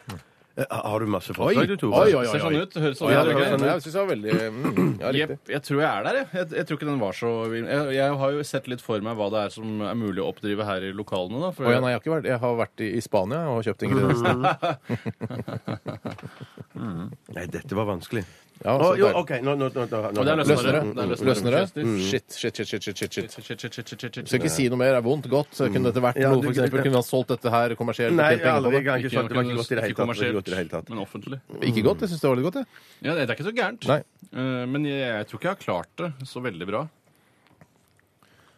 S1: Eh, Har du masse
S4: Oi,
S1: forslag, du, Tore?
S4: oi, oi, oi.
S7: Ser sånn ut. Høres sånn
S4: Ja,
S7: ut.
S4: det,
S7: ikke?
S4: jeg synes det var veldig mm, ja, riktig.
S7: Jepp, jeg tror jeg er der, jeg. jeg. Jeg tror ikke den var så vill. Jeg, jeg har jo sett litt for meg hva det er som er mulig å oppdrive her i lokalene, da. For
S4: Å ja, nei, jeg har ikke vært Jeg har vært i, i Spania og kjøpt ingrediensene.
S1: Nei, dette var vanskelig.
S4: Ja,
S1: Å,
S4: så
S1: jo,
S4: der.
S1: OK, nå, nå, nå, nå, nå.
S7: Og det er
S4: Løsner det?
S7: Det er løsner.
S4: Løsner det?
S7: Mm.
S4: Shit, shit, shit, shit, shit, shit, shit.
S7: Shit, shit, shit, shit, shit, shit.
S4: Skal ikke si noe mer. Det er vondt, godt. Så kunne dette vært
S1: Ja,
S4: noe,
S1: du-
S4: for eksempel. Kunne han solgt dette her kommersielt?
S1: Nei,
S4: og tjent penger på
S1: aldri.
S4: det?
S1: Jeg har ikke skjønt det. var ikke godt i det
S7: Ikke
S1: hele tatt. Det var ikke godt i det hele
S7: kommersielt,
S1: tatt.
S7: men offentlig.
S4: Ikke godt? Jeg syns det var litt godt, jeg.
S7: Ja, det er ikke så gærent.
S4: Nei.
S7: Eh, Men jeg, jeg tror ikke jeg har klart det så veldig bra.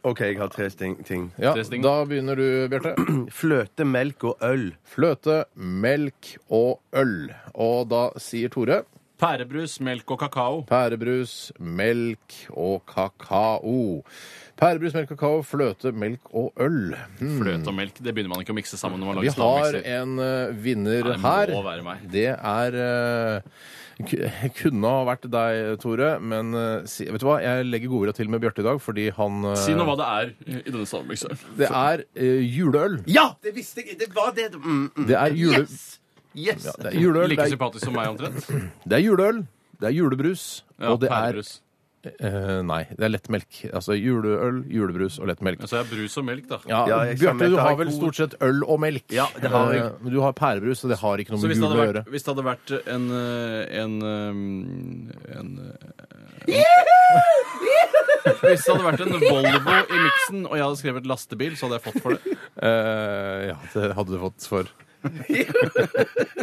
S1: OK, jeg har tre ting. ting.
S4: Ja,
S7: Tre sting.
S4: da begynner du, Bjarte.
S1: Fløte, melk og øl.
S4: Fløte, melk og øl. Og da sier Tore
S7: Pærebrus, melk og kakao.
S4: pærebrus, melk og kakao. Pærebrus, melk, kakao, fløte, melk og øl. Hmm.
S7: Fløte og melk, det begynner man ikke å mikse sammen når man
S4: Vi
S7: lager
S4: har
S7: stavmikser.
S4: en eh, vinner
S7: Ja, det
S4: her.
S7: må være meg.
S4: Det er eh, ku- Kunne ha vært deg, Tore, men eh, si, vet du hva? jeg legger godorda til med Bjarte i dag fordi han eh,
S7: Si nå hva det er i denne stavmikseren.
S4: Det er eh, juleøl.
S1: Ja! Det visste jeg! Det var det. Mm, mm.
S4: Det er jule...
S1: Yes! Yes!
S4: Ja, det er juleøl, det
S7: Like
S4: er,
S7: sympatisk som meg, omtrent.
S4: det er juleøl, det er julebrus,
S7: Ja,
S4: og det er
S7: pærebrus.
S4: eh, Nei, det er lettmelk. Altså juleøl, julebrus og lettmelk.
S7: Ja, Så er brus og melk, da.
S4: Ja,
S1: Ja, jeg stemmer,
S4: Bjarte, du
S1: det
S4: har
S1: er
S4: vel
S1: god-
S4: stort sett øl og melk.
S1: Ja, det har jeg.
S4: Eh, Men du har pærebrus, så det har ikke noe
S7: Så
S4: med
S7: hvis
S4: jul
S7: det
S4: å
S7: hadde
S4: gjøre.
S7: vært, hvis det hadde vært en, eh, en, eh, en, eh, Hvis det hadde vært en Volvo i miksen, og jeg hadde skrevet lastebil, så hadde jeg fått for det.
S4: Eh, ja, det hadde du fått for.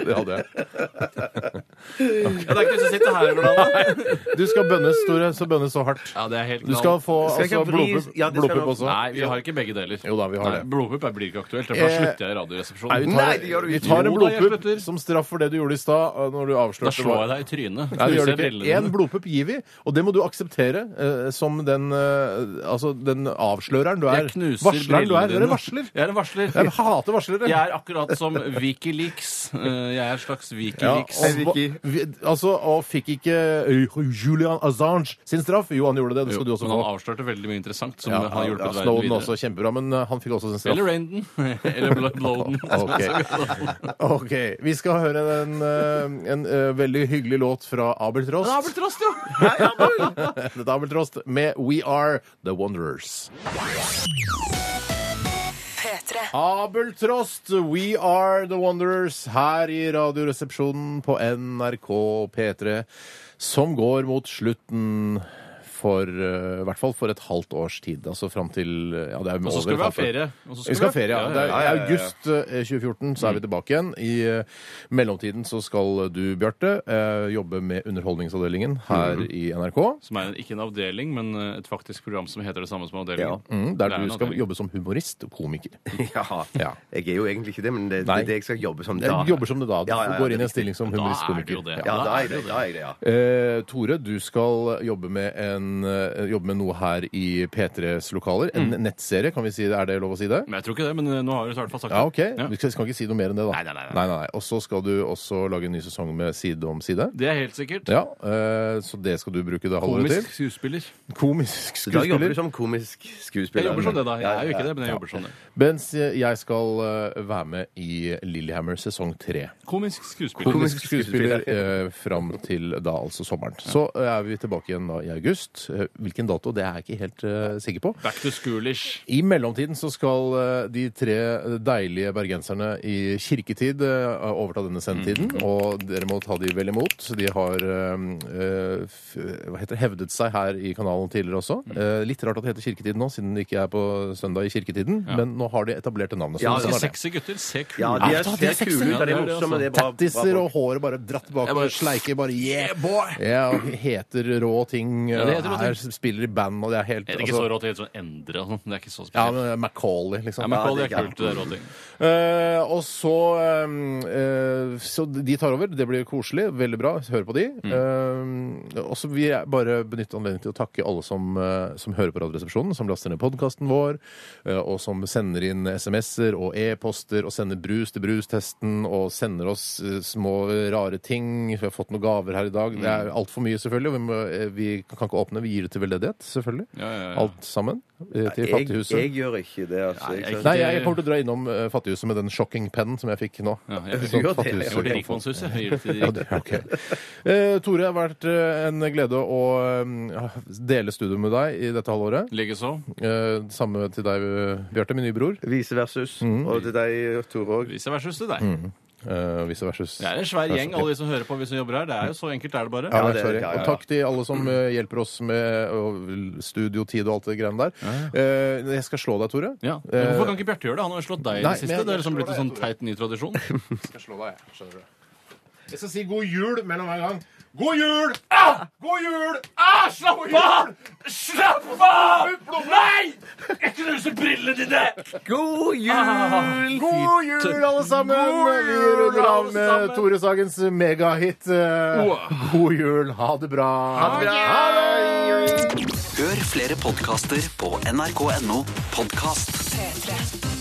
S4: det hadde jeg.
S7: Ja, det er ikke du som sitter her i hverandre.
S4: Du skal bønnes, Tore, så bønnes så hardt.
S7: Ja, det er helt
S4: Du skal få
S1: Skal jeg
S4: altså,
S1: ikke vri-
S4: blodpupp
S1: Ja, det skal
S4: blodpupp
S1: nok-
S4: også.
S7: Nei, vi har ikke begge deler.
S4: Jo da, vi har
S7: Nei,
S4: det.
S7: Blodpupp er- blir ikke aktuelt. for Da
S4: Eh,
S7: slutter jeg
S4: Nei,
S7: i
S4: vi
S7: Radioresepsjonen.
S4: tar,
S1: Nei, det gjør du
S4: vi
S1: ikke.
S4: tar en
S7: Jo da, jeg
S4: blodpupp
S7: slutter.
S4: som straff for det du gjorde i stad, eh, når du
S7: Da
S4: avslørte
S7: slår jeg deg i trynet.
S4: Nei, det gjør
S7: Knuser
S4: det ikke.
S7: brillene
S4: En
S7: dine.
S4: blodpupp gir vi, og det må du akseptere eh, som den, eh, altså, den avsløreren du er.
S7: Jeg knuser
S4: Varsleren du
S7: brillene
S4: er. Du er
S7: dine.
S4: en varsler.
S7: Jeg er en varsler.
S4: Jeg hater varslere.
S7: Jeg er akkurat som Wikileaks. Eh, Jeg er en slags
S4: Ja,
S7: Wikileaks.
S4: og, hva- vi, altså, og fikk ikke eh, Julian Assange sin straff? Jo, han gjorde det. Det
S7: Jo,
S4: skal du også
S7: men
S4: få.
S7: han avslørte veldig mye interessant som
S4: Ja,
S7: har hjulpet
S4: ja,
S7: verden
S4: Snowden
S7: videre.
S4: også, kjempebra, men eh, han fikk også sin straff.
S7: Eller Randon. Eller Bl- Blowden.
S4: Ok. OK. Vi skal høre en, eh, en eh, veldig hyggelig låt fra Abel Trost.
S7: Abeltrost, jo!
S4: Dette er Abel Trost med We Are The Wanderers.
S9: P3.
S4: Abel Trost, We Are The Wanderers, her i Radioresepsjonen på NRK P3, som går mot slutten for eh, i hvert fall for et halvt års tid. Altså fram til eh, ja, det er
S7: Og så skal vi ha ferie. Og så
S4: Vi skal ha ferie, ja.
S7: ja,
S4: Det
S7: ja,
S4: er,
S7: Mm.
S4: I august eh, 2014 så er vi tilbake igjen. I eh, mellomtiden så skal du, Bjarte, eh, jobbe med Underholdningsavdelingen her
S7: Mm.
S4: i NRK.
S7: Som er en, ikke en avdeling, men eh, et faktisk program som heter det samme som avdelingen.
S4: Mm, der
S7: Det er en
S4: du skal
S7: avdeling.
S4: jobbe som humorist og komiker.
S1: Ja.
S4: Ja.
S1: Jeg er jo egentlig ikke det, men det, det
S4: Nei.
S1: er det jeg skal jobbe som
S4: Du
S1: da.
S4: jobber som det da. Du
S1: Ja, ja, ja,
S4: går
S1: det
S4: inn
S1: er
S4: i en stilling som
S7: Da
S4: humorist og
S7: er det jo
S4: komiker.
S7: det.
S1: Ja, da er det da er jeg det, ja.
S4: Eh, Tore, du skal jobbe med, en, eh, jobbe med noe her i P3s lokaler. En
S7: Mm.
S4: nettserie, kan vi si det? Er det lov å si det?
S7: Men jeg tror ikke det, men eh, nå har du i hvert fall sagt
S4: Ja, OK.
S7: Ja.
S4: Du skal, skal ikke si noe mer enn det, da.
S7: Nei, nei, nei, nei.
S4: Og så skal du også lage en ny sesong med Side om side.
S7: det. Det er helt sikkert.
S4: Ja, eh, Så det skal du bruke det halvåret til?
S7: Komisk skuespiller.
S4: Komisk
S1: Så Da jobber
S4: skuespiller.
S1: du som komisk
S7: Jeg
S1: skuespiller.
S7: jobber
S5: sånn,
S7: som det, da. Jeg er jo ikke det, men jeg jobber som det.
S4: Mens jeg skal eh, være med i Lillehammer sesong tre.
S7: Komisk skuespiller.
S4: Komisk skuespiller eh, fram til da altså sommeren. Så eh, er vi tilbake igjen da i august. eh, hvilken dato, det er jeg ikke helt eh, sikker på.
S5: Back to schoolish.
S4: I mellomtiden så skal eh, de tre deilige bergenserne i kirketid eh, overta denne sendetiden,
S5: Mhm.
S4: og dere må ta de vel imot. Så De har eh, eh, f- hva heter, det, hevdet seg her i kanalen tidligere også.
S5: Mhm.
S4: Eh, litt rart at det heter kirketid nå, siden det ikke er på søndag i kirketiden, men nå har de etablert det navnet. Så
S5: Ja,
S4: sånn
S5: de
S4: er det.
S5: sexy gutter ser kule
S1: Ja,
S5: ut.
S1: de er,
S4: Ja, de er
S1: ser kule ut,
S5: sexy.
S1: og de
S5: Ja,
S1: er
S5: det er det,
S1: morsomme. Det er bra.
S4: Tattiser
S1: bra
S4: og håret bare dratt bak
S5: Jeg bare-
S4: og sleiker bare Yeah, boy! Ja, og heter rå ting. eh,
S5: Ja, det heter rå
S4: her
S5: ting.
S4: spiller i band, og det er helt altså,
S5: Er det ikke så rått? Det er helt sånn endre og sånn. Det er ikke så
S4: Ja,
S5: spesielt.
S4: men Macaulay, liksom.
S5: Ja, men Carl, det
S1: det
S5: er kult, det er råting.
S4: Eh, og så eh, eh, Så de tar over. Det blir koselig. Veldig bra. Hør på de.
S1: Mm.
S4: Eh, og så vil jeg bare benytte anledningen til å takke alle som, eh, som hører på Radioresepsjonen, som laster ned podkasten vår, eh, og som sender inn SMS-er og e-poster og sender brus til brustesten og sender oss eh, små rare ting. Vi har fått noen gaver her i dag. Det
S1: Mm.
S4: er altfor mye, selvfølgelig. og Vi, må, eh, vi kan ikke åpne. Vi gir det til veldedighet, selvfølgelig.
S5: Ja, ja, ja.
S4: Alt sammen. eh, til
S1: Jeg,
S4: Fattighuset.
S1: jeg gjør ikke det, altså.
S5: Nei,
S1: Jeg,
S5: jeg-
S1: skjønner.
S4: Nei, jeg jeg kommer til å dra innom eh, Fattighuset med den shocking-pennen som jeg fikk nå.
S5: Ja, jeg
S4: Så
S5: gjør det.
S4: Fattighuset
S5: Jeg går til
S4: kan få-
S5: Rikmannshuset. Jeg gir det til de
S4: Ja, det, ok. Eh, Tore, det har vært eh, en glede å eh, dele studio med deg i dette halvåret.
S5: Likeså.
S4: Eh, samme til deg, eh, Bjarte, min nye bror.
S1: Vice versus.
S4: Mhm.
S1: Og til deg, Tore òg.
S5: Vice versus til deg.
S4: Eh, vice versus.
S5: Det er en svær gjeng, alle de som hører på, vi som jobber her. Det er jo så enkelt er det bare.
S4: Ja,
S1: Ja,
S4: det er
S1: det-
S4: sorry.
S1: ja, ja,
S4: Og
S1: ja.
S4: takk til alle som eh, hjelper oss med og studiotid og alt det greiene der. Eh, jeg skal slå deg, Tore.
S5: Ja. Men Hvorfor kan ikke Bjarte gjøre det? Han har jo slått deg i
S4: Nei,
S5: det siste.
S4: men jeg-
S5: Det er liksom blitt en sånn teit ny tradisjon.
S4: Jeg skal slå deg, jeg. Skjønner du. Jeg skal si god jul mellom hver gang. God jul! Ah! God jul!
S5: Slapp av! Slapp av! Nei! Jeg knuser brillene dine!
S1: God jul!
S4: God jul, alle sammen! Vi runder av med Tore Sagens megahit. eh, God jul. Ha det bra.
S2: Hør flere podkaster på nrk.no podkast.
S9: P3.